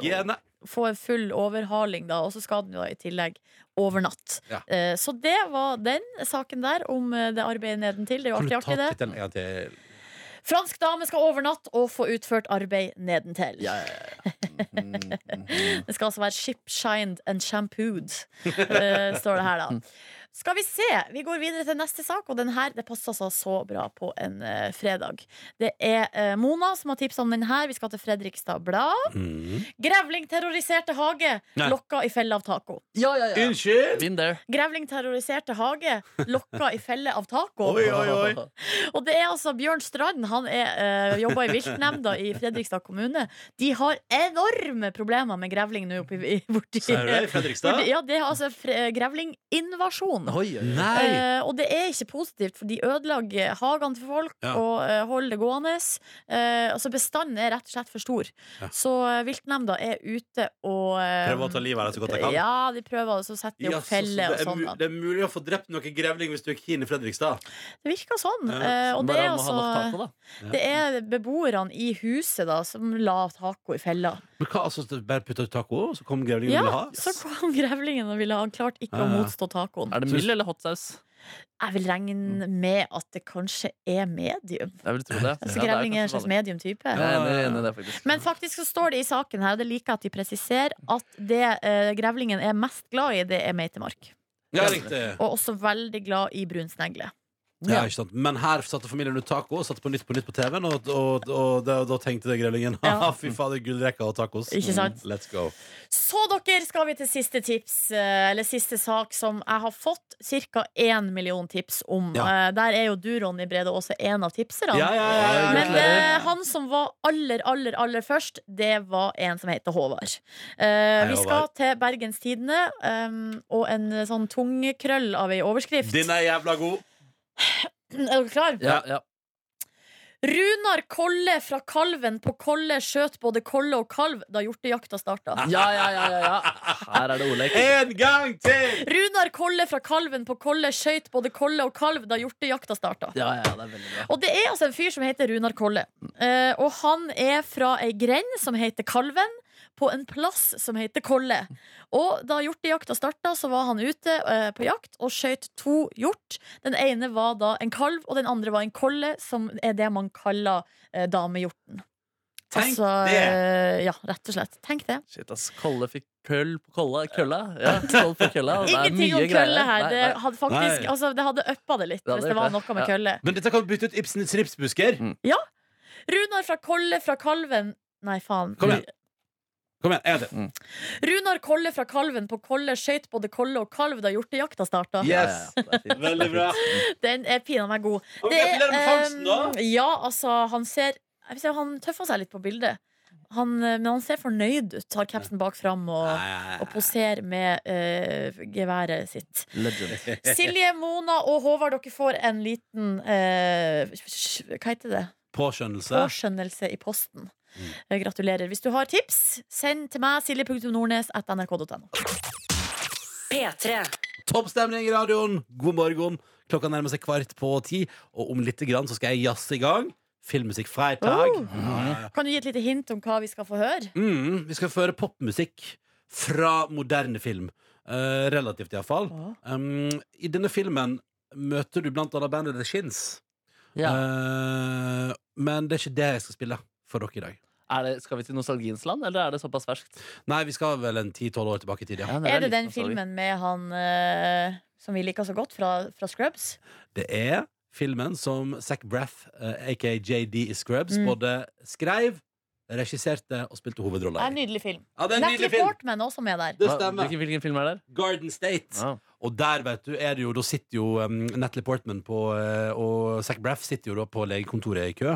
Hygiene. få en full overhaling, da. Og så skal den jo da i tillegg overnatt. Ja. Eh, så det var den saken der om eh, det arbeidet nedentil. Det er jo Kan du artig, ta artig, det. tittelen en gang til? Fransk dame skal overnatte og få utført arbeid nedentil. Mhm, det skal altså være ship shined and shampooed, eh, står det her, da. Skal vi se, vi går videre til neste sak, og den her det passer altså så bra på en eh, fredag. Det er eh, Mona som har tipsa om den her. Vi skal til Fredrikstad Blad. Mm. Grevling terroriserte hage, Nei. lokka i felle av taco. Unnskyld? Been there. Grevling terroriserte hage, lokka i felle av taco. Oi, oi, *laughs* oi. Og det er altså Bjørn Strand, han er, eh, jobber i viltnemnda i Fredrikstad kommune. De har enorme problemer med grevling nå oppi i- borti Sier du det, i Fredrikstad? Borti- Eh, Ja, det er altså fre- grevlinginvasjon. Oi, oi, oi. Nei. Eh, og det er ikke positivt, for de ødelegger hagene til folk Ja. og eh, holder det gående. Eh, altså bestanden er rett og slett for stor. Ja. Så eh, viltnemnda er ute og eh, Prøver å ta livet av det så godt de kan. Ja, de prøver, og så setter de Ja, så- opp så feller og det, er, sånn. mu- da. det er mulig å få drept noen grevling hvis du er keen i Fredrikstad. Det virker sånn. Ja. Eh, og det Bare er han må ha nok altså taco, da. Det er beboerne i huset da som la taco i fella. Men hva, altså, Bare putte ut taco, så kom grevlingen du ville ha? Ja, så kom grevlingen og ville ha han klart ikke å Ja, ja. motstå tacoen. Er Mm. det mild eller hot saus? Jeg vil regne med at det kanskje er medium. Jeg vil tro det. Altså grevling er en sånn. slags medium type. Ja, jeg er enig i det, faktisk. Men faktisk så står det i saken her, og det liker jeg at de presiserer, at det eh, grevlingen er mest glad i, det er meitemark. Ja, riktig. Og også veldig glad i brunsnegle. Ja, ikke sant? Men her satte familien ut taco og satte på Nytt på Nytt på TV-en, og, og, og, da- da tenkte det grevlingen *laughs* Ja. fy fader, gullrekka og tacos. Ikke sant? Mm, Let's go. Så dere skal vi til siste tips, eh, eller siste sak, som jeg har fått ca. 1 million tips om. Ja. Eh, Der er jo du, Ronny Brede, også en av tipserne. Ja, ja, ja, ja, Men gratulerer. eh, han som var aller, aller, aller først, det var en som heter Håvard. Eh, vi skal Håvard. til Bergens Tidende eh, og en eh, sånn tungekrøll av ei overskrift. Din er jævla god. *clears throat* Er du klar? Ja, ja. Runar Kolle fra Kalven på Kolle skjøt både kolle og kalv da hjortejakta starta. Ja, ja, ja, ja, ja. Her er det ordlek. En gang til! Runar Kolle fra Kalven på Kolle skøyt både kolle og kalv da hjortejakta starta. Ja, ja, det er veldig bra. Og det er altså en fyr som heter Runar Kolle. Eh, og han er fra ei grend som heter Kalven, på en plass som heter Kolle. Og da hjortejakta starta, så var han ute eh, på jakt og skøyt to hjort. Den ene var da en kalv, og den andre var en kolle, som er det man kaller eh, damehjorten. Tenk Altså, det! eh, ja, rett og slett. Tenk det. Shit, ass. Kolle fikk køll på kolla. Kølla? Ja, skål for kølla. Det er Ingenting mye om kølle greier. her. Nei, Det nei. hadde faktisk Nei. altså, Det hadde uppa det litt Ja, det hvis det gjør var det. noe med Ja. kølle. Men dette kan vi bytte ut Ibsens ripsbusker. Ja! Runar fra Kolle fra Kalven Nei, faen. Kom igjen. Kom igjen, en gang til. Runar Kolle fra Kalven på Kolle skøyt både kolle og kalv da hjortejakta starta. Yes! Mm. Veldig bra. Den er pinadø meg god. Og gratulerer med fangsten, da. eh, Ja, altså, han ser jeg vil si, Han tøffer seg litt på bildet. Han, eh, men han ser fornøyd ut. Har capsen bak fram og, og poserer med eh, geværet sitt. *laughs* Legend. Silje, Mona og Håvard, dere får en liten eh, Hva heter det? Påskjønnelse. Påskjønnelse i posten. Mm. Eh, Gratulerer. Hvis du har tips, send til meg silje.nordnes.nrk.no. P3. Topp stemning i radioen. God morgen. Klokka nærmer seg kvart på ti, og om litt grann så skal jeg jazze i gang. Filmmusikk fredag. Oh. Kan du gi et lite hint om hva vi skal få høre? Mm, vi skal føre popmusikk fra moderne film. Eh, relativt, iallfall. Um, I denne filmen møter du blant annet bandet The Shins. Eh, men det er ikke det jeg skal spille for dere i dag. Er det, skal vi til nostalgiens land, eller er det såpass ferskt? Nei, vi skal vel en 10-12 år tilbake i tid, ja. Er det den filmen med han eh, som vi liker så godt, fra, fra Scrubs? Det er filmen som Zac Braff, eh, aka JD i Scrubs, Mm. både skrev, regisserte og spilte Det er hovedrolla en i. nydelig film. Ja, det er en nydelig film. Portman også med der. Det stemmer. Hvilken, hvilken film er det? Garden State. Og der vet du, er det jo, da sitter jo um, Natalie Portman på, eh, og Zac Braff sitter jo da på legekontoret i kø.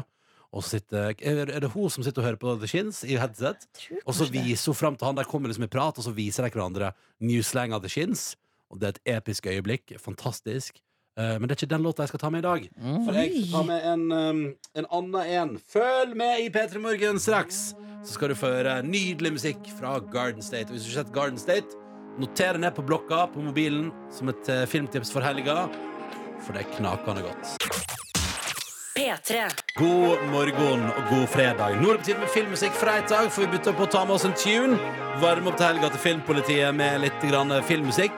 Og så sitter, er er det hun som sitter og hører på The Shins i headset? Og så viser hun fram til han, der kommer liksom i prat, og så viser de hverandre new slang av The Shins. Og det er et episk øyeblikk. Fantastisk. Eh, Men det er ikke den låta jeg skal ta med i dag. For jeg skal ta med en, um, en annen en. Følg med i P3 Morgen straks, så skal du få høre nydelig musikk fra Garden State. Og hvis du ikke har sett Garden State, noter det ned på blokka på mobilen som et eh, filmtips for helga, for det er knakende godt. P3. God morgen og god fredag. Nå er det på tide med filmmusikk fredag, for vi bytter på å ta med oss en tune. Varme opp til helga til Filmpolitiet med litt grann filmmusikk.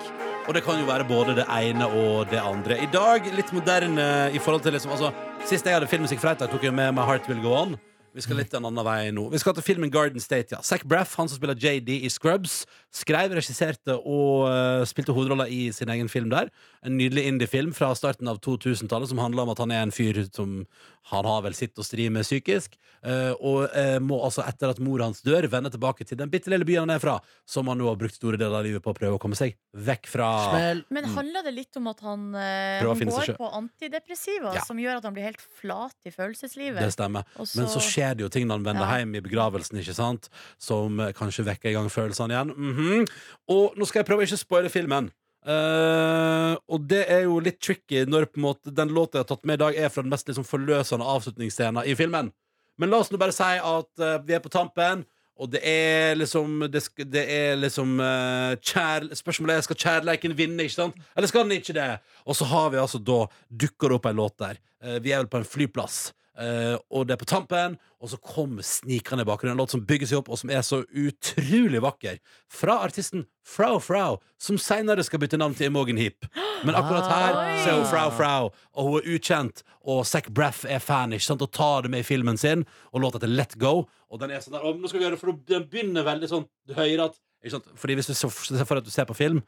Og det kan jo være både det ene og det andre. I dag litt moderne i forhold til liksom, altså, Sist jeg hadde filmmusikk fredag, tok jeg med meg Heart Will Go On. Vi skal litt en annen vei nå. Vi skal til filmen Garden State. ja Zac Braff, han som spiller JD i Scrubs, skrev, regisserte og eh, spilte hovedrolla i sin egen film der. En nydelig indie-film fra starten av 2000-tallet som handler om at han er en fyr som han har vel sitt å stri med psykisk, eh, og eh, må altså etter at mor hans dør, vende tilbake til den bitte lille byen han er fra, som han nå har brukt store deler av livet på å prøve å komme seg vekk fra. Men Mm. handler det litt om at han, eh, Prøver å han finne seg går selv. på antidepressiva, Ja. som gjør at han blir helt flat i følelseslivet? Det stemmer. Og Men så skjer det jo ting når han vender Ja. hjem i begravelsen, ikke sant? som eh, kanskje vekker i gang følelsene igjen. Mhm. Og nå skal jeg prøve å ikke spoile filmen. Eh, og det er jo litt tricky når på en måte den låta jeg har tatt med i dag, er fra den mest liksom, forløsende avslutningsscenen i filmen. Men la oss nå bare si at eh, vi er på tampen, og det er liksom Det, sk- det er liksom eh, kjær, Spørsmålet er skal kjærleiken vinne, ikke sant? Eller skal den ikke det? Og så har vi altså da dukker det opp en låt der. Eh, vi er vel på en flyplass. eh, og det er på tampen, og så kommer snikende i bakgrunnen. En låt som bygger seg opp, og som er så utrolig vakker. Fra artisten Frau Frau, som seinere skal bytte navn til Imogen Heap. Men akkurat her så er hun Frau Frau, og hun er ukjent. Og Zac Braff er fan ikke sant? og tar det med i filmen sin. Og låta heter Let Go. Og den er sånn der, «Å, nå skal vi gjøre det, for den begynner veldig sånn høyere at ikke sant? Fordi hvis du så- ser for deg at du ser på film,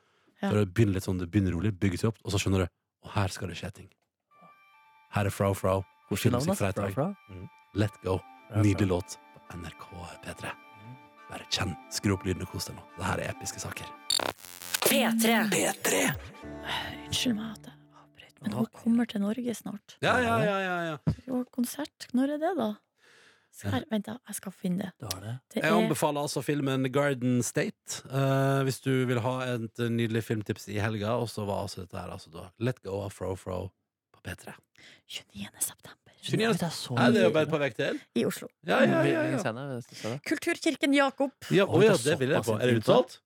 Ja. så det begynner litt sånn, det begynner rolig, bygger seg opp, og så skjønner du Og her skal det skje ting. Her er Frau Frau. og Hvordan navn, filmmusikk fra et ass? Frau øy. Frau? Mm. Let Go. Nydelig låt på NRK P3. Bare kjenn. Skru opp lyden og kos deg nå. Det her er episke saker. P3. Unnskyld meg at jeg avbryter, men hun kommer til Norge snart. Ja, ja, ja, ja, ja. Hun har konsert. Når er det, da? Skal, Vent, da. Jeg skal finne det. Det Jeg er anbefaler altså filmen Garden State. eh, hvis du vil ha et nydelig filmtips i helga. Og så var altså dette her altså da Let Go av Fro Fro på P3. 29. september. 29. Det er så Nei, det er jo nydelig. bare et par uker til. I Oslo. Ja, ja, ja, ja. Kulturkirken Jakob. Ja, å ja, det vil jeg på. Er det uttalt?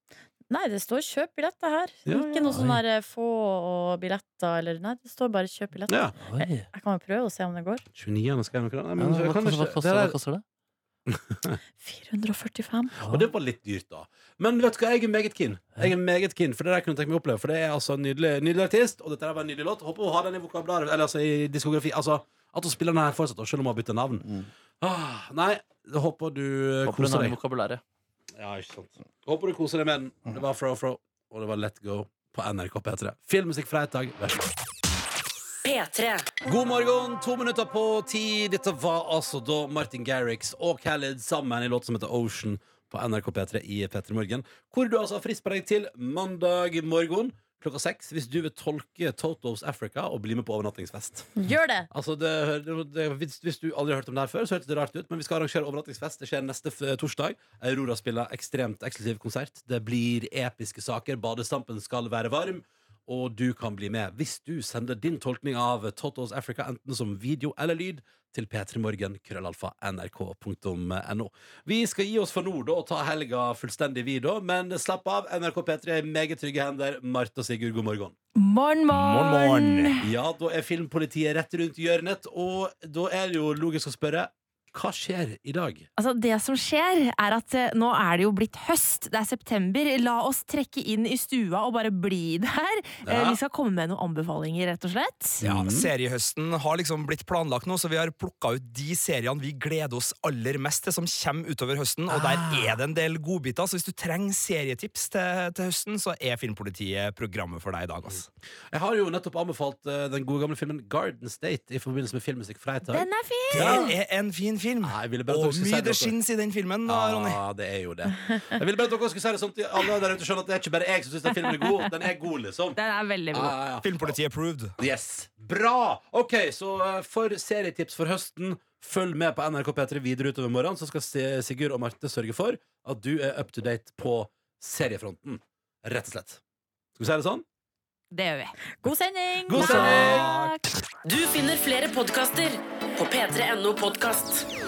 Nei, det står 'kjøp billetter' her. Ikke noe sånn der eh, 'få og billetter' eller Nei, det står bare 'kjøp billetter'. Ja. Oi. Jeg, jeg kan jo prøve å se om det går. 29. skal jeg nok Nei, Ja, men hva jeg kan koster- ikke- hva koster- der- hva koster det? 145. Og det var litt dyrt, da. Men vet du hva, jeg er meget keen. Jeg er meget keen For det der kunne jeg tenkt meg å oppleve For det er altså en nydelig, nydelig artist, og dette her var en nydelig låt. Håper hun har den i vokabularet Eller altså i diskografi. Altså at hun spiller den her fortsatt, og selv om hun har bytta navn. Ah, nei, jeg håper du eh, Mm. Håper hun koser har deg. vokabularet. Ja, ikke sant. Jeg Håper du koser deg med den. Det var Fro Fro, og det var Let Go på NRK P3. Filmmusikk fredag. Vær så god. P3. God morgen, to minutter på ti. Dette var altså da Martin Garrix og Khaled sammen i låt som heter Ocean på NRK P3 i P3 Morgen. Hvor du altså har frist på deg til mandag morgen klokka seks hvis du vil tolke Totos Africa og bli med på overnattingsfest. Gjør det! Altså, det, det, hvis, hvis du aldri har hørt om det her før, så hørtes det rart ut, men vi skal arrangere overnattingsfest. Det skjer neste f torsdag. Aurora spiller ekstremt eksklusiv konsert. Det blir episke saker. Badestampen skal være varm. Og du kan bli med hvis du sender din tolkning av Totos Africa enten som video eller lyd til p3morgen krøllalfa nrk.no. Vi skal gi oss for nå da, og ta helga fullstendig, vi, da. Men slapp av. NRK P3 er i meget trygge hender. Marte og Sigurd, god morgen. Morn, morn! Ja, da er filmpolitiet rett rundt hjørnet, og da er det jo logisk å spørre hva skjer i dag? Altså, det som skjer, er at eh, nå er det jo blitt høst. Det er september. La oss trekke inn i stua og bare bli der. Eh, Ja. Vi skal komme med noen anbefalinger, rett og slett. Ja, Seriehøsten har liksom blitt planlagt nå, så vi har plukka ut de seriene vi gleder oss aller mest til, som kommer utover høsten. Og Ah. der er det en del godbiter, så hvis du trenger serietips til, til høsten, så er Filmpolitiet programmet for deg i dag. altså. ass. Jeg har jo nettopp anbefalt eh, den gode gamle filmen Garden State i forbindelse med Filmmusikk fredag. Den er fin! Det er en fin film. Og mye det skinns i den filmen, da, Ah. Ronny. Ja, Ah, det er jo det. Jeg ville bare at dere skulle si det sånn til alle der ute skjønner at det er ikke bare jeg som syns den filmen er god. Den er god, liksom. Den er veldig god. Filmpolitiet approved. Yes. Bra! OK, så eh, for serietips for høsten Følg med på NRK P3 videre utover morgenen, så skal Si- Sigurd og Marte sørge for at du er up to date på seriefronten. Rett og slett. Skal vi si det sånn? Det gjør vi. God sending! God sending! Du finner flere podkaster på p3.no podkast.